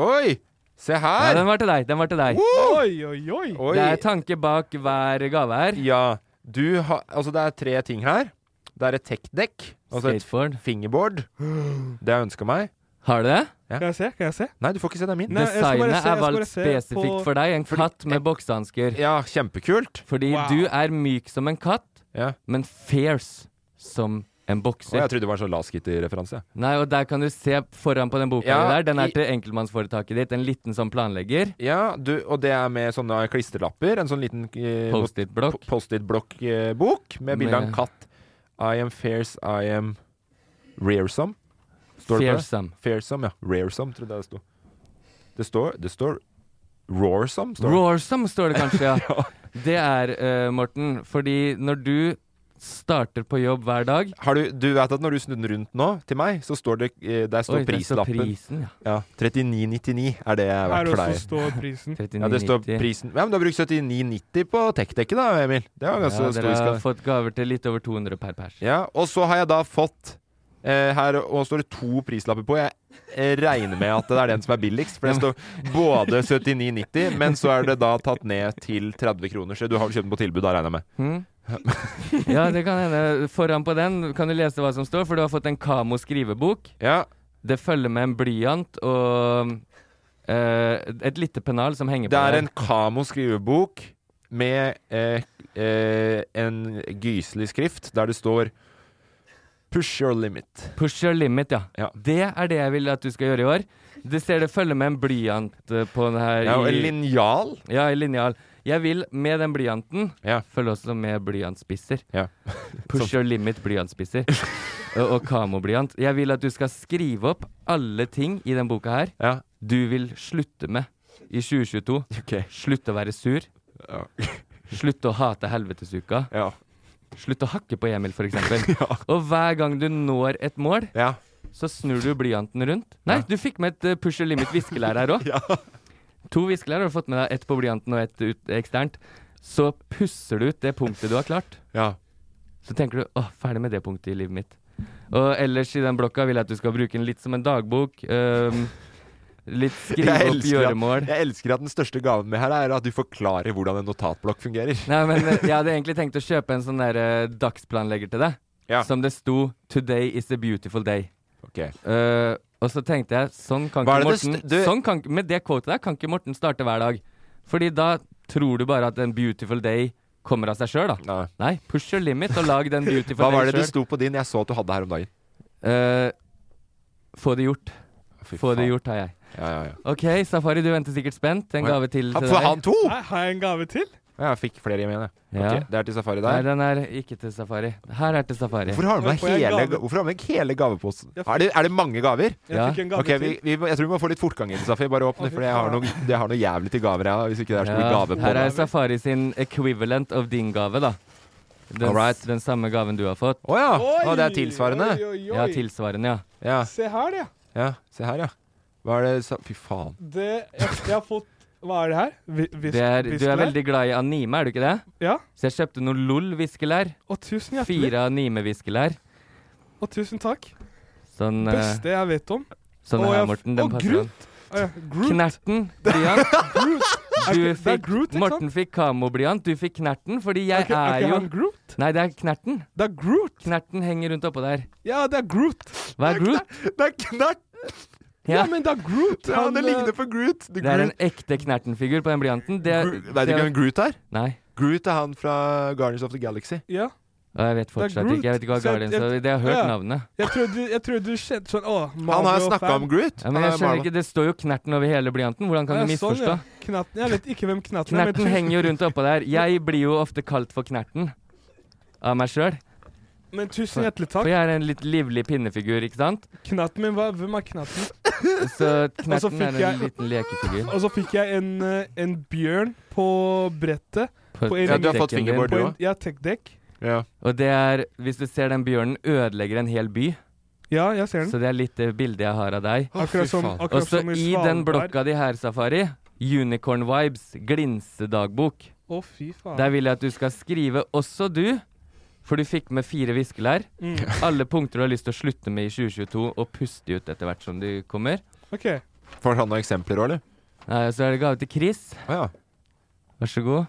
S3: Oi! Se her!
S4: Ja, den var til deg. Den var til deg.
S5: Oi, oi, oi.
S4: Det er tanke bak hver gave her.
S3: Ja. Du har Altså, det er tre ting her. Det er et tech-dekk. Altså et fingerboard. Det har jeg ønska meg.
S4: Har du det?
S3: Ja.
S5: Kan jeg se? Kan jeg se?
S3: Nei, du får ikke se. Det er min.
S4: Designet er valgt spesifikt for deg. En katt med boksehansker.
S3: Ja, kjempekult.
S4: Fordi
S3: Wow.
S4: du er myk som en katt, men fierce som en
S3: Å,
S4: bokser.
S3: jeg trodde det var en sånn Laskitty-referanse.
S4: Nei, og der kan du se foran på den boka
S3: Ja,
S4: di der. Den
S3: i-
S4: er til enkeltmannsforetaket ditt. En liten sånn planlegger.
S3: Ja, du, og det er med sånne klisterlapper. En sånn liten eh,
S4: Post-it-blokk.
S3: po- Post-it-blokk-bok med bilde av en
S4: Med-
S3: katt. I am fierce, I am rearsome. Står det på det?
S4: Fearsome.
S3: Fearsome, ja. Rearsome, trodde jeg det sto. Det står, det står Roarsome, står det.
S4: Roarsome står det kanskje, ja. Det er, eh, Morten, fordi når du starter på jobb hver dag
S3: Har du, du vet at når du snur den rundt nå, til meg, så står det eh, Der står
S4: Oi, der står
S3: prislappen.
S4: prisen, ja.
S3: 39,99 er det
S4: Er
S3: verdt for
S4: det også
S3: deg.
S4: står prisen?
S3: Ja, det står
S4: 39,90.
S3: prisen. Ja, men du har brukt 79,90 på Tekdekke, da, Emil. Det var ganske
S4: ja,
S3: stor
S4: Dere har
S3: skatt.
S4: fått gaver til litt over 200 per pers.
S3: Ja, og så har jeg da fått eh, her og står det to prislapper på. Jeg eh, regner med at det er den som er billigst, for det står både 79,90, men så er det da tatt ned til 30 kroner. Så du har vel kjøpt den på tilbud, da, regner jeg med.
S4: Hm? ja, det kan hende. Foran på den kan du lese hva som står, for du har fått en Kamo skrivebok. Det følger med en blyant og eh, et lite pennal som henger
S3: Det
S4: på
S3: er
S4: der.
S3: en Kamo skrivebok med eh, eh, en gyselig skrift der det står Push your limit.
S4: Push your limit, ja. Det er det jeg vil at du skal gjøre i år. Du ser det følger med en blyant eh, på den her.
S3: Ja, og en
S4: i-
S3: linjal.
S4: Ja, en linjal. Jeg vil med den blyanten følge også med blyantspisser. Push your limit blyantspisser. og og kamoblyant. Jeg vil at du skal skrive opp alle ting i den boka her du vil slutte med i 2022. Slutt å være sur. Slutt å hate helvetesuka. Slutt å hakke på Emil, for eksempel. Og hver gang du når et mål, så snur du blyanten rundt. Nei, du fikk med et eh, push your limit viskelær her òg. To viskelær har du fått med deg, ett på blyanten og ett ut, eksternt. Så pusser du ut det punktet du har klart. Så tenker du 'Å, ferdig med det punktet i livet mitt'. Og ellers i den blokka vil jeg at du skal bruke den litt som en dagbok. ehm, litt skrive
S3: Jeg
S4: opp
S3: elsker,
S4: gjøremål.
S3: at, jeg elsker at den største gaven med her er at du forklarer hvordan en notatblokk fungerer.
S4: Nei, men eh, jeg hadde egentlig tenkt å kjøpe en sånn der eh, dagsplanlegger til deg. Som det sto 'Today is a beautiful day'. Eh, og så tenkte jeg sånn kan
S3: Hva
S4: ikke
S3: er det det
S4: Morten
S3: st- du-
S4: sånn kan, ikke- Med det quotet der kan ikke Morten starte hver dag. Fordi da tror du bare at en beautiful day kommer av seg sjøl, da.
S3: Nei.
S4: Push your limit og lag den beautiful
S3: Hva
S4: day
S3: var det det
S4: selv.
S3: sto på din? Jeg så at du hadde her om dagen.
S4: Eh, få det gjort.
S3: Fy
S4: Få det
S3: faen.
S4: gjort, har jeg.
S3: Ja, ja, ja.
S4: OK, Safari, du venter sikkert spent. En
S3: Oi.
S4: gave til
S3: Han-
S4: til
S3: får
S4: deg.
S3: han to?
S5: Nei, har jeg en gave til?
S3: Ja, jeg fikk flere i mine.
S4: Ja.
S3: Ok, det er til Safari
S4: Nei,
S3: der.
S4: den er ikke til Safari. Her er til Safari.
S3: Hvorfor har du med
S5: Får jeg
S3: hele,
S5: gave?
S3: hvorfor har du med hele gaveposen?
S5: Jeg fikk-
S3: Er det, er det mange gaver?
S5: Jeg Ja. fikk en gave
S3: Ok, vi, vi, må- jeg tror vi må få litt fortgang i det, Safi. Bare åpne,
S5: Å, fy
S3: for jeg har
S5: faen.
S3: noe, jeg har noe jævlig til gaver, jeg. Hvis ikke det er så mye
S4: Ja,
S3: gave på
S4: Her er Safari sin equivalent of din gave, da. Den, den samme gaven du har fått.
S3: Å ja. Å, det er tilsvarende. Oi, oi, oi.
S4: Ja, tilsvarende, ja.
S3: Ja.
S5: Se her, det.
S3: ja, se her, ja. Hva er det sa- Fy faen.
S5: det jeg, jeg har fått Hva er det her? Vi- vis-
S4: Det er, du er
S5: viskelær?
S4: veldig glad i anime, er du ikke det?
S5: Ja.
S4: Så jeg kjøpte noen LOL-viskelær.
S5: tusen hjertelig.
S4: Fire anime-viskelær.
S5: Og tusen takk.
S4: Sånn, eh,
S5: Beste jeg vet om.
S4: sånn
S5: Og
S4: her,
S5: jeg-
S4: Morten. Den
S5: og
S4: passer
S5: Groot.
S4: deg.
S5: Å ja, Groot.
S4: Knerten, blyant.
S5: Er
S4: Du
S5: ikke- det er
S4: fikk, Morten fikk kamoblyant, du fikk knerten, fordi jeg
S5: Er ikke- er
S4: er,
S5: ikke
S4: jo
S5: han Groot?
S4: Nei, det er knerten.
S5: Det er Groot.
S4: Knerten henger rundt oppå der.
S5: Ja, det er Groot.
S4: Hva er Groot?
S3: Det er knert!
S4: Ja.
S5: Ja, men det er Groot.
S3: Ja, det
S5: eh,
S3: ligner på Groot.
S4: Det er en ekte knertenfigur på den blyanten. Det,
S3: Gro- Vet du ikke hvem Groot er?
S4: Nei.
S3: Groot er han fra Guardians of the Galaxy.
S5: eh, Ja.
S4: Og jeg vet fortsatt ikke. Jeg vet ikke hva
S5: Så
S4: Guardians
S5: jeg-
S4: er. Jeg har hørt
S5: ja.
S4: navnet.
S5: Jeg trodde, jeg trodde du kjente sånn Å,
S3: Han har snakka om Groot.
S4: Ja, men jeg skjønner ikke, Det står jo Knerten over hele blyanten. Hvordan kan du misforstå?
S5: Knatten, jeg vet ikke hvem Knatten er. sånn, men
S4: Knerten
S5: tusen-
S4: henger jo rundt oppå der. Jeg blir jo ofte kalt for Knerten av meg sjøl.
S5: Men tusen
S4: For
S5: hjertelig
S4: for
S5: takk.
S4: jeg er en litt livlig pinnefigur, ikke sant?
S5: Knatten min, hva, hvem er Knatten?
S4: Så Knerten
S5: fikk
S4: er
S5: jeg-
S4: en liten lekefigur.
S5: Og så fikk jeg en, eh, en bjørn på brettet.
S4: På
S5: en-
S4: Ja, du har fått
S5: på en-
S4: fingerboard, du
S5: på en-
S4: også.
S5: Ja, tech-dekk.
S4: Og det er Hvis du ser den bjørnen ødelegger en hel by.
S5: Ja, jeg ser den.
S4: Så det er litt det bildet jeg har av deg.
S5: Å, Akkurat fy som- faen. Mm. akkurat
S4: Og så
S5: som i
S4: i den
S5: Svalbard.
S4: blokka di her, Safari, Unicorn Vibes glinsedagbok.
S5: Å, fy faen.
S4: Der vil jeg at du skal skrive også du, for du fikk med fire viskelær.
S5: Mm.
S4: Alle punkter du har lyst til å slutte med i 2022, og puste ut etter hvert som de kommer.
S5: Ok.
S3: Får han noen eksempler òg, eller?
S4: Nei, så er det gave til Chris. Vær så god.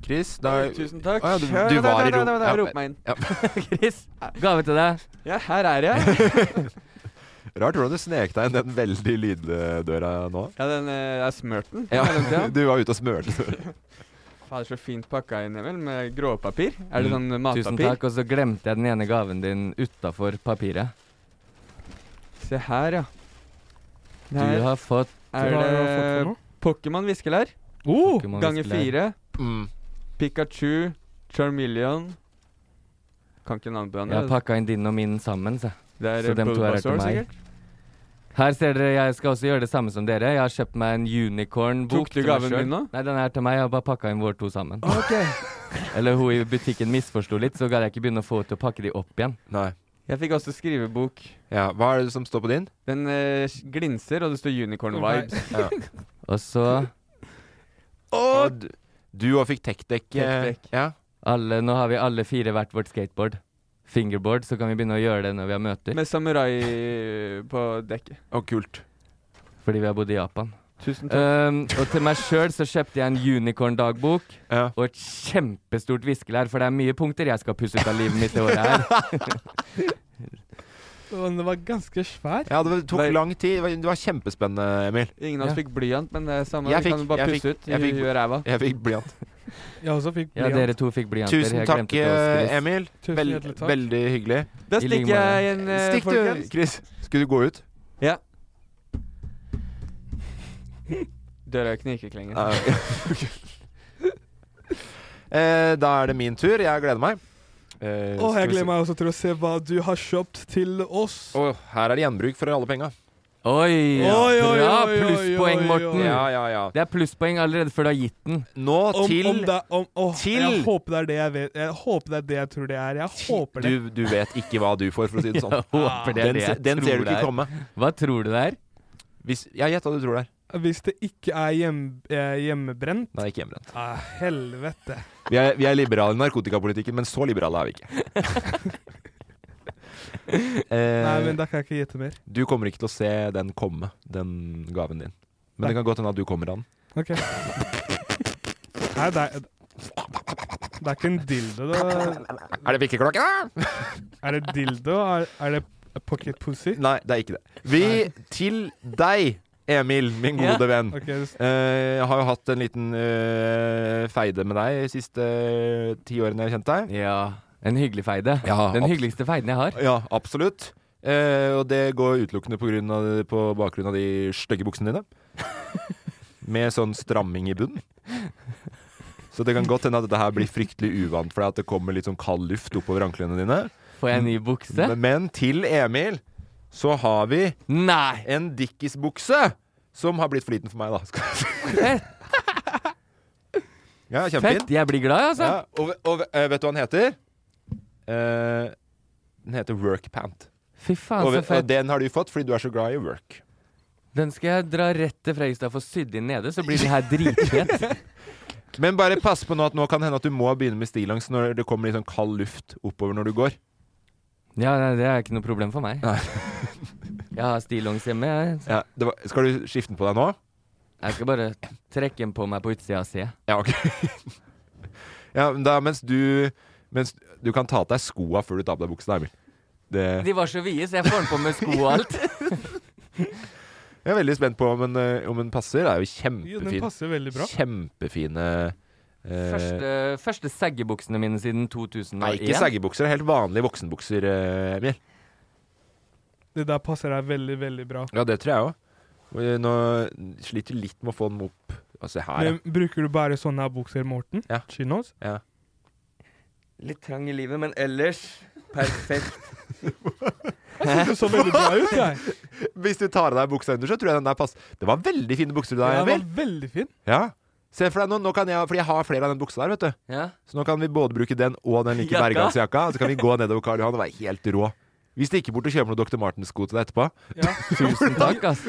S3: Chris, da
S10: Eh, Tusen takk.
S3: Å, ja, du,
S10: Ja,
S3: du
S10: da,
S3: var i
S10: da, da,
S3: rom.
S10: da, da,
S3: Ja,
S10: jeg roper meg inn.
S4: Chris, gave til deg.
S10: Ja, her er jeg.
S3: Rart hvordan du snek deg inn den veldig lyddøra nå.
S10: ja, den eh, er smørt den.
S3: Ja,
S10: Er den til, ja?
S3: du var ute og smurte.
S10: Fader, så fint pakka inn, Emil, med gråpapir. Er det sånn
S4: Mm.
S10: matpapir?
S4: Tusen takk. Og så glemte jeg den ene gaven din utafor papiret.
S10: Se her, ja.
S4: Du
S10: Her
S4: har fått
S10: Er det Pokémon viskelær?
S5: Oh,
S4: Pokémon
S10: ganger
S4: viskelær.
S10: fire.
S3: Mm.
S10: Pikachu, Charmeleon Kan ikke navnet på den.
S4: Jeg har pakka inn din og min sammen, så.
S10: Det er
S4: så dem to er her til
S10: Bulbasaur,
S4: meg.
S10: sikkert.
S4: Her ser dere, jeg skal også gjøre det samme som dere. Jeg har kjøpt meg en unicorn-bok.
S10: Tok du
S4: til meg
S10: gaven
S4: selv.
S10: min nå?
S4: Nei, den er til meg. Jeg har bare pakka inn våre to sammen. Eller hun i butikken misforsto litt, så gadd jeg ikke begynne å få henne til å pakke de opp igjen.
S3: Nei.
S10: Jeg fikk også skrivebok.
S3: Ja, Hva er det som står på din?
S10: Den eh, glinser, og det står Unicorn Vibes.
S3: Ja.
S4: Og så
S3: Og du òg fikk tech-dekk. eh,
S4: Tech-dekk.
S3: Ja.
S4: alle, Nå har vi alle fire hvert vårt skateboard. Fingerboard, så kan vi begynne å gjøre det når vi har møter.
S10: Med samurai på dekket.
S3: Og kult.
S4: Fordi vi har bodd i Japan.
S10: Tusen takk.
S4: Um, og til meg sjøl så kjøpte jeg en unicorn-dagbok og et kjempestort viskelær, for det er mye punkter jeg skal pusse ut av livet mitt det året her.
S5: Den var ganske svær.
S3: Ja, det var- tok lang tid. Det var, det var kjempespennende, Emil.
S4: Eh,
S10: Ingen av oss fikk blyant, men det er samme.
S3: Jeg
S10: vi
S3: fikk-
S10: kan bare
S3: jeg
S10: pusse
S3: fikk-
S10: ut.
S3: jeg
S10: i
S3: fikk-
S10: huet og ræva.
S3: jeg fikk blyant.
S5: Jeg også fikk
S4: Ja,
S5: blyant.
S4: dere to fikk blyanter.
S3: Tusen
S4: Jeg
S3: takk,
S4: glemte det også, Chris.
S3: eh, Emil.
S5: Tusen
S3: Vel-
S5: hjertelig takk.
S3: Veldig hyggelig.
S10: Da
S4: I like
S10: stikker
S4: måte.
S10: jeg en, eh,
S3: Stikk du,
S10: folkens.
S3: Chris. Skulle du gå ut?
S10: Ja. Døra kniker ikke
S3: Ah,
S10: lenger.
S3: Eh, da er det min tur. Jeg gleder meg. Eh,
S5: Åh,
S3: skal
S5: jeg
S3: vi se.
S5: gleder meg også til å se hva du har kjøpt til oss.
S3: Åh, her er det gjenbruk for alle penga.
S4: Oi!
S5: Oi, oi,
S4: bra
S5: oi, oi,
S4: plusspoeng,
S5: oi, oi.
S4: Morten.
S3: Ja, ja, ja.
S4: Det er plusspoeng allerede før du har gitt den.
S3: Nå
S5: Mm. Om,
S3: til
S5: om det, om, åh, Jeg
S3: til-
S5: håper det er det jeg vet Jeg håper det er det jeg tror det er. Jeg håper det.
S3: Du, du vet ikke hva du får, for å si det sånn.
S4: Jeg håper det er
S3: den
S4: det
S3: se-
S4: jeg
S3: den
S4: tror
S3: ser du
S4: det
S3: ikke
S4: er.
S3: komme.
S4: Hva tror du det er?
S3: Hvis, ja, gjett hva du tror det er.
S5: Hvis det ikke er hjem, eh, hjemmebrent
S3: Nei, ikke hjemmebrent.
S5: Ah, helvete.
S3: Vi er, vi er liberale i narkotikapolitikken, men så liberale er vi ikke. Eh,
S5: Nei, men da kan jeg ikke gjette mer.
S3: Du kommer ikke til å se den komme, den gaven din. Men
S5: Nei.
S3: det kan godt hende at du kommer an.
S5: OK. Nei, det er Det er ikke en dildo, da.
S3: Er det pikkeklokke, da?
S5: Er det dildo? Er, er det pocket pussy?
S3: Nei, det er ikke det. Vi til deg, Emil, min
S5: Ja.
S3: gode venn.
S5: Ok, det s-
S3: Eh, jeg har jo hatt en liten eh, feide med deg de siste eh, ti årene jeg har kjent deg.
S4: Ja, En hyggelig feide.
S3: Ja,
S4: den
S3: abs-
S4: hyggeligste feiden jeg har.
S3: Ja, absolutt. Eh, og det går utelukkende på, grunn av, på bakgrunn av de stygge buksene dine. Med sånn stramming i bunnen. Så det kan godt hende at dette her blir fryktelig uvant for deg, at det kommer litt sånn kald luft oppover anklene dine.
S4: Får jeg en ny bukse?
S3: Men, men til Emil så har vi
S4: Nei!
S3: en dikkisbukse som har blitt for liten for meg, da. Skal jeg si. Ja, kjempefin.
S4: Fett! Jeg blir glad, altså.
S3: Ja, og, og eh, vet du hva den heter? Eh, den heter workpant.
S4: Fy faen,
S3: Og,
S4: så
S3: og
S4: fett.
S3: den har du fått fordi du er så glad i work.
S4: Den skal jeg dra rett til Fredrikstad for sydd inn nede, så blir den her dritfett.
S3: Men bare pass på nå at nå kan det hende at du må begynne med stillongs når det kommer litt sånn kald luft oppover når du går.
S4: Ja, nei, det er ikke noe problem for meg.
S3: Nei.
S4: Jeg har stillongs hjemme. Jeg.
S3: Ja, det var, skal du skifte den på deg nå?
S4: jeg skal bare trekke den på meg på utsida og se.
S3: Ja, ok. ja, men da mens du Mens du kan ta av deg skoa før du tar på deg buksa, Emil. Det
S4: De var så vide, så jeg får den på med sko og alt.
S3: jeg er veldig spent på om den, eh, om den passer. Det er jo
S5: Jo, den
S3: kjempefin.
S5: passer veldig bra.
S3: Kjempefine eh,
S4: Første, første seggebuksene mine siden 2001.
S3: Nei, ikke saggebukser. Helt vanlige voksenbukser, eh, Emil.
S5: Det der passer deg veldig, veldig bra.
S3: Ja, det tror jeg òg. eh, Nå sliter jeg litt med å få den opp Altså her, ja.
S5: Men bruker du bare sånne her bukser, Morten?
S3: Ja.
S5: Chinos?
S3: ja.
S4: Litt trang i livet, men ellers perfekt.
S5: Det så veldig bra ut, jeg.
S3: Hvis du tar av deg buksa under, så tror jeg den der passer. Det var veldig fine bukser du
S5: Den
S3: har,
S5: var
S3: Emil.
S5: veldig fin.
S3: Ja. Se for deg nå, nå kan jeg, fordi jeg har flere av den buksa der, vet du.
S4: Ja.
S3: Så nå kan vi både bruke den og den like
S4: Jakka.
S3: bergansjakka. og Så kan vi gå nedover Karl Johan og være helt rå. Vi stikker bort og kjøper noen Dr. Martens-sko til deg etterpå.
S5: Ja.
S4: Tusen takk, ass.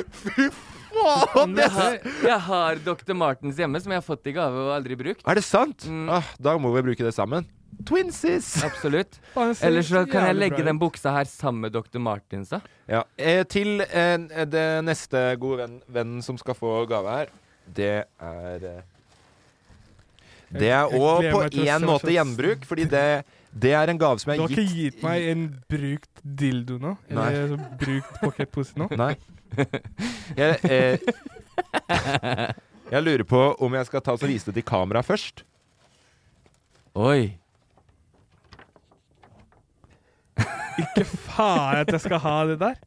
S3: Faen, det
S4: Jeg har, jeg har Dr. Martens hjemme, som jeg har fått i gave og aldri brukt.
S3: Er det sant?
S4: Mm.
S3: Ah, da må vi bruke det sammen. Twinsies!
S4: Absolutt.
S5: Faen, den ser
S4: Ellers så kan
S5: jævlig
S4: jeg
S5: bra
S4: legge
S5: ut.
S4: den buksa her sammen med Dr. Martens, da.
S3: Ja. Eh, til eh, det neste gode venn, vennen som skal få gave her, det er eh, Det er
S5: Jeg- jeg
S3: òg
S5: gleder
S3: på
S5: meg til å
S3: én
S5: se hva
S3: måte
S5: slags-
S3: gjenbruk, fordi det, det er en gave som
S5: Du
S3: jeg
S5: har
S3: har
S5: ikke
S3: gitt
S5: gitt meg en brukt dildo nå? Eller så brukt pocketpose nå?
S3: Nei. Jeg, eh, jeg lurer på om jeg skal ta og vise det til kamera først.
S4: Oi.
S5: Ikke faen at jeg skal ha det der!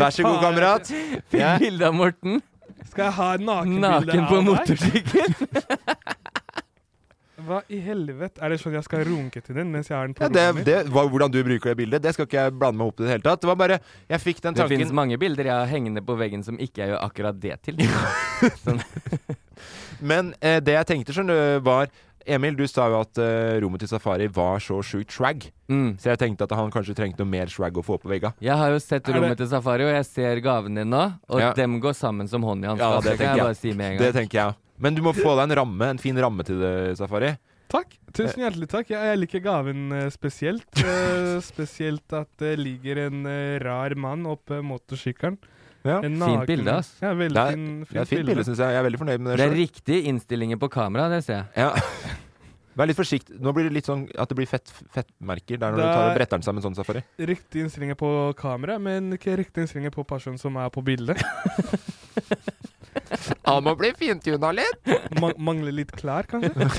S3: Vær så god, kamerat.
S4: Fikk
S3: Ja.
S4: bilde av Morten.
S5: Skal jeg ha nakenbilde
S4: Naken
S5: av
S4: på
S5: deg?
S4: motorsykkel.
S5: Hva i helvete? Er det sånn jeg skal runke til den mens jeg har den på
S3: Ja, det,
S5: mitt?
S3: det, hva, hvordan du bruker det bildet, det skal ikke jeg blande meg opp i det hele tatt. Det var bare Jeg fikk den
S4: Det
S3: tanken
S4: finnes mange bilder jeg har hengende på veggen som ikke jeg gjør akkurat det til.
S3: Men eh, det jeg tenkte, skjønner du, var Emil, du sa jo at eh, rommet til Safari var så sjukt swag. Så jeg tenkte at han kanskje trengte noe mer swag å få på vegga.
S4: Mm. Jeg har jo sett
S3: Er det-
S4: rommet til Safari, og jeg ser gaven din nå, og
S3: Ja.
S4: dem går sammen som hånd i hanske.
S3: Ja, det
S4: det, kan jeg
S3: tenker
S4: bare
S3: jeg.
S4: si med en
S3: Det
S4: gang.
S3: tenker jeg. Men du må få deg en ramme, en fin ramme til det, Safari.
S5: Takk. Tusen hjertelig takk. Jeg, jeg liker gaven eh, spesielt. Eh, spesielt at det ligger en eh, rar mann oppe motorsykkelen.
S3: Ja.
S5: En
S4: Fint
S5: naken-
S4: bilde, ass.
S5: Ja, veldig
S4: Det er-
S5: fin,
S4: det er et fint bilde, synes jeg. Jeg er veldig fornøyd med det Det er selv. riktige innstillinger på kameraet, det ser jeg.
S3: Ja. Vær litt forsiktig. Nå blir det litt sånn at det blir fett, fettmerker der når
S5: Det
S3: du tar
S5: er-
S3: og bretter den sammen sånn, Safari.
S5: Riktige innstillinger på kamera, men ikke riktige innstillinger på personen som er på bildet.
S3: Han må bli fintuna litt.
S5: Ma mangler litt klær, kanskje.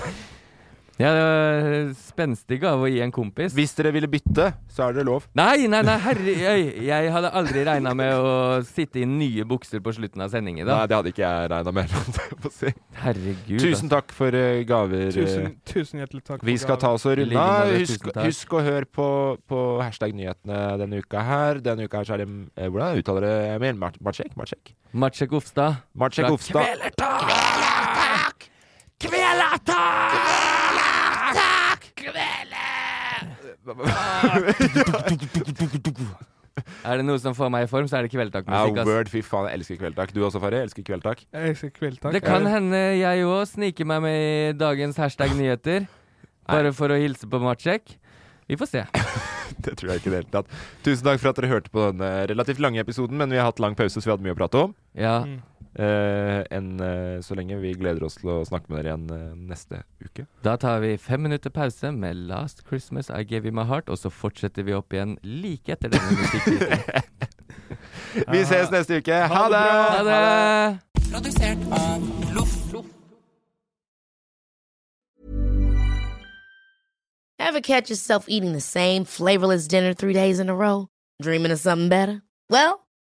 S4: Ja, det var spenstig gave å gi en kompis.
S3: Hvis dere ville bytte, så er det lov.
S4: Nei, nei, nei, herre Jeg, jeg hadde aldri regna med å sitte i nye bukser på slutten av sendingen. Da.
S3: Nei, det hadde ikke jeg regna med. holdt jeg på å si.
S4: Herregud. altså.
S3: Tusen takk for eh, gaver.
S5: Tusen,
S3: eh.
S5: tusen hjertelig takk.
S3: Vi
S5: for
S3: skal
S5: gaven.
S3: ta oss og runde av. Husk,
S4: tusen takk.
S3: husk å høre på, på hashtag-nyhetene denne uka her. Denne uka her så er det eh, Hvordan uttaler det Emil? Mar- Marcek? Marcek?
S4: Marcek Ofstad.
S3: Marcek
S4: Fra
S3: Ofstad.
S4: Er det noe som får meg i form, så er det
S3: Ja,
S4: altså. kveldtakmusikk. ass.
S3: word, fy faen, jeg elsker Kveldtak. Du også, Farre? Elsker Kveldtak?
S5: Jeg elsker kveldtak.
S4: Det kan hende jeg òg sniker meg med i dagens hashtag nyheter. Bare for å hilse på Marcek. Vi får se.
S3: Det tror jeg ikke i det hele tatt. Tusen takk for at dere hørte på denne relativt lange episoden, men vi har hatt lang pause, så vi hadde mye å prate om.
S4: Ja.
S5: Mm.
S3: Eh, enn eh, så lenge. Vi gleder oss til å snakke med dere igjen eh, neste uke.
S4: Da tar vi fem minutter pause med Last Christmas I Gave You My Heart, og så fortsetter vi opp igjen like etter denne musikken.
S3: Vi ses neste uke. Ha det!
S4: Ha det!
S11: Produsert av Loff.
S12: Ever catch yourself eating the same flavorless dinner three days in a row? Dreaming of something better? Well,